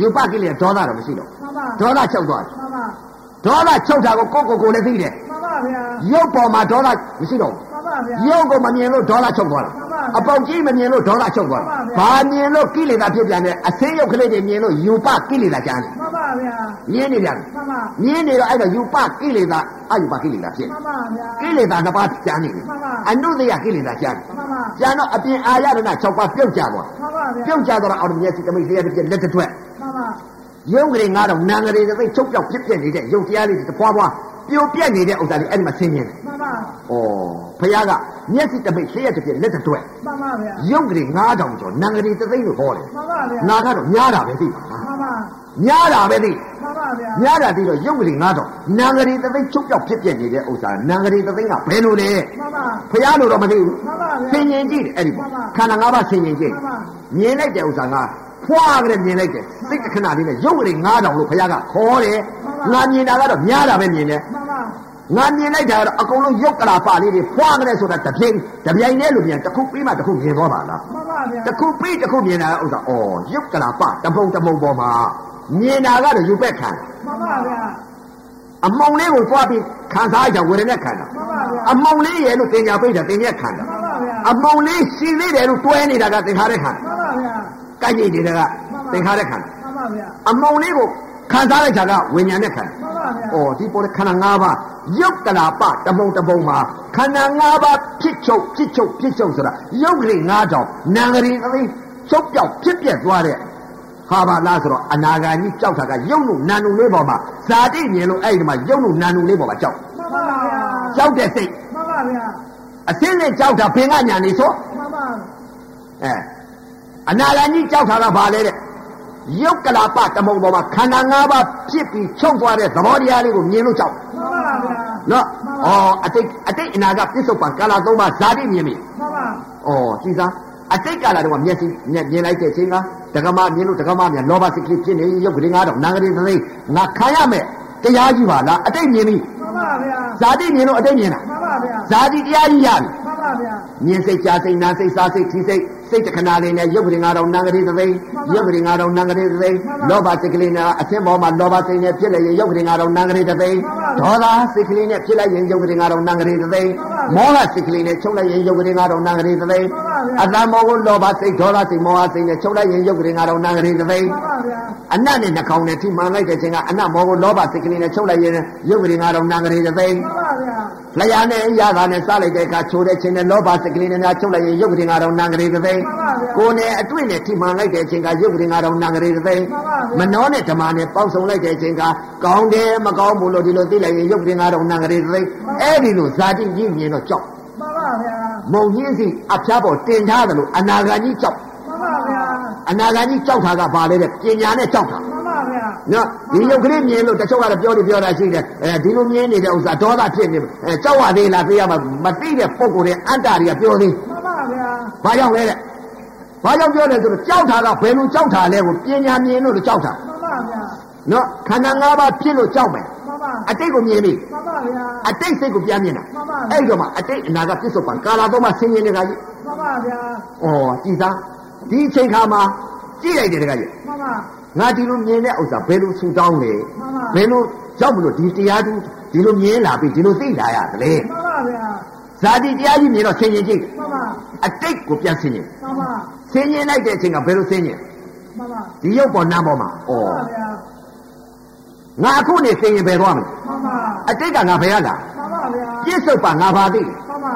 C: ယူပကိလေသာဒေါသတော့မရှိတော့
B: မှန်ပါ
C: ဒေါသချုပ်သွား
B: မှန်ပါ
C: ဒေါသချုပ်တာကိုကိုယ့်ကိုယ်ကိုယ်လည်းသိတ
B: မှ
C: ယ်
B: န်ပါဗျာ
C: ရုပ်ပေါ်မှာဒေါသမရှိတော့
B: မှန်ပါဗျာ
C: ရုပ်ကိုမမြင်လို့ဒေါသချုပ်သွားတာအပေါက်ကြီးမမြင်လို့ဒေါသချုပ်သွားတာဘာမြင်လို့ကိလေသာဖြစ်ပြန်တယ်အစင်းရုပ်ကလေးတွေမြင်လို့ယူပကိလေသာကြံတယ်
B: မမဗျာ
C: မြင်နေပြန်တယ်
B: မမ
C: မြင်နေတော့အဲ့တော့ယူပကိလေသာအယူပကိလေသာဖြစ်
B: မ
C: တယ်
B: မဗျာ
C: ကိလေသာနှစ်ပါးကြံနေတယ်
B: မှန်ပါ
C: အနုတ္တယကိလေသာကြံတယ်
B: မမ
C: ။ကျန်တော့အပြင်အာရဏ6ပါးပြုတ်ကြသွား
B: မမ
C: ။
B: ဗျာ
C: ပြုတ်ကြသွားတော့အော်ဒီမျက်စိတမိတ်လေးတစ်ပြက်လက်တစ်ထွက်
B: မမ
C: ။ရုပ်ကလေးငါတော့နာငလေးတစ်သိပ်ချုပ်ပြောက်ဖြစ်ပြနေတဲ့ရုပ်တရားလေးတစ်ပွားပွားပြိုပြက်နေတဲ့ဥစ္စာလေးအဲ့ဒီမှာဆင်းရင်
B: မမ
C: ။ဩဖះကမျက်စိတမိတ်လေးတစ်ပြက်လက်တစ်ထွက်
B: မမဗျာ
C: ရုပ်ကလေး9000ကျော်နာငလေးတစ်သိပ်ကိုခေါ်တယ်
B: မမဗျာ
C: ။နာကတော့များတာပဲသိပါလား
B: မမ
C: ။များတာပဲသိ
B: မမဗျာ
C: ။များတာသိတော့ရုပ်ကလေး9000နာငလေးတစ်သိပ်ချုပ်ပြောက်ဖြစ်ပြနေတဲ့ဥစ္စာနာငလေးတစ်သိပ်ကဘယ်လိုလဲ
B: မမ
C: ။ဖះလို့တော့မသိ
B: မ
C: ဘူး။
B: မ
C: ဆင်
B: ဗျာ
C: ញင်ကြည့်တယ်အဲ့ဒီပေါ့
B: မှန်ပါ
C: ခန္ဓာ၅ပါးဆင်ញင်ကြည့်
B: မှန်ပါ
C: မြင်လိုက်တဲ့ဥစ္စာကဖွာကြတဲ့မြင်လိုက်တယ်စိတ်တစ်ခဏလေးနဲ့ရုပ်ကလေး9000လို့ဘုရားကခေါ်တယ်ငါမြင်တာကတော့များတာပဲမြင်တယ်
B: မမ
C: ငါမြင်လိုက်တာကတော့အကုန်လုံးရုပ်ကလာပါလေးတွေဖွာကြတဲ့ဆိုတာတစ်ပြိုင်တစ်ပြိုင်တည်းလို့မြင်တစ်ခုပြီးမှတစ်ခုမြင်သွားပါလား
B: မမဗျာ
C: တစ်ခုပြီးတစ်ခုမြင်တာကဥစ္စာအော်ရုပ်ကလာပတပုံတပုံပေါ်မှာမြင်တာကတော့ယူပက်ခံ
B: မမဗျာ
C: အမုံလေးကိုဖွာပြီးခံစားကြဝေဒနာခံတာ
B: မမဗျာ
C: အမုံလေးရဲ့လို့တင်ညာပိတ်တာတင်ညာခံ
B: မ
C: တာ
B: မဗျာ
C: အမုံလေးရှိသေးတယ်လို့တွဲနေတာကသင်္ခါရခံတာ
B: မမဗျာ
C: ကိုက်ကြိတ်တွေကသင်္ခါရခန္ဓာ
B: မမဗျာ
C: အမုံလေးကိုခံစားလိုက်တာကဝိညာဉ်နဲ့ခန္ဓာ
B: မမဗျာ
C: ။အော်ဒီပေါ်တဲ့ခန္ဓာ၅ပါးရုပ်တလာပတပုံတပုံမှာခန္ဓာ၅ပါးဖြစ်ချုပ်ဖြစ်ချုပ်ဖြစ်ချုပ်ဆိုတာရုပ်ကလေး၅တောင်နာမ်ကလေးသိချုပ်ပြောက်ဖြစ်ပြက်သွားတဲ့ဟာပါလားဆိုတော့အနာဂါကြီးကြောက်တာကရုပ်နုနာမ်နုလေးပေါ်မှာဇာတိမြင်လို့အဲ့ဒီမှာရုပ်နုနာမ်နုလေးပေါ်မှာကြောက်
B: မမဗျာ
C: ကြောက်တဲ့စိတ်
B: မမဗျာ
C: အစင်းနဲ့ကြောက်တာဘင်ကညာနေဆို
B: မမ
C: အဲအနာဂါကြီးကြောက်တာကဘာလဲတဲ့ယုတ်ကလာပတမုံပေါ်မှာခန္ဓာ၅ပါးဖြစ်ပြီးချုပ်သွားတဲ့သဘောတရားလေးကိုမြင်လို့ကြောက်
B: မမဗျာ
C: နော်။အော်အတိတ်အတိတ်အနာကပြစ္ဆုတ်ပံကာလသုံးပါးဇာတိမြင်ပြီ
B: မမ
C: ။အော်ကြည်စားအတိတ်ကာလတုန်းကမျက်စိမျက်မြင်လိုက်တဲ့အချိန်ကဒကမမြင်လို့ဒကမမြင်လောဘစိတ်ကလေးဖြစ်နေရုပ်ကလေး၅တော့နာငရီသသိငါခံရမယ်တရားကြီးပါလားအတိတ်မြင်ပြီ
B: မမဗျာ
C: ဇာတိမြင်လို့အတိတ်မြင်
B: မ
C: တာ
B: မဗျာ
C: ဇာတိတရားကြီးရပြီ
B: မမဗျာ
C: မြင်စိတ်ကြားစိတ်နာစိတ်စားစိတ်ထိစိတ်စ စိတ်တခဏလေးနဲ့ရုပ်ကလေးငါတော်နံကလေးသသိန်းရုပ်ကလေးငါတော်နံကလေးသသိန်းလောဘစိတ်ကလေးနဲ့အသင်းပေါ်မှာလောဘစိတ်နဲ့ဖြစ်လိုက်ရင်ရုပ်ကလေးငါတော်နံကလေးသသိန်းဒေါသစိတ်ကလေးနဲ့ဖြစ်လိုက်ရင်ရုပ်ကလေးငါတော်နံကလေးသသိန်းမောဟစိတ်ကလေးနဲ့ချုပ်လိုက်ရင်ရုပ်ကလေးငါတော်နံကလေးသသိန်းအတ္တမောကိုလောဘစိတ်ဒေါသစိတ်မောဟစိတ်နဲ့ချုပ်လိုက်ရင်ရုပ်ကလေးငါတော်နံကလေးသသိန်း
B: ပါပါဗျာ
C: အနတ်နဲ့နှာခေါင်းနဲ့ထိမှန်လိုက်တဲ့အချိန်ကအနတ်မောကိုလောဘစိတ်ကလေးနဲ့ချုပ်လိုက်ရင်ရုပ်ကလေးကတော့နာကလေးတစ်သိန်း
B: ပါပါဗျာ
C: လျာနဲ့အရာသာနဲ့စားလိုက်တဲ့အခါချိုတဲ့အချိန်နဲ့လောဘစိတ်ကလေးနဲ့များချုပ်လိုက်ရင်ရုပ်ကလေးကတော့နာကလေးတစ်သိန်းကိုယ်နဲ့အတွေ့နဲ့ထိမှန်လိုက်တဲ့အချိန်ကရုပ်ကလေးကတော့နာကလေးတစ်သိန်းမနောနဲ့ဓမ္မနဲ့ပေါင်းစုံလိုက်တဲ့အချိန်ကကောင်းတယ်မကောင်းဘူးလို့ဒီလိုသိလိုက်ရင်ရုပ်ကလေးကတော့နာကလေးတစ်သိန်းအဲ့ဒီလိုဇာတိကြီးမြင်တော့ကြောက်
B: ပါပါဗျာ
C: မုံကြီးစီအဖျားပေါ်တင်ထားတယ်လို့အနာဂါကြီးကြောက်
B: ပါပါဗျာ
C: အနာဂါကြီးကြောက်တာကဘာလဲတဲ့ပညာနဲ့ကြောက်တာ
B: ပါပါဗျာ
C: နော်ဒီရုပ်ကလေးမြင်လို့တချို့ကတော့ပြောလို့ပြောတာရှိတယ်အဲဒီလိုမြင်နေတဲ့ဥစ္စာဒေါသဖြစ်နေအဲကြောက်ရသေးလားသိရမှာမသိတဲ့ပုံကိုယ်ရဲ့အတ္တတွေကပြောသေး
B: ပါပါဗျာ
C: ဘာကြောင့်လဲတဲ့ဘာကြောင့်ပြောလဲဆိုတော့ကြောက်တာကဘယ်လိုကြောက်တာလဲကိုပညာမြင်လို့တော့ကြောက်တာ
B: ပါပါဗျာ
C: နော်ခန္ဓာ၅ပါးဖြစ်လို့ကြောက်မယ်
B: ပါပါ
C: အတိတ်ကိုမြင်ပြီ
B: ပါပါဗျာ
C: အတိတ်စိတ်ကိုပြန်မြင်တာ
B: ပါပါ
C: အဲ့ဒီတော့မှအတိတ်အနာကပြစ္ဆုတ်ပံကာလာတော့မှဆင်းရဲနေတာကြီး
B: ပါပါဗျာ
C: ဩကြည်သားဒီအချိန်ခါမှာကြည့်လိုက်တယ်တကကြီး
B: ပါပါ
C: ငါဒီလိုမြင်တဲ့ဥစ္စာဘယ်လိုဆူတောင်းလဲ
B: မှန်ပါ
C: ဘယ်လိုရောက်မလို့ဒီတရားသူဒီလိုမြင်လာပြီဒီလိုသိလာရသလဲ
B: ပါပါဗျာ
C: ဇာတိတရားကြီးမြင်တော့ဆင်ញင်ကြည့်
B: ပါပါ
C: အတိတ်ကိုပြန်ဆင်ញင်
B: ပါပါ
C: ဆင်ញင်လိုက်တဲ့အချိန်ကဘယ်လိုဆင်ញင်
B: ပါပါ
C: ဒီရုပ်ပေါ်နာမ်ပေါ်မှာဩ
B: ပါပါဗျာ
C: ငါအခုနေဆင်ញင်ပဲသွားမယ်
B: ပါပါ
C: အတိတ်ကငါဘယ်ရလာ
B: ပါပါဗျာ
C: ပြစ္ဆုတ်ပါငါဘာသိလဲ
B: ပါပါ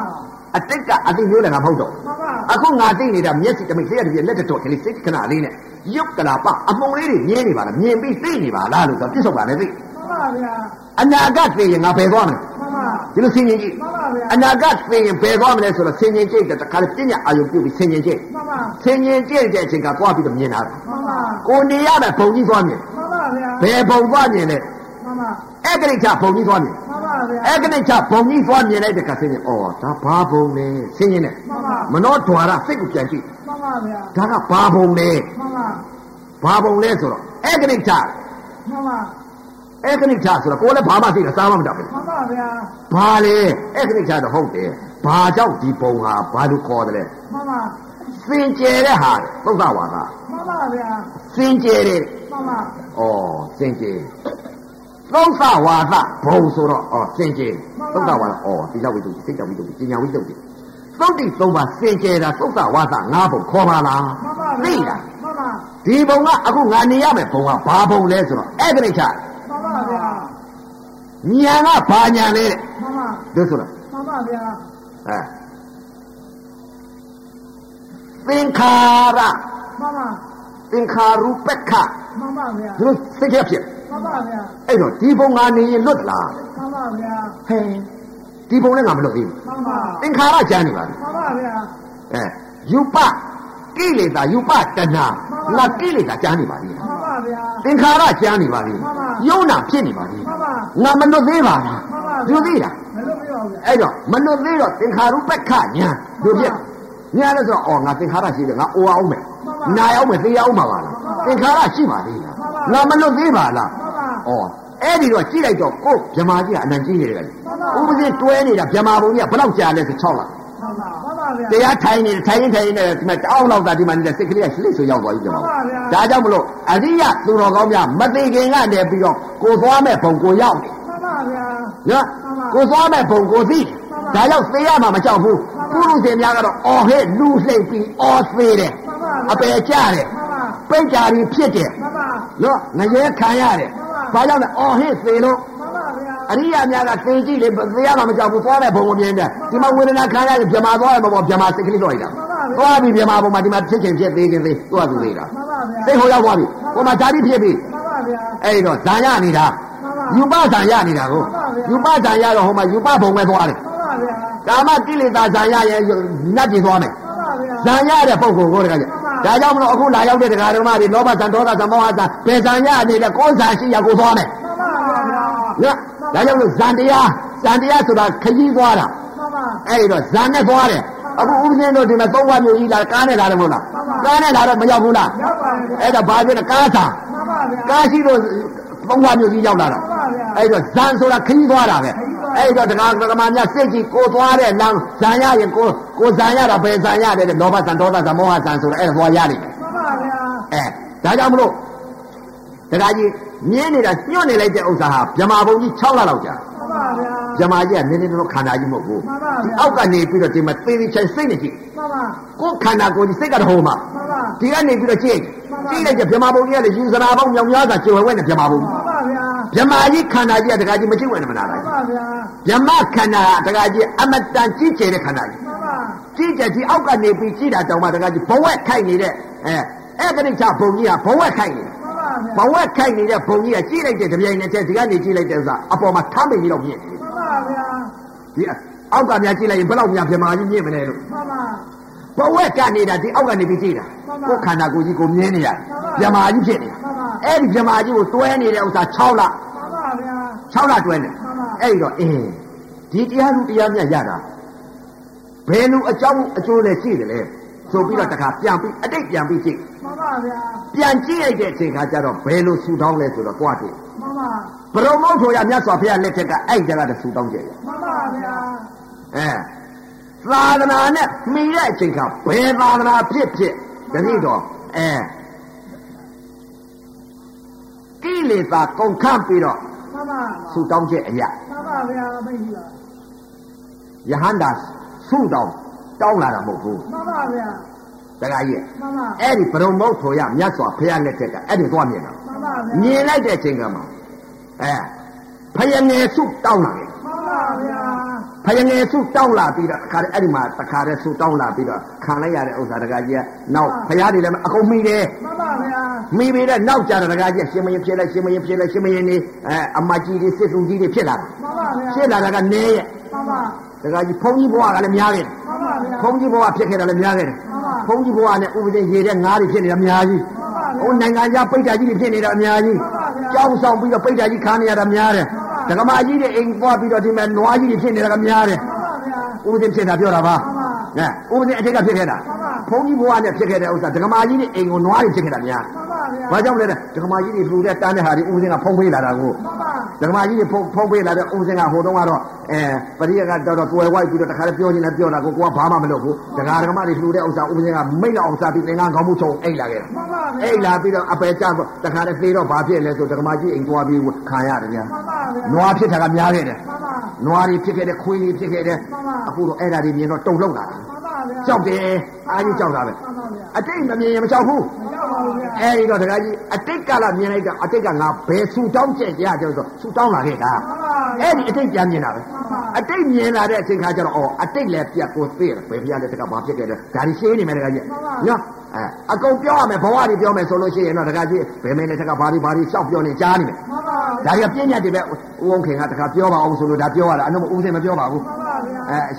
C: အတိတ်ကအတိမျိုးလည်းငါမဟုတ်တော့
B: ပါပါ
C: အခုငါသိနေတာမျက်စိတမိတ်လျှက်တစ်ပြက်လက်တစ်တော့ကလေးစိတ်တစ်ခဏလေးနဲ့ရုပ်ကလာပအမှုံလေးတွေမြင်နေပါလားမြင်ပြီးသိနေပါလားလို့ဆိုတော့ပြစ္ဆုတ်ပါလည်းသိ
B: ပါပါဗျာ
C: အနာကသိရင်ငါဘယ်သွားမလဲ
B: ပါပါ
C: ဒီလိုဆင်ញင်ကြည့်
B: ပါပါဗျာ
C: အနာဂတ်သိရင်ဘယ်သွားမလဲဆိုတော့ဆင်ញင်ကြည့်တဲ့တခါလေပညာအာယုပြုတ်ပြီးဆင်ញင်ကြည့်
B: ပါပါ
C: ဆင်ញင်ကြည့်တဲ့အချိန်ကသွားပြီးတော့မြင်
B: ပ
C: တာ
B: ါပါ
C: ကိုနေရတဲ့ဘုံကြီးသွားမြင်
B: ပါပါဗျာ
C: ဘယ်ဘုံသွားမြင်လဲ
B: ပါပါ
C: အက္ခိဋ္ဌဘုံကြီးသွားမြင်
B: ပါပါဗျာ
C: အက္ခိဋ္ဌဘုံကြီးသွားမြင်လိုက်တဲ့ခါဆင်ញင်အော်ဒါဘာဘုံလဲဆင်ញင်နဲ့
B: ပါပါ
C: မနောဓွာရစိတ်ကိုပြန်ကြည့်
B: ပါပါဗျာ
C: ဒါကဘာဘုံလဲ
B: ပါပါ
C: ဘာဘုံလဲဆိုတော့အက္ခိဋ္ဌ
B: ပါပါ
C: အက္ခိဋ္ဌဆိုတော့ကိုယ်လည်းဘာမှသိတာစားမှမတတ်ဘူး
B: ပါပါဗျာ
C: ဘာလဲအက္ခိဋ္ဌတော့ဟုတ်တယ်ဘာကြောင့်ဒီဘုံဟာဘာလို့ခေါ်တယ်လဲ
B: ပါပါ
C: စင်ကြယ်တဲ့ဟာသုဒ္ဓဝါဒ
B: ပါပါဗျာ
C: စင်ကြယ်တဲ့
B: ပါပါ
C: ဩစင်ကြယ်သုဒ္ဓဝါဒဘုံဆိုတော့ဩစင်ကြယ်သုဒ္ဓဝါဒဩဒီလောက်ဝိတ္တုစိတ်တဝိတ္တုပညာဝိတ္တုသုတ်တိသုံးပါစင်ကြယ်တာသုဒ္ဓဝါဒငါးဘုံခေါ်ပါလား
B: ပါပါ
C: သိ
B: ဗျာ
C: လား
B: ပါပါ
C: ဒီဘုံကအခုငါနေရမယ်ဘုံကဘာဘုံလဲဆိုတော့အဲ့ဒီချာ
B: ပါပါဗျာ
C: ညာကဘာညာလဲ
B: ပါပါ
C: တဲ့ဒါဆိုတော့
B: ပါပါဗျာ
C: အဲသင်္ခါရ
B: ပါပါ
C: သင်္ခါရုပက္ခ
B: ပါပါဗျာ
C: ဒီလိုစိတ်ရဖြစ်
B: ပါပါဗျာ
C: အဲ့တော့ဒီဘုံကနေရင်လွတ်သလား
B: ပါပါဗျာ
C: ဟဲဒီဘုံလည်းငါမလွတ်သေးဘူး
B: ပါပါ
C: သင်္ခါရကျမ်းနေပါပြီ
B: ပါပါဗျာ
C: အဲယူပကိလေသာယူပတဏ
B: မှ
C: ငါ
B: န်ပါ
C: ကိလေသာကျမ်းနေပါပြီ
B: ပါပါဗျာ
C: သင်္ခါရကျမ်းနေပါပြီ
B: မှန်ပါ
C: ယုံနာဖြစ်နေပါပြီ
B: ပါပါ
C: ငါမလွတ်သေးပါလား
B: ပါပါ
C: လွတ်သေးလား
B: မလို့မရဘူးဗျာ
C: အဲ့တော့မလွတ်သေးတော့သင်္ခါရုပ္ပခညာတို့ပြညာလဲဆိုတော့အော်ငါသင်္ခါရရှိတယ်ငါအိုအောင်မယ်နာရအောင်မယ်သိရအောင်ပါပါလားသင်္ခါရရှိပါသေးလားငါမလွတ်သေးပါ
B: ပါ
C: လား
B: ပါ
C: ။အော်အဲ့ဒီတော့ကြည့်လိုက်တော့ကို့မြမာကြီးကအနံကြီးနေတယ်ကလေ
B: မှန်ပါ
C: ဥပဒေတွဲနေတာမြမာဘုံကြီးကဘယ်လောက်ကြာလဲဆို6လ
B: ပါပါပါပါဗျာ
C: တရားထိုင်နေတယ်ထိုင်ရင်ထိုင်ရင်နဲ့ဒီမှာတအောင်လောက်သာဒီမှာနေတဲ့စိတ်ကလေးကလှစ်ဆိုရောက်သွားပြီမြမာ
B: မှန်ပါဗျာ
C: ။ဒါကြောင့်မလို့အရိယသူတော်ကောင်းများမသိခင်ကနေပြီးတော့ကိုသွားမဲ့ဘုံကိုရောက်တယ်
B: ပါပါဗျာ
C: နော်
B: မှန်ပါ
C: ကိုသွားမဲ့ဘုံကိုသိ
B: မှ
C: ဒါ
B: န်ပါ
C: ရောက်သေးရမှာမကြောက်ဘူး
B: မှ
C: ကု
B: န်ပါ
C: လူစင်များကတော့အော်ဟဲ့လူလှိမ့်ပြီးအော်သေးတယ်
B: မှန်ပါဗျာ
C: အပယ်ကျတယ်
B: ပါပါ
C: ပိတ်ကြပြီးဖြစ်တယ်
B: ပါပါ
C: နော်ငရဲခံရတယ်
B: မှန်ပါ
C: ဘာကြောင့်လဲအော်ဟဲ့သေးလို့
B: ပါပါဗျာ
C: အရိယာများကသိကြည့်လေသိရမှာမကြောက်ဘူးသွားတဲ့ဘုံကိုမြင်တယ်ဒီမှာဝေဒနာခံရတယ်ဗြဟ္မာသွားတယ်ဘောဗြဟ္မာစိတ်ကလေးတော့ရတာသွားပြီဗြဟ္မာဘုံမှာဒီမှာဖြစ်ချင်းဖြစ်သေးချင်းသေးသွားသူသေးတာ
B: ပါပါဗျာ
C: စိတ်ဟိုရောက်သွားပြီဟိုမှာဓာတိဖြစ်ပြီ
B: ပါပါဗျာ
C: အဲ့တော့ဇာရနေတာ
B: ပါပါ
C: ယူပဇာရနေတာကိုယူပဇာရတော့ဟိုမှာယူပဘုံပဲသွားတယ်
B: ပါပါဗျာ
C: ကာမကိလေသာဇာရရဲ့နတ်ပြည်သွားမယ်
B: ပါပါဗျာ
C: ဇာရတဲ့ပုံကိုကိုတကကြဒါကြောင့်မလို့အခုလာရောက်တဲ့တရားတော်မတွေလောဘဇံဒေါသဇံမောဟဇံဘယ်ဇာရအနေနဲ့ကောဇာရှိရကိုသွားမယ်
B: ပါပါဗျာ
C: နော်ဒါကြောင့်လို့ဇန်တရားဇန်တရားဆိုတာခကြီးသွားတာ
B: ပါပါ
C: အဲ့ဒီတော့ဇန်နဲ့သွားတယ်အခုဥပဒေတို့ဒီမှာသုံးဝမျိုးကြီးလာကားနဲ့လာတယ်မဟုတ်လားကားနဲ့လာတော့မရောက်ဘူးလား
B: ရောက်ပါဗျာ
C: အဲ့ဒါဘာဖြစ်လဲကားသာ
B: ပါပါဗျာ
C: ကားရှိလို့သုံးဝမျိုးကြီးရောက်လာတာ
B: မှန်ပါဗျာ
C: အဲ့ဒီတော့ဇန်ဆိုတာခကြီးသွားတာပဲ
B: ခရီးသွား
C: အဲ့တော့တရားကမာများစိတ်ကြီးကိုသွားတဲ့လမ်းဇာရရင်ကိုကိုဇာရတာပဲဇာရတယ်တဲ့လောဘဇံဒေါသဇံမောဟဇံဆိုတော့အဲ့ဒါသွားရလိမ့်မယ်
B: မှန်ပါဗျာ
C: အဲဒါကြောင့်မလို့တရားကြီးမြင်းနေတာညှို့နေလိုက်တဲ့ဥစ္စာဟာမြမာဘုံကြီး6လလောက်ကြာ
B: မှန်ပါဗျာ
C: မြမာကြီးကနည်းနည်းတော့ခန္ဓာကြီးမဟုတ်ဘူး
B: မှန်ပါ
C: ဒီ
B: ဗျာ
C: အောက်ကနေပြီးတော့ဒီမှာသေသေးချင်စိတ်နေကြည့်
B: မှန်ပါ
C: ကိုယ်ခန္ဓာကိုယ်ကြီးစိတ်ကတော့ဟိုမှာ
B: မှန်ပါ
C: ဒီကနေပြီးတော့ကြည့်
B: မှန်ပါ
C: ကြည့်လိုက်ကြဗြဟ္မာပုံကြီးကလည်းယူဇနာပေါင်းမြောင်များစွာကျွယ်ဝဲနေဗြဟ္မာပုံ
B: မှန်ပါဗျာ
C: ဗြဟ္မာကြီးခန္ဓာကြီးကတခါကြီးမကျွယ်ဝနဲ့မနာ
B: မှ
C: လား
B: န်ပါဗျာ
C: ဗြဟ္မာခန္ဓာကတခါကြီးအမတန်ကြီးကျယ်တဲ့ခန္ဓာကြီး
B: မှန်ပါ
C: ကြီးကျယ်ကြီးအောက်ကနေပြီးကြည့်တာတောင်မှတခါကြီးဘဝက်ခိုက်နေတဲ့အဲအဲ့ကနိစ္စဘုံကြီးကဘဝက်ခိုက်နေတယ်
B: မှန်ပါဗျာ
C: ဘဝက်ခိုက်နေတဲ့ဘုံကြီးကကြည့်လိုက်တဲ့တစ်ပြိုင်နက်တည်းဒီကနေကြည့်လိုက်တဲ့ဥစ္စာအပေါ်မှာထမ်းမိပြီးတော့မြင်တ
B: မှ
C: ယ်
B: န်ပါဗျာ
C: ဒီအောက်ကများကြည့်လိုက်ရင်ဘယ်လောက်များဗြဟ္မာကြီးမြင်မလဲလို့
B: မှန်ပါ
C: ဘဝကနေတာဒီအောက်ကနေပြီးကြည့်တာ
B: မှန်ပါ
C: ကိုယ်ခန္ဓာကိုယ်ကြီးကိုမြင်နေတာ
B: မှ
C: မြ
B: န်ပါ
C: မာကြီးဖြစ်နေတာ
B: မှန်ပါ
C: အဲ့ဒီမြမာကြီးကိုတွဲနေတဲ့ဥစ္စာ6လ
B: မှန်ပါဗျာ
C: 6လတွဲနေ
B: မှန်ပါ
C: အဲ့ဒီတော့အင်းဒီတရားလူတရားမြတ်ရတာဘယ်လိုအကြောင်းအကျိုးလဲရှိတယ်လဲဆိုပြီးတော့တခါပြန်ပြီးအတိတ်ပြန်ပြီးကြည့်
B: မှန်ပါဗျာ
C: ပြန်ကြည့်လိုက်တဲ့အချိန်ခါကျတော့ဘယ်လိုဆူတောင်းလဲဆိုတော့ကြွားတွေ့
B: မှန်ပါ
C: ဘရုံမောက်ဆိုရမြတ်စွာဘုရားလက်ထက်ကအဲ့ဒီတကတည်းကဆူတောင်းကြရ
B: မှန်ပါဗျာ
C: အဲသာသနာနဲ့မိတဲ့အချိန်ကဘယ်သာသနာဖြစ်ဖြစ်တတိတော်အဲကိလေသာကုန်ခန့်ပြီးတော့
B: မှန်ပါ
C: ဆူတောင်းချက်အရာ
B: မှန်ပါဗျာသိပြီလား
C: ယဟန္တာဆူတောင်းတောင်းလာတာမဟုတ်ဘူး
B: မှန်ပါဗျာ
C: တရားကြီး
B: မှန်ပါ
C: အဲ့ဒီဘရုံမုတ်ဆိုရမြတ်စွာဘုရားလက်ထက်ကအဲ့ဒီသွားမြင်တာ
B: မှန်ပါဗျာ
C: မြင်လိုက်တဲ့အချိန်ကမှအဲဖယငယ်ဆူတောင်းလာတ
B: မ
C: ယ်
B: ှန်ပါဗျာ
C: ဖယငယ်စုတောင်းလာပြီးတော့တခါတည်းအဲ့ဒီမှာတခါတည်းစုတောင်းလာပြီးတော့ခံလိုက်ရတဲ့ဥစ္စာတကကြီးကနောက်ဖရားတွေလည်းအကုန်မိတယ်
B: မှန်ပါဗျာ
C: မိပြီးတော့နောက်ကြတဲ့တကကြီးကရှင်မယင်ဖြစ်လိုက်ရှင်မယင်ဖြစ်လိုက်ရှင်မယင်နေအဲအမကြီးတွေစစ်စုကြီးတွေဖြစ်လာတာ
B: မှန်ပါဗျာ
C: ဖြစ်လာတာကနေရဲ့
B: မှန်ပါ
C: တကကြီးဘုန်းကြီးဘဝကလည်းများခဲ့တယ်
B: မှန်ပါဗျာ
C: ဘုန်းကြီးဘဝဖြစ်ခဲ့တာလည်းများခဲ့တယ်
B: မှန်ပါ
C: ဘုန်းကြီးဘဝနဲ့ဥပဒေရေတဲ့ငါးတွေဖြစ်နေတာအများ
B: မှ
C: ကြီး
B: န်ပါ
C: ဟို
B: ဗျာ
C: နိုင်ငံခြားပိတ်တာကြီးတွေဖြစ်နေတာအများကြီးကြောင်းဆောင်ပြီးတော့ပိတ်တာကြီးခံနေရတာများတယ်ဒကမာကြီးတွေအိမ်ပွားပြီးတော့ဒီမှာနွားကြီးတွေဖြစ်နေတာကများတယ်
B: မှန်ပါဗျာ
C: ဥပဒေဖြစ်တာပြောတာပါ
B: မှန်ပါ
C: ။ဟဲ့ဥပဒေအထက်ကဖြစ်ခဲ့တာ
B: မှန်ပါ
C: ဘုန်းကြီးဘုရားနဲ့ဖြစ်ခဲ့တဲ့ဥစ္စာဒကမာကြီးနဲ့အိမ်ကိုနွားတွေဖြစ်ခဲ့တာများ
B: မှန်ပါဗျာ
C: ။ဘာကြောင့်လဲတဲ့ဒကမာကြီးတွေလှူတဲ့တန်းတဲ့ဟာတွေဥပဒေကဖုံးပေးလာတာကို
B: မှန်ပါ
C: ဒကမာကြီးတွေဖုံးဖုံးပေးလာတဲ့ဥပဒေကဟိုတုန်းကတော့အဲပရိယတ်ကတော့တော့ကွယ်ဝိုက်ပြီးတော့တခါတည်းပြောနေတာပြောတာကိုကိုကဘာမှမလုပ်ဘူး။ဒကာဒကမာတွေလှူတဲ့ဥစ္စာဥပဒေကမိတ်လောက်အောင်စားပြီးသင်္ကန်းကောင်းမှုချုံအိတ်လာခဲ့တာ
B: မှန်ပါ
C: ။
B: ဗျာ
C: အိတ်လာပြီးတော့အပယ်ကျတော့တခါတည်းသေတော့ဘာဖြစ်လဲဆိုဒကမာကြီးအိမ်သွားပြီးခံရတယ်ဗျာ
B: မှန်ပါဗျာ
C: ။
B: မှ
C: နွားဖြစ်တာကများခဲ့တယ်။
B: န်ပါ
C: နွားတွေဖြစ်ခဲ့တဲ့ခွေးတွေဖြစ်ခဲ့တဲ့
B: မှန်ပါ
C: အခုတော့အဲ့ဒါတွေမြင်တော့တုံလောက်လာတာ
B: မှန်ပါဗျာ
C: ကြောက်တယ်အားကြီးကြောက်တာ
B: မှ
C: ပဲ
B: န်ပါဗျာ
C: အတိတ်မမြင်ရင်မကြောက်ဘူး
B: မကြောက်ပါဘူးဗျာ
C: အဲ့ဒီတော့ဒကာကြီးအတိတ်ကလာမြင်လိုက်တာအတိတ်ကငါဘယ်ဆူတောင်းချက်ရတယ်ဆိုတော့ဆူတောင်းလာခဲ့တာ
B: မှန်ပါဗျာ
C: အဲ့ဒီအတိတ်ပြန်မြင်တာပဲ
B: မှန်ပါ
C: အတိတ်မြင်လာတဲ့အချိန်ခါကျတော့အော်အတိတ်လည်းပြတ်ကိုသိတယ်ဘယ်ဖရားလည်းတကဘာဖြစ်ခဲ့တယ်ဒါတွေရှင်းနေမယ်ဒကာကြီးနော်အဲအကုန်ပြောရမယ်ဘဝတွေပြောမယ်ဆိုလို့ရှိရင်တော့ဒကာကြီးဘယ်မင်းလည်းတကဘာတွေဘာတွေရှောက်ပြောနေကြားနေမယ်
B: မှန်ပါ
C: ဒါကြီးကပြည့်ညတ်တယ်ပဲဦးအောင်ခင်ကတခါပြောပါအောင်ဆိုလို့ဒါပြောရတာအတော့ဦးစင်မပြောပါဘူး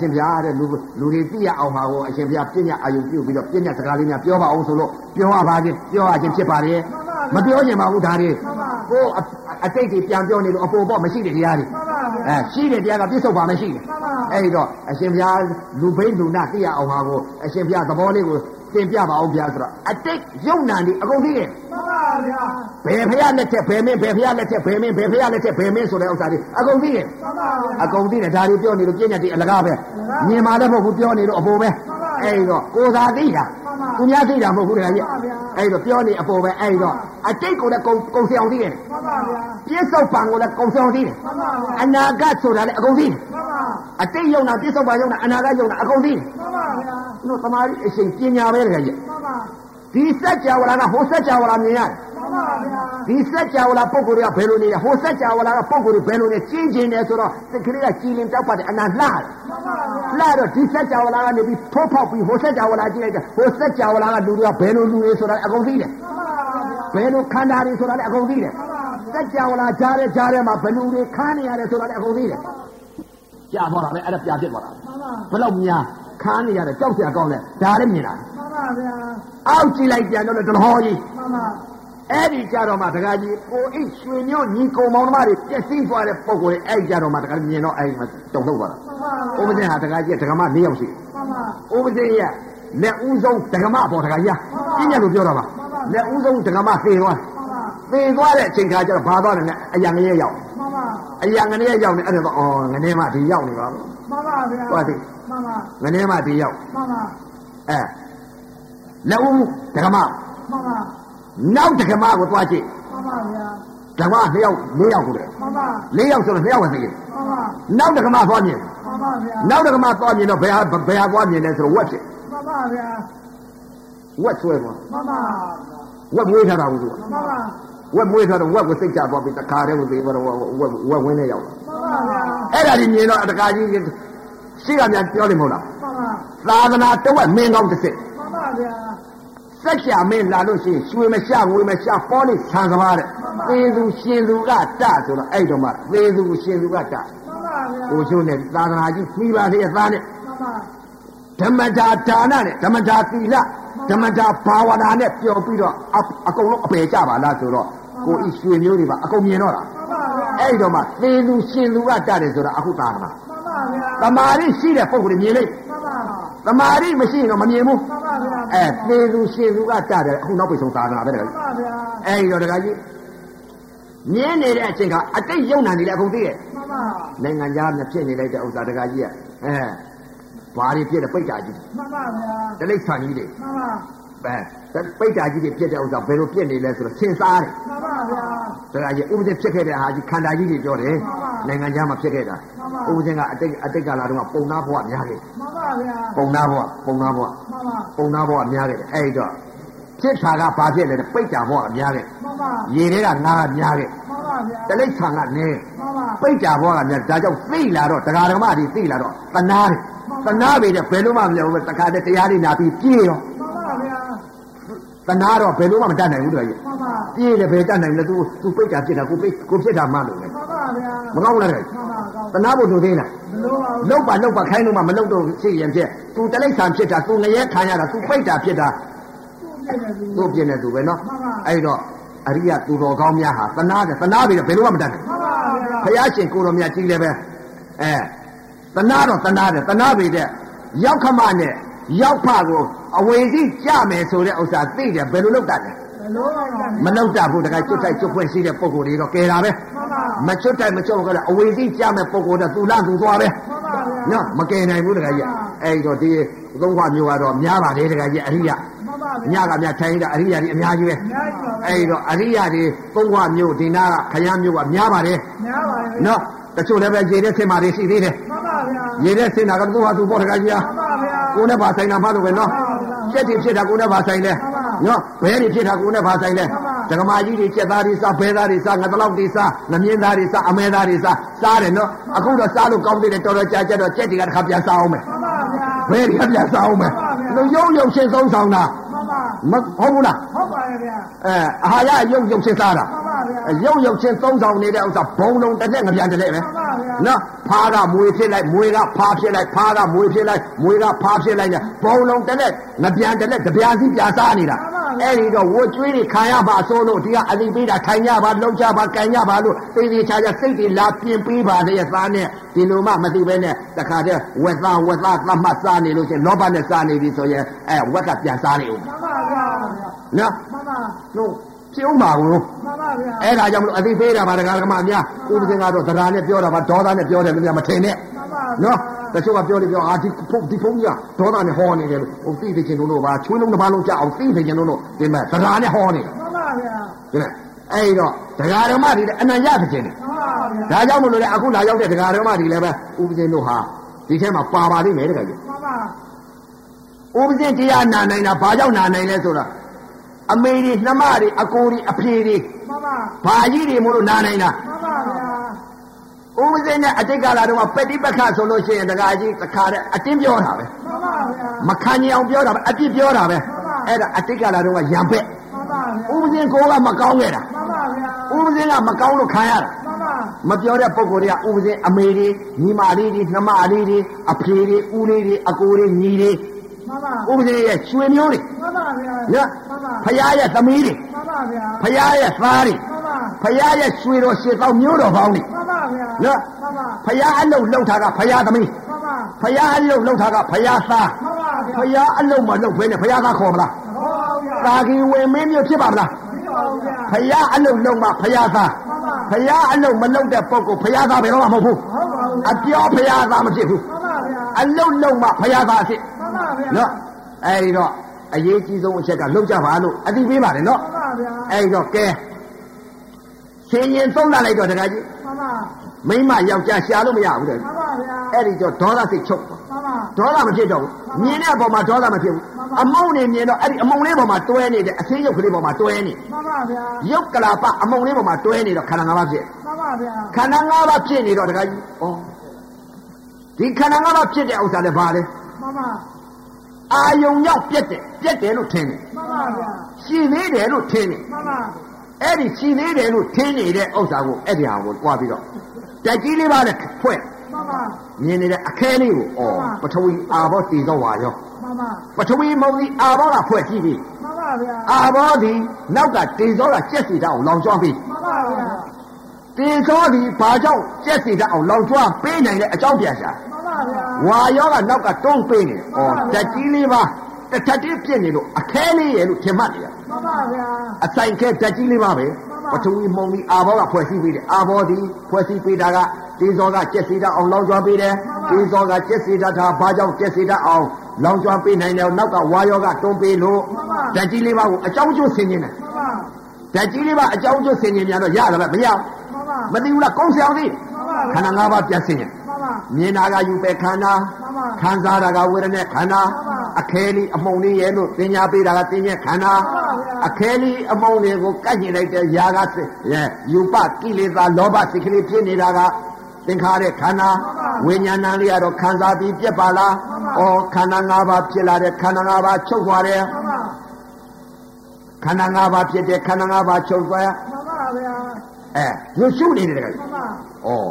B: မှန်ပါဗျာ
C: အဲအရှင်ဘုရားတဲ့လူလူတွေသိရအောင်ပါကိုအရှင်ဘုရားပြည့်ညတ်အာယုပြုပြီးတော့ပြည့်ညတ်စကားလေးများပြောပါအောင်ဆိုလို့ပြောရပါခြင်းပြောရခြင်းဖြစ်ပါလေမပြောချင်ပါဘူးဒါတွေကိုအအတိတ်တွေပြန်ပြောနေလို့အပေါ်ပေါ့မရှိတဲ့တရားတွေ
B: မှန်ပါဗျာ
C: အဲရှိတဲ့တရားကပြည့်စုံပါမရှိ
B: မှ
C: ဘူး
B: န်ပါ
C: အဲဒီတော့အရှင်ဘုရားလူဘိန်းလူနာသိရအောင်ပါကိုအရှင်ဘုရားသဘောလေးကိုသင်ပြပါအောင်ဘုရားဆိုတော့အတိတ်ယုံနာနေအကုန်သိတယ်
B: မှန်ပါဗျာ
C: ဘယ်ဖရလက်ချက်ဘယ်မင်းဘယ်ဖရလက်ချက်ဘယ်မင်းဘယ်ဖရလက်ချက်ဘယ်မင်းဆိုတဲ့ဥစ္စာတွေအကုန်သိတယ်
B: မှန်ပါဗျာ
C: အကုန်သိတယ်ဒါတွေပြောနေလို့ပြည့်ညတ်တွေအလကားပဲမြင်ပါလည်းမဟုတ်ဘူးပြောနေလို့အပေါ်ပဲအဲ့တော့ကိုယ်သာသိတာသူများသိတာမဟုတ်ဘူးတခါကြီးအဲ့တော့ပြောနေအပေါ်ပဲအဲ့တော့အတိတ်ကိုလည်းကုန်ကုန်စီအောင်သိတယ်
B: မှန်ပါဗျာ
C: ပြစ္ဆုတ်ပံကိုလည်းကုန်စီအောင်သိတယ်
B: မှန်ပါဗျာ
C: အနာဂတ်ဆိုတာလည်းအကုန်သိတယ်
B: မှန်ပါ
C: အတိတ်ယုံတာပြစ္ဆုတ်ပံယုံတာအနာဂတ်ယုံတာအကုန်သိတယ်
B: မှန်ပါဗျာ
C: သူတို့သမားကြီးအရှင်ပညာပဲတခါကြီး
B: မှန်ပါ
C: ဒီစัจ java ကဟိုစัจ java မြင်ရတ
B: မ
C: ယ်
B: ှန်ပါဗျာ
C: ဒီစัจ java လာပုံကိုယ်တွေကဘယ်လိုနေလဲဟိုစัจ java လာကပုံကိုယ်တွေဘယ်လိုနေကျင်းကျင်နေဆိုတော့သခင်ကကြည်လင်တောက်ပါတယ်အနာလှတယ်
B: မှန်ပါဗျာ
C: လှတော့ဒီစัจ java လာကနေပြီးဖောက်ဖောက်ပြီးဟိုစัจ java လာကြည့်လိုက်တာဟိုစัจ java လာကလူတွေကဘယ်လိုလူတွေဆိုတာလည်းအကုန်သိတယ်
B: မှန်ပါဗျာ
C: ဘယ်လိုခန္ဓာတွေဆိုတာလည်းအကုန်သိတယ်စัจ java လာကြားတဲ့ကြားထဲမှာဘယ်လူတွေခန်းနေရတယ်ဆိုတာလည်းအကုန်သိတယ်ကြားသွားတာလည်းအဲ့ဒါပြဖြစ်သွားတာပဲ
B: မှန်ပါ
C: ဘယ်လောက်များခန်းနေရတယ်ကြောက်စရာကောင်းတယ်ဒါလည်းမြင်တာ
B: မှန်ပါဗျာ
C: အောက်ကြည့်လိုက်ပြန်တော့လည်းတလောကြီး
B: မှန်ပါ
C: အဲ့ဒီကြတော့မှဒကာကြီးကိုအိတ်ရွှေညွန့်ညီကုံမောင်နှမတွေပြည့်စည်သွားတဲ့ပုံကိုယ်အဲ့ဒီကြတော့မှဒကာကြီးမြင်တော့အဲ့ဒီမှာတုံ့လောက်သွားတာ
B: မှန်ပါ
C: ။ဥပဒေဟာဒကာကြီးကဒကာမ၄ယောက်ရှိတယ်
B: မှန်ပါ
C: ။ဥပဒေရဲ့လက်ဦးဆုံးဒကာမပေါ်ဒကာကြီးကပြည့်ညတ်လို့ပြောတာပါ
B: မှန်ပါ
C: ။လက်ဦးဆုံးဒကာမသေသွားတယ်
B: မှန်ပါ
C: ။သေသွားတဲ့အချိန်ခါကျတော့ဘာသွားတယ်လဲအယံငရဲရောက်
B: မှန်ပါ
C: ။ အရာငနေရောက်နေအဲ့ဒါတော့အော်ငနေမှဒီရောက်နေပါဘူး
B: မမဗျာ
C: ဟုတ်တယ်
B: မမ
C: ငနေမှဒီရောက်
B: မမ
C: အဲလက်ဦးဓ
B: မ
C: မ္မ
B: မ
C: နောက်ဓမ္မကိုသွားကြည့်
B: မမဗျာ
C: ဓမ္မနှစ်ယောက်လေးယောက်ကိုတယ်
B: မမ
C: လေးယောက်ဆိုတော့နှစ်ယောက်ပဲသိတယ်
B: မမ
C: နောက်ဓမ္မသွားမြင်
B: မမဗျာ
C: နောက်ဓမ္မသွားမြင်တော့ဘယ်ဟာဘယ်ဟာသွားမြင်လဲဆိုတော့ဝက်ဖြစ်
B: မမဗျာ
C: ဝက်ဆွဲသွား
B: မမ
C: ဝက်မွေးထားတာဘူးသူက
B: မမ
C: ဝက်မွေးထားတော့ဝက်ကိုစိတ်ချသွားပြီတခါတည်းကိုသိပါတော့ဝက်ဝက်ဝက်ဝင်းနဲ့ရောက်
B: မ
C: လာ
B: မဗျာ
C: အဲ့ဒါဒီမြင်တော့တခါကြီးရှိကများပြောတယ်မဟုတ်လား
B: မမ
C: သာသနာတဝက်မင်းကောင်းတစ်စစ်
B: မမဗျာ
C: စက်ချာမင်းလာလို့ရှိရင်ရွှေမရှငွေမရှပေါလိဆံကဘာတဲ့သေသူရှင်သူကတဆိုတော့အဲ့တော့မှသေသူရှင်သူက
B: မမ
C: တ
B: ဗျာ
C: ကိုရှုံးနဲ့သာသနာကြီးမိပါသေးရဲ့သားနဲ့
B: မမ
C: ဓမ္မတာဒါနနဲ့ဓမ္မတာသီလဓမ္မတာဘာဝနာနဲ့ပျော်ပြီးတော့အအကုန်လုံးအပေကြပါလားဆိုတော့ကိုဤရွှေမျိုးတွေပါအကုန်မြင်တော့တာ
B: မမဗျာ
C: အဲ့တော့မှသေသူရှင်သူကတတယ်ဆိုတော့အခုသာသ
B: မမ
C: နာ
B: ဗျာ
C: တမာရီရှိတဲ့ပုံကိုမြင်လိုက်
B: မမ
C: တမာရီမရှိရင်တော့မမြင်ဘူး
B: မမဗျာ
C: အဲသေသူရှင်သူကတတယ်အခုနောက်ပိတ်ဆုံးသာသနာပဲတကယ်
B: မမဗျာ
C: အဲ့ဒီတော့တခါကြီးမြင်းနေတဲ့အချိန်ကအတိတ်ယုံနာနေတယ်အကုန်သိရဲ့
B: မမ
C: နိုင်ငံသားများဖြစ်နေလိုက်တဲ့ဥစ္စာတခါကြီးကအဲဘာတွေဖြစ်တဲ့ပိတ်တာကြီး
B: မမဗျာ
C: တလိษံကြီးတွေ
B: မမ
C: ပဲပိတ်တာကြီးတွေဖြစ်တဲ့ဥစ္စာဘယ်လိုဖြစ်နေလဲဆိုတော့သင်စားတ
B: မ
C: ယ်
B: မဗျာ
C: တခါကြီးဥပဒေဖြစ်ခဲ့တဲ့ဟာကြီးခန္ဓာကြီးတွေပြောတ
B: မှ
C: ယ်
B: န်ပါ
C: နိုင်ငံသားမှာဖြစ်ခဲ့တာ
B: မှန်ပါ
C: ဥပဒေကအတိတ်အတိတ်ကာလတုန်းကပုံနာဘဝများခဲ့တယ်
B: မမဗျာ
C: ပုံနာဘဝပုံနာဘဝ
B: မမ
C: ပုံနာဘဝများခဲ့တယ်အဲ့ဒီတော့ဖြစ်တာကဘာဖြစ်လဲတဲ့ပိတ်တာဘဝကများခဲ့တယ်
B: မမ
C: ရေတွေကနာကများခဲ့တယ်
B: မမဗျာ
C: တလိษံကနည်းတယ်
B: မမ
C: ပိတ်တာဘောကများဒါကြောင့်သိလာတော့တရားဓမ္မတွေသိလာတော့တနာတယ်တနာပေတဲ့ဘယ်လိုမှမပြောဘူးတခါတည်းတရားတွေနာပြီးပြေးရော
B: မမဗျာ
C: တနာတော့ဘယ်လိုမှမတတ်နိုင်ဘူးတော်
B: မ
C: ကြီး
B: မ
C: ပြေးလည်းဘယ်တတ်နိုင်လဲ तू तू ပိတ်တာဖြစ်တာကိုပိတ်ကိုဖြစ်တာမှလို့လေ
B: မမဗျာ
C: မကောင်းဘူးလား
B: မ
C: တော်ကြီး
B: မကောင်း
C: တနာဖို့လိုသေး
B: မ
C: လား
B: လို့ပါဘူး
C: လောက်ပါလောက်ပါခိုင်းလို့မှမလောက်တော့ရှိရင်ဖြစ် तू တလိษံဖြစ်တာ तू ငရဲခံရတာ तू ပိတ်တာဖြစ်တာ
B: သူ့ပြည့်နေသူ
C: तू ပြင်းနေ तू ပဲနော်
B: မှန်ပါ
C: အဲ့တော့အရိယသူတော်ကောင်းများဟာတနာတယ်တနာပေတဲ့ဘယ်လိုမှမတတ်နိုင်
B: မမ
C: ဘူး
B: ဗျာ
C: ဘုရားရှင်ကိုတော်မြတ်ကြီးလည်းပဲအဲတနာတော့တနာတယ်တနာပေတဲ့ရောက်ခမနဲ့ရောက်ဖကိုအဝေစီကြမယ်ဆိုတဲ့ဥစ္စာသိတယ်ဘယ်လိုလုပ်တတ်လဲ
B: မလို့ပါဘူး
C: မလုပ်တတ်ဘူးတခါကျွတ်တိုက်ကျွတ်ဖွင့်ရှိတဲ့ပုံကိုယ်တွေတော့ကဲတာပဲ
B: မမ
C: မကျွတ်တိုက်မကျွတ်ဘူးကတော့အဝေစီကြမယ်ပုံကိုယ်တော့သူလသူသွားပဲ
B: မမဗျာ
C: နော်မကယ်နိုင်ဘူးတခါကြီးအဲဒီတော့ဒီသုံးခွမျိုးကတော့များပါတယ်တခါကြီးအရိယ
B: မမ
C: ည
B: ဗျာ
C: ကများထိုင်တာအရိယကြီးအများကြီးပဲ
B: အများကြီးပါပဲ
C: အဲဒီတော့အရိယတွေသုံးခွမျိုးဒီနာကခရမ်းမျိုးကများပါတယ်
B: များပါပဲ
C: နော်တချို့လည်းပဲရေတဲ့ဆင်မာတွေရှိသေးတယ်
B: မမဗျာ
C: ရေတဲ့ဆင်တာကသူ့ဟာသူ့ပေါ်တကကြီးဟာ
B: မမဗျာ
C: ကိုယ်နဲ့ပါဆိုင်တာမှလို့ပဲနော်ကျက်တွေဖြစ်တာကိုယ်နဲ့ပါဆိုင်တယ်နော်ဘဲတွေဖြစ်တာကိုယ်နဲ့ပါဆိုင်တယ်ဓကမာကြီးတွေကျက်သားတွေစားဘဲသားတွေစားငါတလောက်တွေစားငမြင်းသားတွေစားအမဲသားတွေစားစားတယ်နော်အခုတော့စားလို့ကောင်းသေးတယ်တော်တော်ကြာကြာတော့ကျက်တွေကတစ်ခါပြန်စားအောင်မယ်
B: မမဗျာ
C: ဘဲတွေကပြန်စားအောင်မယ်လူရုံရုံရှင်းဆုံးဆောင်တာ
B: မမ
C: မဟုတ်ဘူးလား
B: ဟုတ်ပါရဲ့ဗျာ
C: အဲအာဟာရရုံရုံရှင်းစားတာ
B: မမဗျာ
C: ရုံရုံရှင်းသုံးဆောင်နေတဲ့ဥစ္စာဘုံလုံးတစ်လက်ငပြန်တစ်လက်ပဲ
B: မမဗျာ
C: နော်ဖားကမွေဖြစ်လိုက်မွေကဖားဖြစ်လိုက်ဖားကမွေဖြစ်လိုက်မွေကဖားဖြစ်လိုက်ညာဘုံလုံးတစ်လက်ငပြန်တစ်လက်ကြပြာစီပြာစားနေတာအဲ့ဒီတော့ဝတ်ကျွေးတွေခံရပါအစိုးလို့ဒီကအသိပေးတာခံရပါလုံကြပါကန်ရပါလို့သိသိချာချာစိတ်တွေလာပြင်ပေးပါလေသားနဲ့ဒီလိုမှမသိပဲနဲ့တခါတည်းဝက်သားဝက်သားသတ်မှတ်စားနေလို့ချင်းလောဘနဲ့စားနေပြီဆိုရင်အဲဝက်ကပြန်စားနေဦး
B: မမဗျာ
C: နော်
B: မမ
C: တို့ပြုံးပါဘူး
B: မမဗျာ
C: အဲ့ဒါကြောင့်မလို့အသိပေးတာပါတရားဓမ္မများဥပဒေကတော့သဒ္ဓါနဲ့ပြောတာပါဒေါသနဲ့ပြောတယ်လို့များမထင်နဲ့
B: မမဗျာ
C: နော်တချို့ကပြောလို့ပြောအာဒီဖုန်းဒီဖုန်းကြီးကဒေါသနဲ့ဟောနေတယ်လို့ဟိုသိသိချင်းတို့ပါချွေးလုံးတစ်ပါးလုံးကြအောင်သိသိချင်းတို့ဒီမဲ့သဒ္ဓါနဲ့ဟောနေတယ်
B: မမဗျာ
C: ဒီမဲ့အဲ့တော့တရားဓမ္မတွေလည်းအနံ့ရသခြင်းတယ်
B: မမဗျာ
C: ဒါကြောင့်မလို့လေအခုလာရောက်တဲ့တရားဓမ္မတွေလည်းပဲဥပဒေတို့ဟာဒီထဲမှာပါပါလိမ့်မယ်တကယ်ကြီး
B: မမ
C: ဥပဒေတရားနာနိုင်တာဘာကြောင့်နာနိုင်လဲဆိုတော့အမေတွေနှမတွေအကိုတွေအဖေတွေ
B: မမ
C: ဘာကြီးတွေမို့လို့နာနိုင်တာ
B: မမဗျာ
C: ဥပဇင်းနဲ့အတိတ်ကာလတုန်းကပฏิပက္ခဆိုလို့ရှိရင်တခါကြီးတခါတည်းအတင်းပြောတာပဲ
B: မမဗျာ
C: မခံနိုင်အောင်ပြောတာပဲအပြစ်ပြောတာပဲအဲ့ဒါအတိတ်ကာလတုန်းကရံပက်
B: မမဗျာ
C: ဥပဇင်းကိုကမကောင်းခဲ့တာ
B: မမဗျာ
C: ဥပဇင်းကမကောင်းလို့ခံရတာ
B: မမ
C: မပြောတဲ့ပုံကိုယ်တွေကဥပဇင်းအမေတွေညီမလေးတွေနှမလေးတွေအဖေတွေဦးလေးတွေအကိုတွေညီတွေ
B: မမ
C: ဥပဇင်းရဲ့ရွှေမျိုးတွေ
B: မမဗျာ
C: နော်
B: မမ
C: ဖရားရဲ့သမီးတွေ
B: မမဗျာ
C: ဖရားရဲ့သားတွေ
B: မမ
C: ဖရားရဲ့ရွှေတော်ရှစ်တော်မျိုးတော်ကောင်းတွေ
B: မမဗျာမမ
C: ဖရားအလုံးလှုပ်တာကဖရားသမီး
B: မမ
C: ဖယားအလုတ်လောက်တာကဖယားသား
B: မမဗျာ
C: ဖယားအလုတ်မလုတ်ဘဲနဲ့ဖယားသားခေါ်မလား
B: ဟောဗျာ
C: တာကီဝင်မင်းမျိုးဖြစ်ပါမလား
B: မင်းတော်ဗျာ
C: ဖယားအလုတ်လောက်မှဖယားသား
B: မမ
C: ဖရာအလုံးမလုံးတဲ့ပုဂ္ဂိုလ်ဖရာသားဘယ်တော့မှမဟုတ်ဘူး
B: ဟုတ်ပါဘူး
C: အပြောဖရာသားမဖြစ်ဘူး
B: မှန်ပါဗျာ
C: အလုံးလုံးမှဖရာသားအဖြစ်
B: မှန်ပါဗျာ
C: နော်အဲဒီတော့အရေးကြီးဆုံးအချက်ကလုံးကြပါလို့အတိပေးပါတယ်နော်
B: မှန်ပါဗျာ
C: အဲဒီတော့ကဲရှင်ရင်သုံးလာလိုက်တော့တခါကြီး
B: မှန်ပါ
C: မိမယောက်ျားရှာလို့မရဘူးတဲ့
B: မှန်ပါဗျာ
C: အဲ့ဒီတော့ဒေါသစိတ်ချုပ်သွား
B: မှန်ပါ
C: ဒေါသမဖြစ်တော့ဘူးမြင်တဲ့အပေါ်မှာဒေါသမဖြစ်ဘူး
B: မှန်ပါ
C: အမုံနေမြင်တော့အဲ့ဒီအမုံလေးပေါ်မှာတွဲနေတဲ့အသေးရုပ်ကလေးပေါ်မှာတွဲနေ
B: မှန်ပါဗျာ
C: ရုပ်ကလာပအမုံလေးပေါ်မှာတွဲနေတော့ခန္ဓာ၅ပါးဖြစ်
B: မှန်ပါဗျာ
C: ခန္ဓာ၅ပါးဖြစ်နေတော့တခါကြီးဩဒီခန္ဓာ၅ပါးဖြစ်တဲ့ဥစ္စာလည်းဘာလဲ
B: မှန်ပါ
C: အာယုံရောက်ပြက်တယ်ပြက်တယ်လို့ထင်တယ်
B: မှန်ပါဗျာ
C: ရှည်သေးတယ်လို့ထင်တယ်
B: မှန်ပါ
C: အဲ့ဒီရှည်သေးတယ်လို့ထင်နေတဲ့ဥစ္စာကိုအဲ့ဒီဟာကိုကြွားပြီးတော့တက်ကြီးလေးပါနဲ့ဖွဲ့
B: မှန်ပါ
C: မြင်နေတဲ့အခဲလေးကိုဩပထဝီအာဘောတည်သောဝါရော
B: မှန်ပါ
C: ပထဝီမုံဒီအာဘောကဖွဲ့ကြည့်ပြီး
B: မှန်ပါဗျာ
C: အာဘောသည်နောက်ကတေဇောကကျက်စီတအောင်လောင်ကျွမ်းပြီး
B: မှန်ပါဗျာ
C: တေဇောသည်ဘာကြောင့်ကျက်စီတအောင်လောင်ကျွမ်းပေးနိုင်တဲ့အကြောင်းပြန်ရှာ
B: မှန်ပါဗျာ
C: ဝါယောကနောက်ကတွန်းပေးနေတယ်။အော်တက်ကြီးလေးပါတစ်ထပ်တည်းပြင့်နေလို့အခဲလေးရဲ့လို့ထင်မှတ်နေရ
B: မှန်ပါဗျာ
C: အဆိုင်ခဲတက်ကြီးလေးပါပဲပထဝီမုံပြီးအာဘောကဖွဲ့စည်းပေးတယ်အာဘောသည်ဖွဲ့စည်းပေးတာကတေဇောကကျက်စီတအောင်လောင်ကျွမ်းပေးတယ်
B: မှ
C: တေ
B: န်ပါ
C: ဇောကကျက်စီတထားဘာကြောင့်ကျက်စီတအောင်လောင်ကျွမ်းပေးနိုင်တယ်နောက်ကဝါယောကတွန်းပေးလို့တက်ကြီးလေးပါကိုအကြောင်းကျိုးဆင်းနေတယ်
B: မှန်ပါ
C: ဓာတ်ကြီးလေးပါအကြောင်းကျိုးဆင်ခြင်များတော့ရတာပဲမရဘူး
B: မှန်ပါ
C: မသိဘူးလားကုန်းဆရာမ
B: မှ
C: သိ
B: န်ပါ
C: ခန္ဓာ၅ပါးပြတ်ဆင်ခြင်
B: မှန်ပါ
C: မြင်တာကယူပဲခန္ဓာ
B: မှန်ပါ
C: ခံစားတာကဝေဒနာခန္ဓာအခဲလေးအမှုန်လေးရဲ့လို့သင်ညာပေးတာကသင်ညာခန္ဓာ
B: ဟုတ်ပါဘူး
C: အခဲလေးအမှုန်လေးကိုကတ်ကျင်လိုက်တဲ့ຢာကစိတ်ရဲ့ယူပကိလေသာလောဘစိတ်ကလေးဖြစ်နေတာကသင်္ခါရခန္ဓာဝိညာဏလေးကတော့ခံစားပြီးပြက်ပါလားဩခန္ဓာ၅ပါးဖြစ်လာတဲ့ခန္ဓာ၅ပါးချုပ်သွားတယ်
B: မှန်ပါ
C: ခန္ဓာ၅ပါးဖြစ်တဲ့ခန္ဓာ၅ပါးချုပ်သွား
B: မှန်ပါဗျာ
C: အဲရွှတ်ရှုပ်နေတယ်တကယ်
B: မှန်ပါ
C: ။ဩ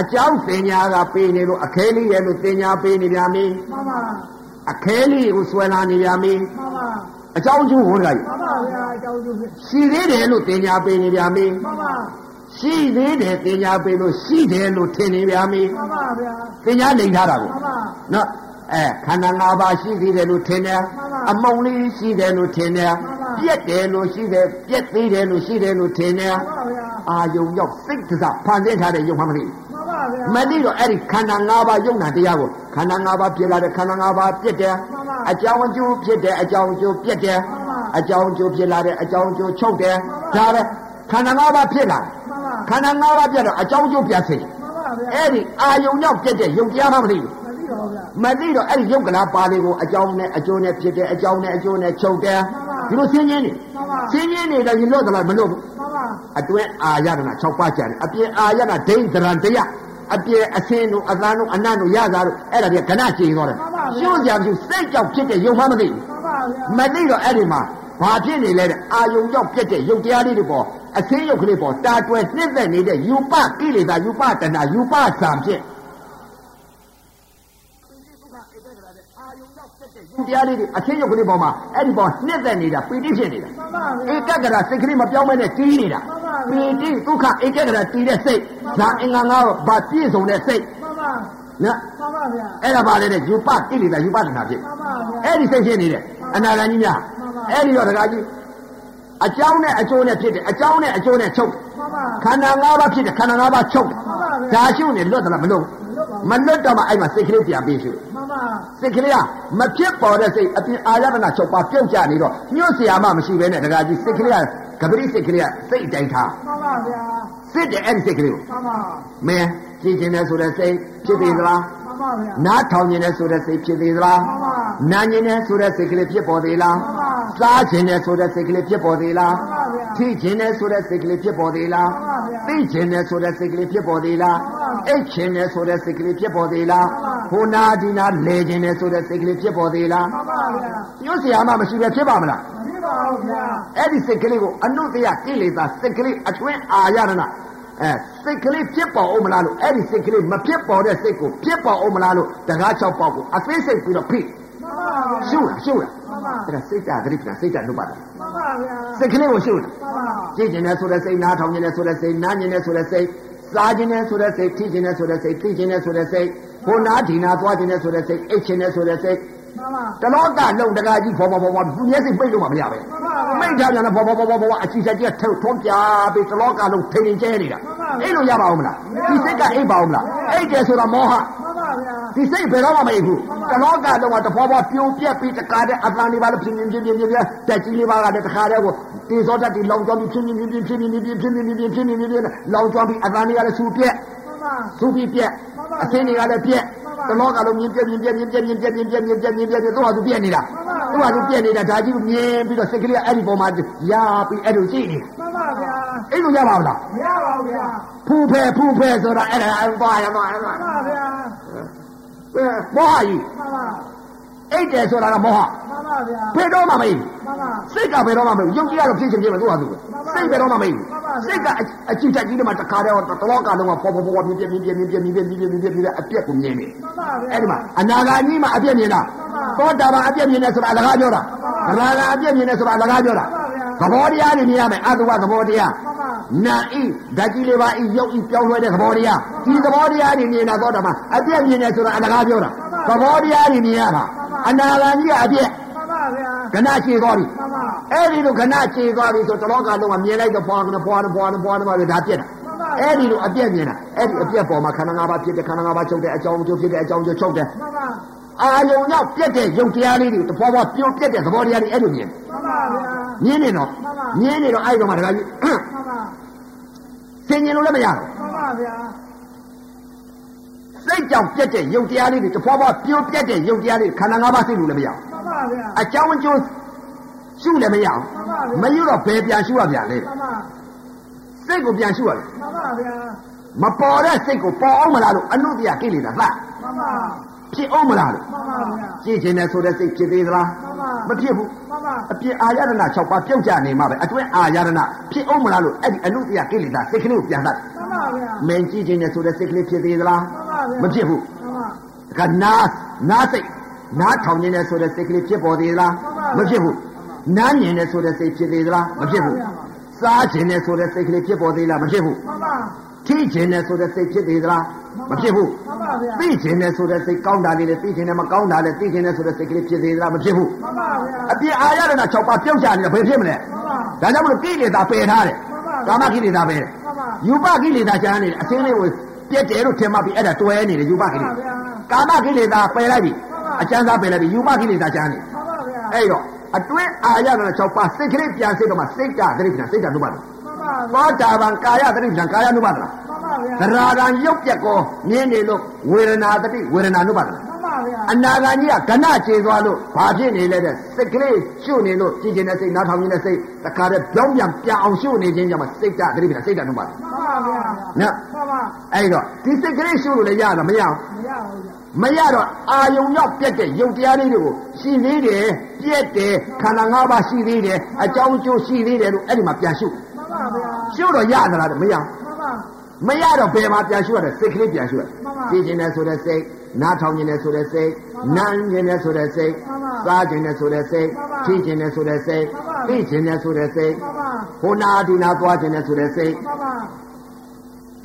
C: အကြောင်းတင်ညာကပေးနေလို့အခဲလေးရဲ့လို့တင်ညာပေးနေပြန်ပြီ
B: မှန်ပါ
C: ။အခဲလေးကိုဆွဲလာနေပြန်ပြီ
B: မှန်ပါ
C: ။အကြောင်းကျိုးဟောတာကြီး
B: မှန်ပါဗျာအကြောင်းကျိုးဖြစ်
C: ။ရှိသေးတယ်လို့တင်ညာပေးနေပြန်ပြီ
B: မှန်ပါ
C: ။ရှိသေးတယ်တင်ညာပေးလို့ရှိတယ်လို့ထင်နေပြန်ပြီ
B: မှန်ပါဗျာ
C: ။တင်ညာလိန်ထားတာကို
B: မှန်ပါ
C: နော်အဲခန္ဓာ၅ပါးရှိသေးတယ်လို့ထင်တယ်
B: မှန်ပါ
C: အမုံလေးရှိတယ်လို့ထင်တယ်
B: မှန်ပါ
C: ပြက်တယ်လို့ရှိတယ်ပြက်သေးတယ်လို့ရှိတယ်လို့ထင်တယ်
B: မှန်ပါဗျာ
C: အာယုံရောက်စိတ်ကစားဖန်ဆင်းထားတဲ့ယုံမှမသိဘူး
B: မှန်ပါဗျာ
C: မသိတော့အဲ့ဒီခန္ဓာ၅ပါးယုံနာတရားကိုခန္ဓာ၅ပါးပြစ်လာတဲ့ခန္ဓာ၅ပါးပြစ်တယ်
B: မှန်ပါ
C: အကြောင်းအကျိုးဖြစ်တယ်အကြောင်းအကျိုးပြစ်တယ်
B: မှန်ပါ
C: အကြောင်းအကျိုးပြစ်လာတဲ့အကြောင်းအကျိုးချုပ်တယ်
B: မှန်
C: ဒါ
B: ပါ
C: ပဲခန္ဓာ၅ပါးဖြစ်လာ
B: မှန်ပါ
C: ခန္ဓာ၅ပါးပြတ်တော့အကြောင်းအကျိုးပြတ်စေ
B: မှန်ပါဗျာ
C: အဲ့ဒီအာယုံရောက်ပြတ်တဲ့ယုံတရားမှမသိဘူး
B: မသိတော့ဗျာ
C: မသိတော့အဲ့ဒီယုံကလာပါလေးကိုအကြောင်းနဲ့အကျိုးနဲ့ဖြစ်တယ်အကြောင်းနဲ့အကျိုးနဲ့ချုပ်တယ်
B: မှန်ပါ
C: ဒီလိုဆင်းရဲနေ
B: မှန်ပါ
C: ဆင်းရဲနေတော့ရင်လွတ်သလားမလွတ်ဘူး
B: မှန်ပါ
C: အတွင်းအာရကနာ6ပါးကြတယ်အပြင်အာရကဒိဋ္ဌရံတရားအပြင်အစင်းတို့အသံတို့အနတ်တို့ရတာတို့အဲ့ဒါတွေကကဏ္ဍချိန်သွားတယ်ရှုံးကြပြီစိတ်ကြောက်ဖြစ်တဲ့ယုံမှမသိဘူး
B: မှန်ပါဗျာ
C: မသိတော့အဲ့ဒီမှာဘာဖြစ်နေလဲတဲ့အာယုံကြောက်ပြက်တဲ့ယုတ်တရားလေးတွေပေါ်အစင်းယုတ်ကလေးပေါ်တာတွယ်နှစ်သက်နေတဲ့ယူပကိလေသာယူပတဏယူပသံဖြစ်ဒီတရားလေးတွေအစင်းယုတ်ကလေးပေါ်မှာအဲ့ဒီပေါ်နှစ်သက်နေတာပီတိဖြစ်နေတာ
B: မှန်ပါ
C: ဧ
B: ဗျာ
C: ကဂရစိတ်ကလေးမပြောင်းမနဲ့တီးနေတာ
B: မှန်ပါဗျာ
C: ပီတိဒုက္ခဧကဂရတီးတဲ့စိတ်ဇာအင်္ဂါငါးပါးဘာပြည့်စုံတဲ့စိတ်
B: မှန်ပါ
C: နော်
B: မှန်ပါဗျာ
C: အဲ့ဒါပါလေတဲ့ယူပကိလေသာယူပတနာဖြစ်
B: မှန်ပါဗျာ
C: အဲ့ဒီစိတ်ဖြစ်နေတယ်အနာဂါကြီးများ
B: မှန်ပါ
C: အဲ့ဒီတော့ဒကာကြီးအကြောင်းနဲ့အကျိုးနဲ့ဖြစ်တယ်အကြောင်းနဲ့အကျိုးနဲ့ချုပ်တယ်
B: မှန်ပါ
C: ခန္ဓာ၅ပါးဖြစ်တယ်ခန္ဓာ၅ပါးချုပ်တယ်
B: မှန်ပါဗျာ
C: ဒါရှုနေလွတ်သလားမလွတ်
B: မလွတ်ပါ
C: မလွတ်တော့မှအဲ့မှာစိတ်ကလေးပြန်ပြီးရှု
B: ဘူးမှန်ပါ
C: စိတ်ကလေးကမဖြစ်ပေါ်တဲ့စိတ်အပြင်အာရမဏချုပ်ပါပြုတ်ကြနေတော့ညှို့เสียမှမရှိပဲနဲ့တကကြီးစိတ်ကလေးကကပတိစိတ်ကလေးကစိတ်အတိုင်းထား
B: မှန်ပါဗျာ
C: စစ်တယ်အဲ့ဒီစိတ်ကလေးကို
B: မှန်ပါ
C: မင်းကြည်ကျင်တယ်ဆိုတဲ့စိတ်ဖြစ်သေးသလား
B: မှန်ပါဗျာ
C: နားထောင်ကျင်တယ်ဆိုတဲ့စိတ်ဖြစ်သေးသလား
B: မှန်ပါ
C: နာကျင်တယ်ဆိုတဲ့စိတ်ကလေးဖြစ်ပေါ်သေးလား
B: မှန်ပါ
C: စားကျင်တယ်ဆိုတဲ့စိတ်ကလေးဖြစ်ပေါ်သေးလား
B: မှန်ပါဗျာ
C: ထိကျင်တယ်ဆိုတဲ့စိတ်ကလေးဖြစ်ပေါ်သေး
B: မှန်ပါ
C: လား
B: ဗျာ
C: သိကျင်တယ်ဆိုတဲ့စိတ်ကလေးဖြစ်ပေါ်သေးလား
B: မှန်ပါ
C: အိတ်ကျင်တယ်ဆိုတဲ့စိတ်ကလေးဖြစ်ပေါ်သေးလား
B: မှန်ပါ
C: ဟိုနာဒီနာလဲကျင်တယ်ဆိုတဲ့စိတ်ကလေးဖြစ်ပေါ်သေးလား
B: မှန်ပါဗျာ
C: ညွှန်ဆရာမမရှိပဲဖြစ်ပါမလား
B: မသိပါဘူးဗျာ
C: အဲ့ဒီစိတ်ကလေးကိုအနုတ္တယကိလေသာစိတ်ကလေးအတွင်းအာရဏအဲစိတ်ကလေးဖြစ်ပေါ်အောင်မလားလို့အဲ့ဒီစိတ်ကလေးမဖြစ်ပေါ်တဲ့စိတ်ကိုဖြစ်ပေါ်အောင်မလားလို့တကား၆ပေါက်ကိုအသိစိတ်ပြီးတော့ဖိ
B: မှန်ပါဗျာ
C: ရှုလားရှုလား
B: မှန်ပါ
C: အဲ့ဒါစိတ်တသတိပ္ပဏစိတ်တနုပါဒ
B: မှန်ပါဗျာ
C: စိတ်ကလေးကိုရှုလား
B: မှန်ပါ
C: ကြည့်ကျင်တယ်ဆိုတဲ့စိတ်နားထောင်ကျင်တယ်ဆိုတဲ့စိတ်နားကျင်တယ်ဆိုတဲ့စိတ်စားကျင်တယ်ဆိုတဲ့စိတ်ထိကျင်တယ်ဆိုတဲ့စိတ်သိကျင်တယ်ဆိုတဲ့စိတ်ဟိုနားဒီနာသွားကျင်တယ်ဆိုတဲ့စိတ်အိတ်ကျင်တယ်ဆိုတဲ့စိတ်
B: 妈妈，
C: တလောကလုံးတကာကြီးဖော်ဖော်ဖော်ဖော်သူမျက်စိပိတ်လို့မှမရပဲ
B: 妈妈，
C: မိတ်ထားပြန်တော့ဖော်ဖော်ဖော်ဖော်ဖော်အချီချက်ကြီးထုံထုံပြပြီးတလောကလုံးထိန်ထိန်ကျဲနေတာအဲ့လိုရပါဦးမလားဒီစိတ်ကအိပ်ပါဦးမလားအိပ်တယ်ဆိုတော့မောဟ
B: 妈妈呀，
C: ဒီစိတ်ဘယ်တော့မှမအိပ်ဘူးတလောကလုံးကတဖောဖောပြိုပြက်ပြီးတကာတဲ့အပန်းလေးပါလို့ဖြင်းဖြင်းဖြင်းဖြင်းဖြင်းဖြင်းတက်ကြီးလေးပါကလည်းတခါတည်းကိုတေဇောတက်တီလောင်ကျွမ်းပြီးဖြင်းဖြင်းဖြင်းဖြင်းဖြင်းဖြင်းဖြင်းဖြင်းဖြင်းဖြင်းဖြင်းဖြင်းဖြင်းလောင်ကျွမ်းပြီးအပန်းလေးကလည်းဆူပြက်
B: 妈妈，
C: ဆူပြီးပြက်အဆင်းတွေကလည်းပြက်တလောကလုံးမြင်ပြက်မြင်ပြက်မြင်ပြက်မြင်ပြက်မြင်ပြက်မြင်ပြက်မြင်ပြက်သူ့ဟာသူပြက်နေတာသူ့ဟာသူပြက်နေတာဒါကြီးကိုမြင်ပြီးတော့စိတ်ကလေးကအဲ့ဒီပုံမှာရာပြီးအဲ့လိုကြည့်နေ
B: 妈妈呀，
C: အဲ့လိုရပါမလား
B: 不要老呀，
C: ဖူဖဲဖူဖဲဆိုတာအဲ့ဒါအဲ့ဘာရမလဲ
B: 妈妈呀，
C: မောဟကြီး
B: 妈妈，
C: အိတ်တယ်ဆိုတာကမောဟ
B: 妈妈呀
C: ဘ，ယ်တော့မှမအိပ်ဘူး
B: 妈妈，
C: စိတ်ကဘယ်တော့မှမဟုတ်ဘူးယုံကြည်ရတော့ဖြစ်ခြင်းဖြစ်မယ်သူ့ဟာသူပဲစိတ်ဘယ်တော့မှမဟုတ်ဘူးစိတ်ကအအကြည့်တက်ကြီးတည်းမှာတခါတည်းတော့တလောကလုံးကပေါ်ပေါ်ပေါ်ပေါ်မြင်ပြမြင်ပြမြင်ပြမြင်ပြမြင်ပြမြင်ပြမြင်အပြက်ကိုမြင်နေ
B: 妈妈
C: အဲ့
B: 呀
C: ဒီ，မှာအနာဂါကြီးမှာအပြက်မြင်တာသောတာပန်အပြက်မြင်တယ်ဆိုတာအလကားပြောတာဗလာကအပြက်မြင်တယ်ဆိုတာအလကားပြောတာသဘောတရားတွေမြင်ရမယ်အတုဝသဘောတရား
B: 妈妈，
C: နာဤဓာတ်ကြီးလေးပါဤရုပ်ဤပြောင်းလဲတဲ့သဘောတရားဒီသဘောတရားတွေမြင်တာသောတာပန်အပြက်မြင်တယ်ဆိုတာအလကားပြောတာသဘောတရားတွေမြင်ရတာအနာဂါကြီးကအပြက်
B: 妈妈呀，
C: ကဏရှိသွားပြီ
B: 妈妈，
C: အဲ့ဒီလိုခဏခြေသွားပြီဆိုတလောကလုံးကမြင်လိုက်တော့ဘွားကနဘွားကနဘွားကနဘွားကနဘွားကနဒါပြက်တာ
B: 妈妈
C: အဲ့
B: 呀，
C: ဒီလိုအပြက်မြင်တာအဲ့ဒီအပြက်ပေါ်မှာခန္ဓာငါးပါးဖြစ်တယ်ခန္ဓာငါးပါးချုပ်တယ်အကြောင်းကျိုးဖြစ်တယ်အကြောင်းကျိုးချုပ်တယ်
B: 妈妈，
C: အာယုံရောက်ပြက်တဲ့ယုတ်တရားလေးတွေတဘွားဘွားပြုံးပြက်တဲ့သဘောတရားတွေအဲ့လိုမြင်
B: 妈妈呀，
C: မြင်နေတော့မြင်နေတော့အဲ့ဒီတော့မှတခါကြီး ဟမ်
B: 妈妈，
C: စင်ကျင်လို့လည်းမရတော့
B: 妈妈呀，
C: စိတ်ကြောင့်ပြက်တဲ့ယုတ်တရားလေးတွေတဘွားဘွားပြုံးပြက်တဲ့ယုတ်တရားတွေခန္ဓာငါးပါးစိတ်လို့လည်းမရဘူး
B: 妈妈呀，
C: အကြောင်းကျိုးရှုလည်းမရဘူး
B: 妈妈
C: မ
B: 呀，
C: ရတော့ဘယ်ပြန်ရှုရပြန်လဲ
B: 妈妈，
C: စိတ်ကိုပြန်ရှုရတယ်
B: 妈妈呀，
C: မပေါ်တဲ့စိတ်ကိုပေါ်အောင်မလားလို့အနုတ္တိယကိလေသာလှ
B: 妈妈，
C: ဖြစ်အောင်မလားလို့
B: 妈妈呀，
C: ကြည့်ခြင်းနဲ့ဆိုတဲ့စိတ်ဖြစ်သေးသလား
B: 妈妈，
C: မဖြစ်ဘူး
B: 妈妈，
C: အပြစ်အာရဏ6ပါးပြုတ်ကြနေမှာပဲအတွင်းအာရဏဖြစ်အောင်မလားလို့အဲ့ဒီအနုတ္တိယကိလေသာစိတ်ကလေးကိုပြန်သ
B: 妈
C: တ်
B: 妈呀，
C: မင်းကြည့်ခြင်းနဲ့ဆိုတဲ့စိတ်ကလေးဖြစ်သေးသလား
B: 妈妈呀，
C: မဖြစ်ဘူး
B: 妈妈，
C: ဒါကနာနာစိတ်နားထောင်ခြင်းနဲ့ဆိုတဲ့စိတ်ကလေးဖြစ်ပေါ်သေးသလားမဖြစ်ဘူးနားမြင်နဲ့ဆိုတဲ့စိတ်ဖြစ်သေးသလားမဖြစ်ဘူးစားခြင်းနဲ့ဆိုတဲ့စိတ်ကလေးဖြစ်ပေါ်သေးလားမဖြစ်ဘူး
B: 妈妈，
C: ထိခြင်းနဲ့ဆိုတဲ့စိတ်ဖြစ်သေးသလားမဖြစ်ဘူး
B: 妈妈呀，
C: သိခြင်းနဲ့ဆိုတဲ့စိတ်ကောင်းတာလေးလည်းသိခြင်းနဲ့မကောင်းတာလည်းသိခြင်းနဲ့ဆိုတဲ့စိတ်ကလေးဖြစ်သေးသလားမဖြစ်ဘူး
B: 妈妈呀，
C: အပြစ်အာရဏ6ပါးပြုတ်ချနေတာဘယ်ဖြစ်မလဲ
B: 妈妈，
C: ဒါကြောင့်မလို့ကိလေသာပယ်ထားတယ်ကာမကိလေသာပယ်တယ်
B: 妈妈，
C: ယူပကိလေသာချမ်းနေတယ်အစင်းလေးကိုပြက်တယ်လို့ထင်မှတ်ပြီးအဲ့ဒါတွဲနေတယ်ယူပကိလေ
B: 妈
C: သာ
B: 妈呀，
C: ကာမကိလေသာပယ်လိုက်ပြီအကျမ်းသာပယ်လိုက်ပြီယူပကိလေသာချမ်းနေတယ်
B: 妈妈呀，
C: အဲ့တော့အတွင်းအာရဏ6ပါးစိတ်ကလေးပြန်စစ်တော့မှစိတ်ဓာတ်သတိပ္ပဏစိတ်ဓာတ်နုပါဒ
B: 妈妈，
C: သောတာပန်ကာယသတိပ္ပဏကာယနုပါဒလား
B: 妈妈
C: သ
B: 呀，
C: ရာဂံရုပ်ပြက်ကောမြင်နေလို့ဝေဒနာသတိဝေဒနာနုပါဒလား
B: 妈妈
C: အ
B: 呀，
C: နာဂါကြီးကကဏခြေသွားလို့ဘာဖြစ်နေလဲတဲ့စိတ်ကလေးရှုနေလို့ကြည်ကျင်တဲ့စိတ်နားထောင်နေတဲ့စိတ်တခါတည်းပြောင်းပြန်ပြန်အောင်ရှုနေခြင်းကြောင့်မှစိတ်ဓာတ်သတိပ္ပဏစိတ်ဓာတ်နှုတ်ပါတယ်
B: 妈妈呀，
C: နော်
B: 妈妈，
C: အဲ့တော့ဒီစိတ်ကလေးရှုလို့လည်းရတာမရအောင်
B: 不要了，
C: မရတော့အာယုံရောက်ပြက်တဲ့ယုတ်တရားလေးတွေကိုရှိသေးတယ်ပြက်တယ်ခန္ဓာငါးပါးရှိသေးတယ်အကြောင်းအကျိုးရှိသေးတယ်လို့အဲ့ဒီမှာပြန်ရှု
B: 妈妈呀，
C: ရှုတော့ရသလားတဲ့မရအောင်
B: 妈妈，
C: မရတော့ဘယ်မှာပြန်ရှုရတယ်စိတ်ကလေးပြန်ရှုရတယ်
B: မှန်ပါ
C: ကြည်ကျင်တယ်ဆိုတဲ့စိတ်နားထောင်ကျင်တယ်ဆိုတဲ့စိတ်
B: မှ
C: နား
B: န်
C: ကျင်တယ်ဆိုတဲ့စိတ်
B: မှန်ပါ
C: စားကျင်တယ်ဆိုတဲ့စိတ်
B: မှန်ပါ
C: ထိကျင်တယ်ဆိုတဲ့စိတ်
B: မှန်ပါ
C: သိကျင်တယ်ဆိုတဲ့စိတ်
B: 妈妈，
C: ဟိုနာဒီနာသွားကျင်တယ်ဆိုတဲ့စိတ်
B: 妈妈，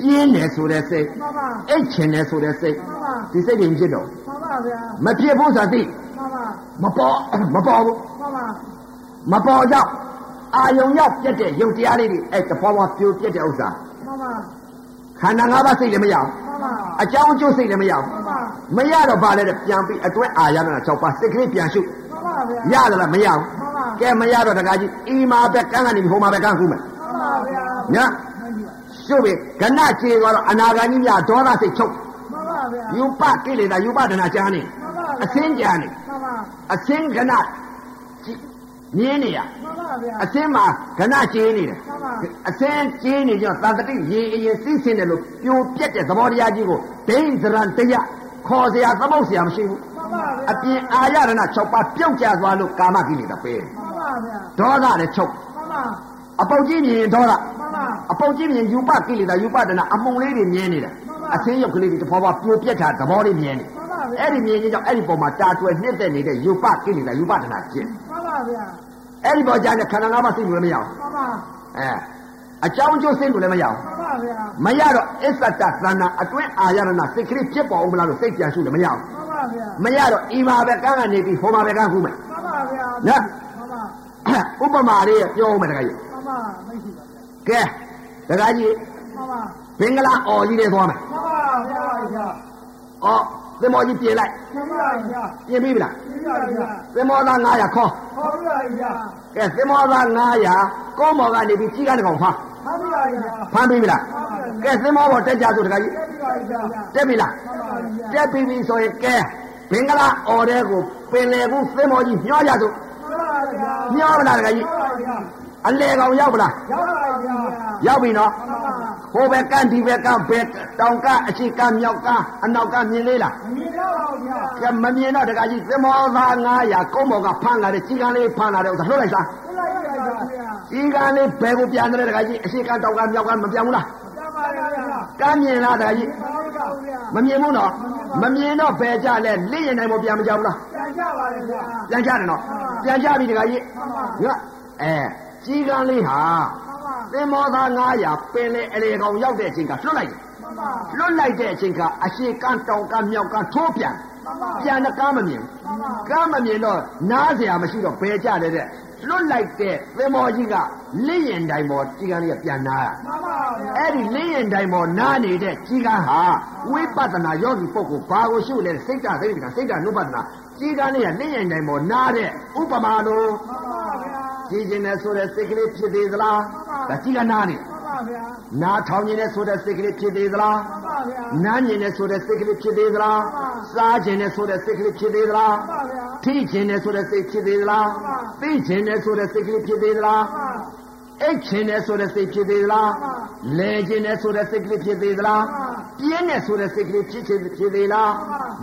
C: ပြင်းတယ်ဆိုတဲ့စိတ်
B: 妈妈，
C: အိတ်ကျင်တယ်ဆိုတဲ့စိတ်
B: 妈妈，
C: ဒီစိတ်တွေမဖြစ်တော့
B: 妈妈呀，
C: မဖြစ်ဘူးဆိုတာသိ
B: 妈妈，
C: မပေါ်မပေါ်ဘူး
B: 妈妈，
C: မပေါ်တော့အာယုံရောက်ပြက်တဲ့ယုတ်တရားလေးတွေအဲ့တပေါ်ပေါ်ပြိုပြက်တဲ့ဥစ္စာ
B: 妈妈，
C: ခန္ဓာငါးပါးစိတ်လည်းမရအောင်
B: 妈妈，
C: အကြောင်းအကျိုးစိတ်လည်းမရအောင်
B: 妈妈，
C: မရတော့ပါလေတဲ့ပြန်ပြီးအတွဲအာရနာ6ပါးစိတ်ကလေးပြန်ရှု
B: 妈妈
C: ရ
B: 呀，
C: သလားမရဘူး
B: 妈妈，
C: ကဲမရတော့တကားကြီးအီမာပဲကန်းကနေဟိုမှာပဲကန်းကူးမယ်
B: 妈妈呀，
C: ညာရှုပြီကဏခြေသွားတော့အနာဂါကြီးများဒေါသစိတ်ချုပ်
B: 妈妈呀，
C: ယူပကိလေသာယူပဒနာကြားနေ
B: 妈妈
C: အ
B: 呀
C: စ，င်းကြားနေ
B: 妈妈，
C: အစင်းကဏမြင်းနေရ
B: 妈妈呀
C: အ，စင်းမှာကဏခြေနေတယ်
B: 妈妈，
C: အစင်းခြေနေကြောင့်သတ္တိရေအရင်သိစင်းတယ်လို့ပြိုပြက်တဲ့သဘောတရားကြီးကိုဒိဉ္စရံတရားခေါ်စရာသမုတ်စရာမရှိဘူး
B: 妈妈
C: အ
B: 呀，
C: ပြင်အာရဏ6ပါးပြုတ်ကျသွားလို့ကာမကိလေသာပဲ
B: 妈妈呀，
C: ဒေါသလည်းချုပ်
B: 妈妈，
C: အပုတ်ကြီးမြင်ရင်ဒေါသ
B: 妈妈，
C: အပုတ်ကြီးမြင်ယူပကိလေသာယူပဒနာအမှုန်လေးတွေမြင်နေတာအသင်းရုပ်ကလေးတွေတစ်ဖော်ဖော်ပြိုပြက်တာသဘောတွေမြင်နေ
B: 妈妈呀，
C: အဲ့ဒီမြင်ခြင်းကြောင့်အဲ့ဒီပုံမှာတာတွယ်နှစ်သက်နေတဲ့ယူပကိလေသာယူပဒနာဖြစ်
B: 妈妈呀，
C: အဲ့ဒီပေါ်ကြတဲ့ခန္ဓာငါးပါးစိတ်လို့လည်းမရအောင်
B: 妈妈，
C: အဲအကြောင်းကျိုးစိတ်လို့လည်းမရအောင်
B: 妈妈呀，
C: မရတော့အစ္ဆတသဏ္ဍာအတွင်းအာရဏစိတ်ကလေးဖြစ်ပေါ်အောင်မလားလို့စိတ်ပြန်ရှုလည်းမရအောင်
B: 妈妈 ဗျာ
C: မရတော့အိမ်မှာပဲကန်းကနေပြီးဟိုမှာပဲကန်းခုမယ်
B: မှန်ပါဗျာ
C: နော်
B: မှန်ပါ
C: ဥပမာလေးပြောဦးမယ်တခါကြီး
B: မှန်ပါမရှိပါဗျာ
C: ကဲတခါကြီး
B: မှန်ပါ
C: ဘင်္ဂလားအော်ကြီးတွေသွားမယ်
B: မှန်ပါဗျာဗျာ
C: အော်သင်္ဘောကြီးပြင်လိုက်
B: မှန်ပါဗျာ
C: ပြင်ပြီလား
B: မှန်ပါဗျာ
C: သင်္ဘောသား900ခေါ်
B: ဟောဗျာဗျာ
C: ကဲသင်္ဘောသား900ကောင်းမော်ကနေပြီးကြီးကန်းတစ်ကောင်ဖမ်း
B: မှန်ပါဗျာ
C: ဖမ်းပြီလားကဲသင်္ဘောပေါ်တက်ကြဆိုတခါကြီး
B: မှန်ပါဗျာမှန်
C: တက်ပြီလား
B: ပါဗျာ
C: တက်ပြီပြီဆိုရင်ကဲဘင်္ဂလားအော်တဲ့ကိုပင်လေကူသင်္ဘောကြီးညှောကြ
B: မှန်
C: ဆို
B: ပါဗျာ
C: ညှောမလားတခါကြီး
B: မှန်ပါဗျာ
C: အလေကောင်ရောက်ပလား
B: ရောက်ပါဗျာ
C: ရောက်ပြီနော်
B: မှန်ပါ
C: ဟိုဘက်ကန်းဒီဘက်ကန်းဘက်တောင်ကအရှိကန်းမြောက်ကန်းအနောက်ကန်းမြင်လေးလား
B: မြင်တော့ပါဗျာ
C: ကဲမမြင်တော့တကကြီးသမောသား900ကုန်းမော်ကဖမ်းလာတဲ့ကြီးကန်းလေးဖမ်းလာတဲ့ဥစ္စာလွတ်လိုက်လား
B: မှန်ပါဗျာ
C: ကြီးကန်းလေးဘယ်ကိုပြန်တယ်တကကြီးအရှိကန်းတောင်ကန်းမြောက်ကန်းမပြန်ဘူးလား
B: မှန်ပါဗျာ
C: ကန်းမြင်လားတကကြီး
B: မှန်ပါဗျာ
C: မမြင်ဘူးနော်မမြင်တော့ဘယ်ကြလဲလိရင်တိုင်းမပြန်မကြဘူးလား
B: ကြာကြပါလေဗျာ
C: ပြန်ကြတယ်နော်ပြန်ကြပြီတကကြီးညအဲကြီးကန်းလေးဟာ
B: မှန်ပါ
C: သမောသား900ပင်လေအလေကောင်ရောက်တဲ့အချိန်ကလွတ်လိုက်တယ်
B: မှန်ပါ
C: လွတ်လိုက်တဲ့အချိန်ကအရှိကန်းတောင်ကန်းမြောက်ကန်းထိုးပြန်ပြန်တကန်းမမြင်ဘူးကန်းမမြင်တော့နားเสียမရှိတော့ဘယ်ကြတယ်တဲ့လွတ်လိုက်တဲ့သင်္ဘောကြီးကလင်းရင်တိုင်ပေါ်ကြီးကန်းလေးကပြန်နာတာ
B: မှန်ပါဗျာ
C: အဲ့ဒီလင်းရင်တိုင်ပေါ်နားနေတဲ့ကြီးကန်းဟာဝိပဿနာယောဂီပုဂ္ဂိုလ်ဘာကိုရှုလဲစိတ်ဓာတ်စိတ်ဓာတ်စိတ်ဓာတ်နုပ္ပတနာကြီးကန်းလေးကလင်းရင်တိုင်ပေါ်နားတဲ့ဥပမာလို
B: ပါပါဗျာ
C: ကြီးခြင်းနဲ့ဆိုတဲ့စိတ်ကလေးဖြစ်သေးသလားဒါကြီးကန်းနားနေ
B: ပါပါဗျာ
C: နားထောင်ခြင်းနဲ့ဆိုတဲ့စိတ်ကလေးဖြစ်သေးသလား
B: ပါပါဗျာ
C: နားမြင်နေဆိုတဲ့စိတ်ကလေးဖြစ်သေးသလားစားခြင်းနဲ့ဆိုတဲ့စိတ်ကလေးဖြစ်သေးသလား
B: ပါပါဗျာ
C: ထိခြင်းနဲ့ဆိုတဲ့စိတ်ဖြစ်သေးသလားသိခြင်းနဲ့ဆိုတဲ့စိတ်ကလေးဖြစ်သေးသလား
B: ပါ
C: အိတ်ခြင်းနဲ့ဆိုတဲ့စိတ်ဖြစ်သေးသ
B: မှန်
C: လား
B: ပါ
C: လဲခြင်းနဲ့ဆိုတဲ့စိတ်ကလေးဖြစ်သေးသလား
B: မှန်ပါ
C: ပြင်းနဲ့ဆိုတဲ့စိတ်ကလေးဖြစ်ခြင်းဖြစ်သေးလား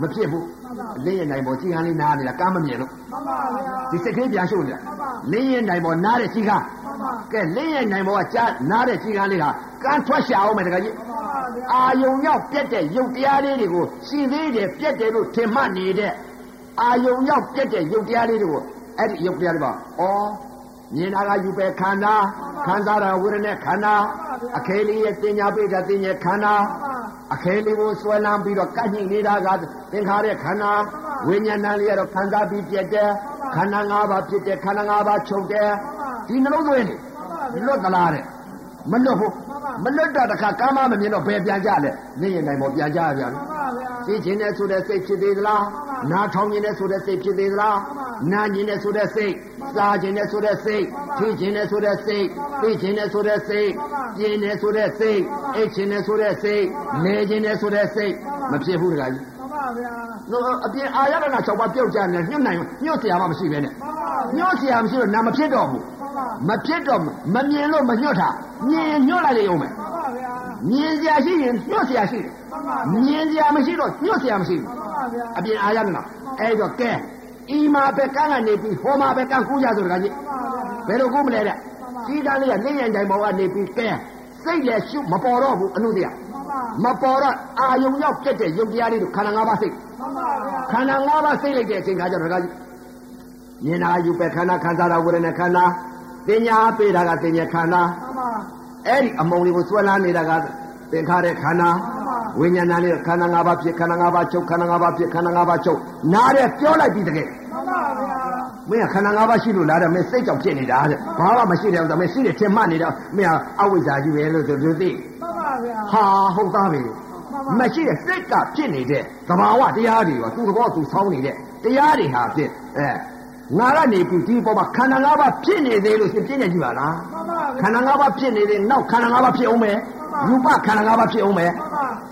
C: မ
B: မှန်ပါ
C: ဖြစ်ဘူး
B: မှန်ပါ
C: လင်းရင်နိုင်ပေါ်ကြီးကန်းလေးနားနေတာကမ်းမမြင်လို့
B: ပါပါဗျာ
C: ဒီစိတ်ကလေးပြန်ရှုပ်နေတာ
B: မှန်ပါ
C: လင်းရင်နိုင်ပေါ်နားတဲ့ကြီးကန်း
B: ပါပါ
C: ကဲလင်းရင်နိုင်ပေါ်ကကြားနားတဲ့ကြီးကန်းလေးဟာကမ်းထွက်ရှာအောင်မယ်တကကြီး
B: ပါပါဗျာ
C: အာယုံရောက်ပြက်တဲ့ယုတ်တရားလေးတွေကိုရှင်သေးတယ်ပြက်တယ်လို့ထင်မှတ်နေတဲ့အာယုံရောက်ပြက်တဲ့ယုတ်တရားလေးတွေကိုအဲ့ဒီယုတ်တရားတွေပါဩမြင်တာကယူပဲခန္ဓာခံစားတာဝေဒနာခန္ဓာအခဲလေးရဲ့တင်ညာပိဋကတင်ညာခန္ဓာအခဲလေးကိုဆွဲလမ်းပြီးတော့ကန့်ညိနေတာကသင်္ခါရခန္ဓာဝိညာဏလေးကတော့ခံစားပြီးပြက်တယ်ခန္ဓာ၅ပါးဖြစ်တယ်ခန္ဓာ၅ပါးချုပ်တယ်ဒီနှလုံးသွင်းနေလွတ်သလားတဲ့ မလွတ်ဘူးမလွတ်တော့တခါကာမမမြင်တော့ဘယ်ပြန်ကြလဲနေရင်နိုင်ပေါ်ပြန်ကြရပြန်
B: ပါပါဗျာ
C: သိခြင်းနဲ့ဆိုတဲ့စိတ်ဖြစ်သေးသလားနားထောင်ခြင်းနဲ့ဆိုတဲ့စိတ်ဖြစ်သေးသလားနားခြင်းနဲ့ဆိုတဲ့စိတ်စားခြင်းနဲ့ဆိုတဲ့စိတ်သိခြင်းနဲ့ဆိုတဲ့စိတ်သိခြင်းနဲ့ဆိုတဲ့စိတ်ပြင်းနဲ့ဆိုတဲ့စိတ်အိတ်ခြင်းနဲ့ဆိုတဲ့စိတ်နေခြင်းနဲ့ဆိုတဲ့စိတ်မဖြစ်ဘူးတခါကြီး
B: ပါပါဗျာ
C: နော်အပြင်အာရဏ၆ပါးပြုတ်ကြနေညှို့နိုင်ညှို့เสียမှမရှိပဲနဲ့
B: ပါပါ
C: ညှို့เสียမရှိတော့နာမဖြစ်တော့ဘူး
B: ပါပါ
C: မဖြစ်တော့မမြင်လို့မညှို့တာမြင်ညှို့လိုက်လေအောင်မယ်
B: ပါပါဗျာ
C: မြင်စရာရှိရင်ညှို့စရာရှိတယ်
B: ပါပါ
C: ။မြင်စရာမရှိတော့ညှို့စရာမရှိဘူး
B: ပါပါဗျာ
C: ။အပြင်အားရမလား။အဲ့တော့ကဲဤမှာပဲကန်းကနေပြီးဟောမှာပဲကန်းကူးကြဆိုတကကြီး
B: ပါပါဗျာ
C: ။ဘယ်လိုကူးမလဲတဲ့။ကြီးတန်းလေးကလင်းရင်တိုင်ပေါ်ကနေပြီးကဲစိတ်လည်းရှုမပေါ်တော့ဘူးအမှုတရား
B: ပါပါ
C: ။မပေါ်တော့အာယုံရောက်ပြက်တဲ့ယုတ်တရားလေးတို့ခန္ဓာ၅ပါးစိတ်
B: ပါပါဗျာ
C: ခန္ဓာ၅ပါးစိတ်လိုက်တဲ့အချိန်ခါကျတော့တကကြီးမြင်တာကယူပဲခန္ဓာခံစားတာဝေဒနာခန္ဓာသိညာပေးတာကသိညာခန္ဓာ
B: ပါပါ
C: အဲ့ဒီအမုံတွေကိုဆွဲလာနေတာကသင်္ခါရခန္ဓာဝိညာဏလေးကခန္ဓာ၅ပါးဖြစ်ခန္ဓာ၅ပါးချုပ်ခန္ဓာ၅ပါးဖြစ်ခန္ဓာ၅ပါးချုပ်နားတဲ့ပြောလိုက်ပြီးတကယ်
B: ပါပါဗျာ
C: မင်းကခန္ဓာ၅ပါးရှိလို့လားတဲ့မင်းစိတ်ကြောင့်ဖြစ်နေတာတဲ့ဘာမှမရှိတယ်ဥစ္စာမင်းရှိတယ်ထင်မှတ်နေတော့မင်းကအဝိဇ္ဇာကြီးပဲလို့ဆိုသူသိ
B: ပါပါဗျာ
C: ဟာဟုတ်သားပဲမရှိတဲ့စိတ်ကဖြစ်နေတဲ့သဘာဝတရားတွေပါသူ့သဘောသူဆောင်းနေတဲ့တရားတွေဟာဖြစ်အဲငါကနေပြီးဒီပေါ်မှာခန္ဓာ၅ပါးဖြစ်နေသေးလို့ရှင်ပြည့်နေကြပါလား
B: ပါပါ
C: ခန္ဓာ၅ပါးဖြစ်နေတဲ့နောက်ခန္ဓာ၅ပါးဖြစ်အောင်မယ်ရူပခန္ဓာ၅ပါးဖြစ်အောင်မယ်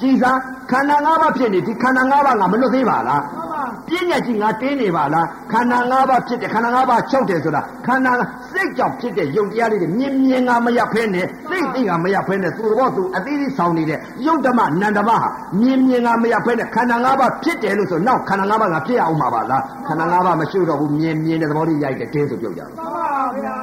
C: ကြည်စားခန္ဓာ၅ပါးဖြစ်နေဒီခန္ဓာ၅ပါးကမလွတ်သေးပါလား
B: ပါပါ
C: ပြည့်ညက်ကြီးငါတင်းနေပါလားခန္ဓာ၅ပါးဖြစ်တယ်ခန္ဓာ၅ပါးချုပ်တယ်ဆိုတာခန္ဓာစိတ်ကြောင့်ဖြစ်တဲ့ယုံတရားတွေမြင်မြင်ကမရဖဲနဲ့သိသိကမရဖဲနဲ့သူတော်သူအသေးသေးဆောင်နေတဲ့ယုတ်ဓမ္မနန္ဒမဟာမြင်မြင်ကမရဖဲနဲ့ခန္ဓာ၅ပါးဖြစ်တယ်လို့ဆိုနောက်ခန္ဓာ၅ပါးကဖြစ်အောင်မှာပါလားခန္ဓာ၅ပါးမရှိတော့ဘူးမြင်မြင်တဲ့သဘောလေးရိုက်တယ်တင်းဆိုပြောကြတယ်
B: ပါပါဗျာ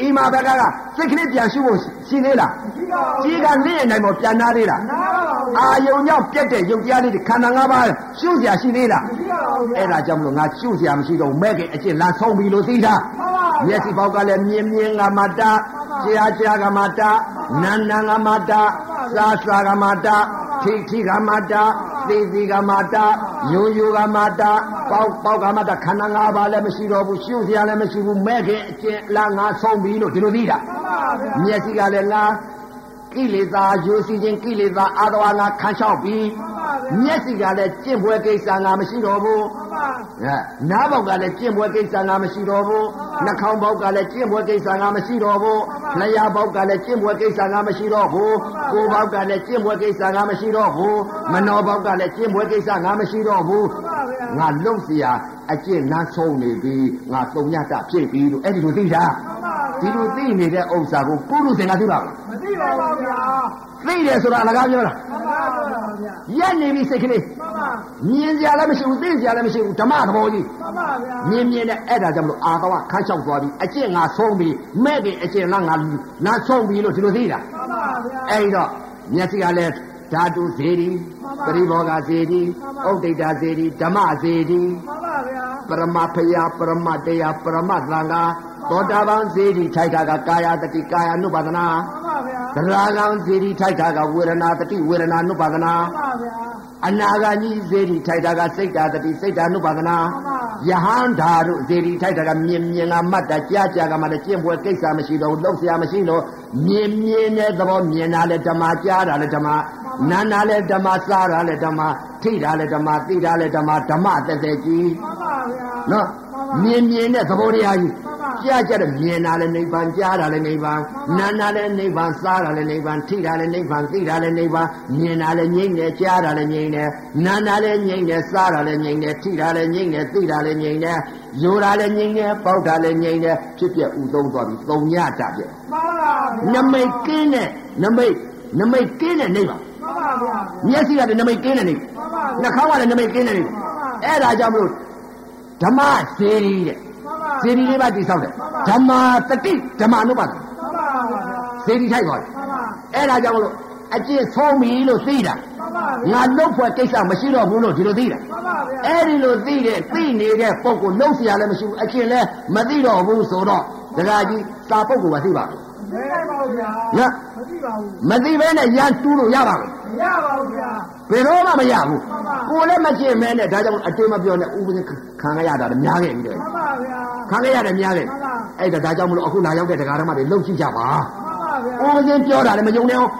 C: အိမ်မှာဘက်ကကစိတ်ကလေးပြန်ရှုဖို့ရှိသေးလား
B: ဒီတော့
C: ကြီးကလင့်ရင်နိုင်မပြန်နာသေးလား
B: နားပါဘူး
C: အာယုံကြောင့်ပြက်တဲ့ယုတ်တရားလေးတွေခန္ဓာ၅ပါးရှုပ်เสียရှိသေးလား
B: ဒီတော့ဗျာ
C: အဲ့ဒါကြောင့်မလို့ငါရှုပ်เสียမရှိတော့ဘူးမဲ့ခင်အကျင့်လမ်းဆုံးပြီလို့သိတာ
B: ပါပါ
C: မျက်စိပေါက်ကလည်းမြင်မြင်ကမတာကြားကြားကမတာနာနာကမတာစားစားကမတာထိထိကမတာ သေစီကမာတာညိုညိုကမာတာပေါက်ပေါက်ကမာတာခန္ဓာ၅ပါးလည်းမရှိတော့ဘူးရှုစရာလည်းမရှိဘူးမဲ့ခင်အကျင့်အလားငါဆုံးပြီလို့ဒီလိုသိတာမျက်စိကလည်းလားကိလေသာယိုစီခြင်းကိလေသာအာသဝါငါခံလျှောက်ပြီမျက်စိကလည်းကျင့်ပွဲကိစ္စငါမရှိတော့ဘူး ဟဲ့နားပေါက်ကလည်းကျင့်ပွဲကိစ္စငါမရှိတော့ဘူးနှာခေါင်းပေါက်ကလည်းကျင့်ပွဲကိစ္စငါမရှိတော့ဘူးလျှာပေါက်ကလည်းကျင့်ပွဲကိစ္စငါမရှိတော့ဘူးကိုယ်ပေါက်ကလည်းကျင့်ပွဲကိစ္စငါမရှိတော့ဘူးမနောပေါက်ကလည်းကျင့်ပွဲကိစ္စငါမရှိတော့ဘူးငါလုံเสียအကျင့်နှမ်းဆုံးနေပြီငါတုံညတာဖြစ်ပြီလို့အဲ့ဒီလိုသိတာဒီလိုသိနေတဲ့ဥစ္စာကိုပုရုဇင်ကသိတာ
B: မသိပါဘူးဗျာ
C: သိတယ်ဆိုတာအလကားပြောတာ
B: မပါတော့ပါဗျာ
C: ရက်နေပြီစိတ်ကလေး
B: မပါ
C: မြင်စရာလည်းမရှိဘူးသိစရာလည်းမရှိဘူးဓမ္မသဘောကြီး
B: မပါဗျာ
C: မြင်းမြင်းနဲ့အဲ့ဒါကြောင့်မလို့အာသဝခန်းချောက်သွားပြီအကျင့်ငါဆုံးပြီမဲ့ပြီအကျင့်လားငါနာဆုံးပြီလို့ဒီလိုသိတာ
B: မပါဗျာ
C: အဲ့ဒီတော့မျက်စိကလည်းဓာတုဇေဒီပရိဘောဂဇေဒီ
B: မှန်ပါ
C: ဥဒိတာဇေဒီဓမ္မဇေဒီ
B: မပါဗျာ
C: ပရမဖယာပရမတရားပရမသံဃာသောတာပန်ဇေဒီထိုက်တာကကာယတတိကာယ ानु ပါဒနာ
B: မပါဗျာ
C: သရဂံဇေဒီထိုက်တာကဝေဒနာတတိဝေဒနာ ानु ပါဒနာ
B: မပါဗျာ
C: အနာဂါကြီးဇေဒီထိုက်တာကစိတ်ဓာတတိစိတ်ဓာနုပါဒနာ
B: မှန်ပါ
C: ယဟန်ဓာတို့ဇေဒီထိုက်တာကမြင်မြင်ကမတ်တာကြားကြားကမှလည်းကျင့်ပွဲကိစ္စမရှိတော့ဘူးလောက်ဆရာမရှိတော့မြင်မြင်တဲ့သဘောမြင်တာလည်းဓမ္မကြားတာလည်းဓမ္မနာနာလည်းဓမ္မစားတာလည်းဓမ္မထိတာလည်းဓမ္မသိတာလည်းဓမ္မဓမ္မသက်သက်ကြီး
B: မပါဗျာ
C: နော်မြင်မြင်တဲ့သဘောတရားကြီး
B: မှန်ပါ
C: ကြားကြားတဲ့မြင်တာလည်းနိဗ္ဗာန်ကြားတာလည်းနိဗ္ဗာန်နာနာလည်းနိဗ္ဗာန်စားတာလည်းနိဗ္ဗာန်ထိတာလည်းနိဗ္ဗာန်သိတာလည်းနိဗ္ဗာန်မြင်တာလည်းငြိမ့်တယ်ကြားတာလည်းငြိမ့်တယ်နာနာလည်းငြိမ့်တယ်စားတာလည်းငြိမ့်တယ်ထိတာလည်းငြိမ့်တယ်သိတာလည်းငြိမ့်တယ်ယူတာလည်းငြိမ့်တယ်ပေါက်တာလည်းငြိမ့်တယ်ဖြစ်ပြဥသုံးသွားပြီးသုံညတာပြည့်
B: မပါဗျာ
C: နမိတ်ကင်းတဲ့နမိတ်နမိတ်ကင်းတဲ့နိဗ္ဗာန်
B: မပါဗျာ
C: မျက်စိကလည်းနမိတ်ကင်းတဲ့နိဗ္ဗာန်
B: မပါဗျာ
C: နှာခေါင်းကလည်းနမိတ်ကင်းနေတယ်အဲ့ဒါကြောင့်မလို့ဓမ္မစေရီတဲ့
B: မပါ
C: စေရီလေးပါတိဆောက်တယ်ဓမ္မတတိဓမ္မအနုပါ
B: မပါ
C: ဒ
B: ဗျာ
C: စေရီထိုက်သွားတယ်
B: မပါ
C: အဲ့ဒါကြောင့်မလို့အကျင့်ဆုံးပြီလို့သိတာ
B: မပါဗျာ
C: ငါလုတ်ဖွဲ့ကိစ္စမရှိတော့ဘူးလို့ဒီလိုသိတာ
B: မပါဗျာ
C: အဲ့ဒီလိုသိတဲ့သိနေတဲ့ပုံကိုလုတ်เสียလည်းမရှိဘူးအကျင့်လည်းမသိတော့ဘူးဆိုတော့ဒကာကြီးစာပုတ်ကိုမသိပါဘူး
B: မသိပါဘူးဗျာ
C: နော်
B: မသိပါဘူး
C: မသိဘဲနဲ့ရန်တူးလို့ရပါဘူး
B: မရပါဘူးဗျာ
C: ဘယ်တော့မှမရဘူး
B: မှန်ပါ
C: ကိုယ်လည်းမကျင့်မဲနဲ့ဒါကြောင့်အတွေ့မပြောနဲ့ဥပဒေခံရရတာလည်းများခဲ့ပြီတဲ့
B: မပါဗျာ
C: ခံရရတယ်များခဲ့
B: မှန်ပါ
C: အဲ့ဒါဒါကြောင့်မလို့အခုလာရောက်တဲ့တရားဓမ္မတွေလုံကြည့်ကြပါ
B: မပါဗျာ
C: ဥပဒေပြောတာလည်းမယုံနဲ့အောင်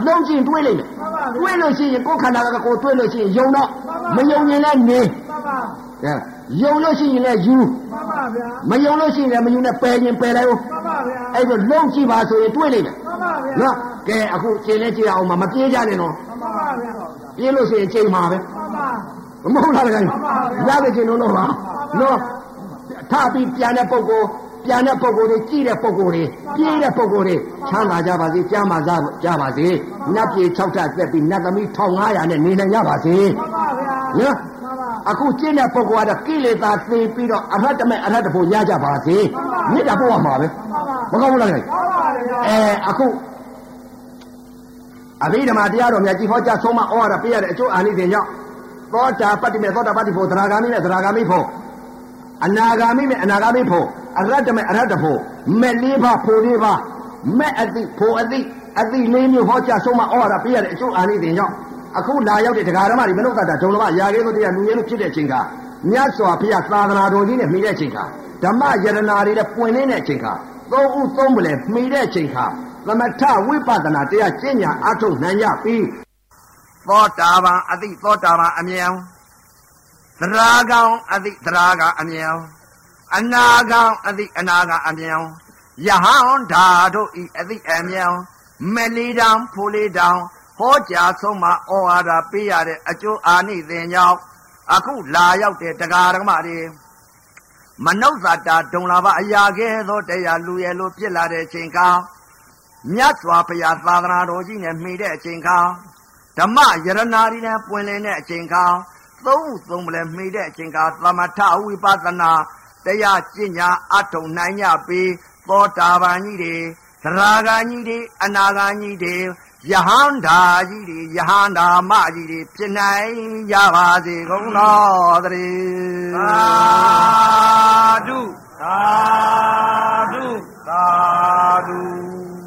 B: မှ
C: လုံကြည့်တွေးလိုက်မယ်
B: မှန်ပါ
C: တွေးလို့ရှိရင်ကိုယ်ခန္ဓာကကိုယ်တွေးလို့ရှိရင်ယုံတော့
B: မှ
C: မ
B: န်ပါ
C: ယုံရင်လည်းနေ
B: မပါ
C: ဟဲ့ယုံလို့ရှိရင်လည်းယူ
B: မပါဗျာ
C: မယုံလို့ရှိရင်လည်းမယူနဲ့ပယ်ရင်ပယ်လိုက်ဦး
B: မပါဗျာ
C: အဲ့ဒါလုံကြည့်ပါဆိုရင်တွေးလိုက်မယ်
B: မပါဗျာ
C: နော်ကဲအခုကျင်လဲကြည့်ရအောင်ပါမပြေးကြနဲ့နော်
B: မပါဗျာ
C: ပြေးလို့ရှိရင်ချိန်ပါပဲ
B: မပါ
C: မဟုတ်လားတကယ်
B: မှန်ပါဗျာ
C: ရတဲ့ချင်းလုံးတော့ပါ
B: မှန်ပါဗျာ
C: နော်ထပြီးပြန်တဲ့ပုံကိုပြန်တဲ့ပုံကိုတွေကြည့်တဲ့ပုံကိုတွေပြေးတဲ့ပုံကိုတွေချမ်းသာကြပါစေကြားမှာစားကြပါစေနတ်ပြည်6ထပ်သက်ပြီးနတ်သမီး1500နဲ့နေနိုင်ကြပါစေ
B: မပါဗျာ
C: နော်
B: မပါ
C: အခုကျင့်တဲ့ပုံကတော့ကိလေသာသေပြီးတော့အရဟတမေအရဟတဖို့ရကြပါစေ
B: မှ
C: မေ
B: န်ပါဗျာ
C: တ္တာပို့ရမှာ
B: မပါ
C: ပဲမကောင်းဘူးလားတကယ်
B: မပါဗျာ
C: အဲအခုအဘိဓမ္မာတရားတော်မြတ်ကြီးဟောကြားဆုံးမဩဝါဒပေးရတဲ့အကျိုးအာနိသင်ကြောင့်သောတာပတ္တိမေသောတာပတ္တိဖို့သရဂါမိနဲ့သရဂါမိဖို့ အနာဂါမိမဲ့အနာဂါမိဖို့အရတ္တမဲ့အရတ္တဖို့မဲ့လေးပါဖို့လေးပါမဲ့အတိဖို့အတိအတိလေးမျိုးဟောကြားဆုံးမဩဝါဒပေးရတဲ့အကျိုးအာနိသင်ကြောင့်အခုလာရောက်တဲ့တရားဓမ္မတွေမနုဿတာဒုံလမရာရဲသောတရားလူရဲလို့ဖြစ်တဲ့အချိန်ကမြတ်စွာဘုရားသာသနာတော်ကြီးနဲ့မိတဲ့အချိန်ကဓမ္မယရနာတွေနဲ့ပွင့်လင်းတဲ့အချိန်ကသုံးဥသုံးပလဲမိတဲ့အချိန်ကသမထဝိပဿနာတရားကျင့်ကြံအထုတ်နိုင်ကြပြီသောတာပန်အတိသောတာပန်အမြောင် သရာကောင်အသည့်သရာကံအမြောင်အနာကောင်အသည့်အနာကံအမြောင်ယဟောင်းဓာတို့ဤအသည့်အမြောင်မလီတောင်ဖိုလီတောင်ဟောကြားဆုံးမဩဝါဒပေးရတဲ့အကျိုးအာနိသင်ကြောင့်အခုလာရောက်တဲ့တရားဓမ္မတွေမနုဿတာဒုံလာဘအရာကဲသောတရားလူရဲ့လိုပြစ်လာတဲ့အချိန်ကမြတ်စွာဘုရားသာသနာတော်ကြီးနဲ့မှီတဲ့အချိန်က ဓမ္မယရနာရီနဲ့ပွင့်လင်းတဲ့အချိန်ခါသုံးဥသုံးပလဲမိတဲ့အချိန်ခါသမထဝိပဿနာတရားကျင့်ညာအထုံနိုင်ကြပြီသောတာပန်ကြီးတွေသရဂန်ကြီးတွေအနာဂန်ကြီးတွေယဟန္တာကြီးတွေယဟန္တာမကြီးတွေဖြစ်နိုင်ကြပါစေကုန်တော်သတည်း
A: သာဓုသာဓုသာဓု